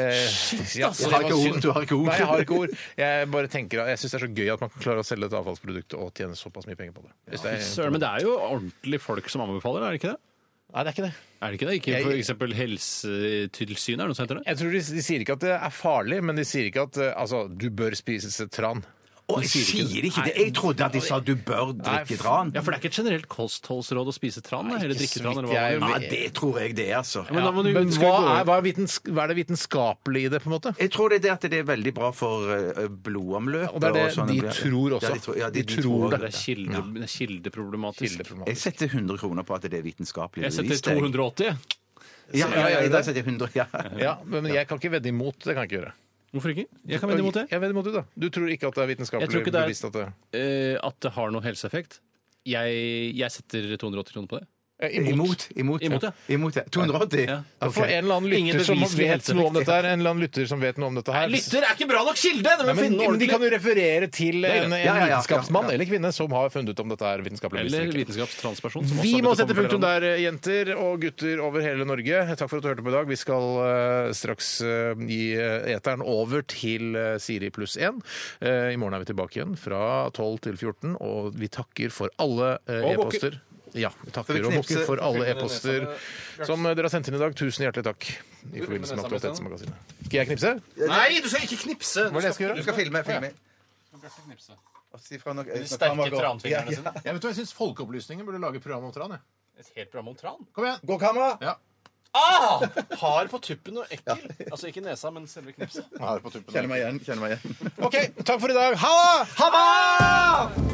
A: eh, ja,
I: Du har ikke ord, du har ikke ord.
A: Nei, jeg har ikke ord. Jeg bare tenker, at- jeg syns det er så gøy at man kan klare å selge et avfallsprodukt og tjene såpass mye penger på det. Hvis det er,
B: Søren, men det er jo ordentlige folk som anbefaler, er det ikke det?
A: nei, det er ikke det.
B: Er det ikke det? Ikke
A: Jeg-
B: for eksempel Helsetilsynet, er det noe som heter det?
A: Jeg tror de, de sier ikke at det er farlig, men de sier ikke at eh, altså, du bør spise tran.
I: Å, jeg sier ikke det. Jeg trodde at de sa du bør drikke tran.
B: Ja, for det er ikke et generelt kostholdsråd å spise tran, da, eller
A: ikke
B: drikke
A: så
B: tran,
A: vidt
B: eller hva
A: jeg
B: det er.
A: vet.
I: Ja, det tror jeg det, altså.
B: Men da må du,
A: Men
B: skal vi gå
A: hva er,
B: over-
A: hva, er vitens, hva er det vitenskapelige i det, på en måte?
I: Jeg tror det er det at det er veldig bra for eh, blodomløpet.
A: Og det er det
I: sånne
A: de
I: ble-
A: tror
I: sånn-
A: også.
I: Ja, de tror, ja, de, de
A: De tror
I: tror
A: det.
B: det er kilde, det er kildeproblematisk.
A: Kildeproblematisk.
I: Jeg setter 100 kroner på at det er vitenskapelig
B: Jeg setter
I: jeg.
B: 280. jeg.
I: Ja, ja, ja, i dag setter jeg 100, ja.
A: Ja, men jeg kan ikke vedde imot. Det kan jeg ikke gjøre.
B: Hvorfor ikke? Jeg kan vende imot det.
A: Jeg vedder imot det, da. Du tror ikke at det er
B: Jeg tror
A: vitenskapelig
B: ikke det er-
A: bevisst at det
B: Eh, At det har noen helseeffekt. Jeg, jeg setter 280 kroner på det.
A: Eh,
I: Imot. Imot,
B: Imot, ja.
I: Imot, ja. 280?
B: Ja.
A: Da får en eller annen
B: Ingen
A: lytter som
B: beviselig
A: vet noe om
B: helseeffekt.
A: dette her. En eller annen lytter som vet noe om dette her.
B: er ikke bra nok kilde! Det
A: Nei, men, men de kan jo referere til
B: er
A: en, en
B: greit.
I: Ja, ja, ja,
A: vitenskapsmann
I: ja, ja.
A: eller -kvinne som har funnet ut om dette er vitenskapelig
B: Eller
A: bevisst.
B: vitenskapstransperson. som
A: Vi
B: også
A: må
B: vet å
A: sette
B: komme
A: punktum
B: fra hverandre.
A: der, jenter og gutter over hele Norge. Takk for at du hørte på i dag. Vi skal eh, straks eh, gi eh, eteren over til eh, Siri pluss 1. Eh, I morgen er vi tilbake igjen fra 12 til 14, og vi takker for alle eh,
I: Og bukker.
A: e-poster. Ja,
I: Skal
A: vi
I: vi
A: takker og
I: knipse?
A: bukker for alle
J: Fylle ned
A: e-poster som eh, dere har sendt inn i dag. Tusen hjertelig takk i forbindelse med Aktualitetsmagasinet. Skal jeg knipse?
I: Nei, du skal ikke knipse!
A: Hva er det jeg skal
I: Du
A: gjøre?
I: skal filme. filme. Og si fra når- når kameraet går. Ja, ja.
A: Jeg, vet du, jeg syns Folkeopplysningen burde lage program om tran.
B: Et helt program om tran?
A: Kom igjen!
I: Går kamera?
B: Ah! Hard på tuppen og ekkel. Altså ikke nesa, men selve knipset.
I: Kjenner meg igjen. Kjenner meg igjen.
A: OK, takk for i dag. Ha det!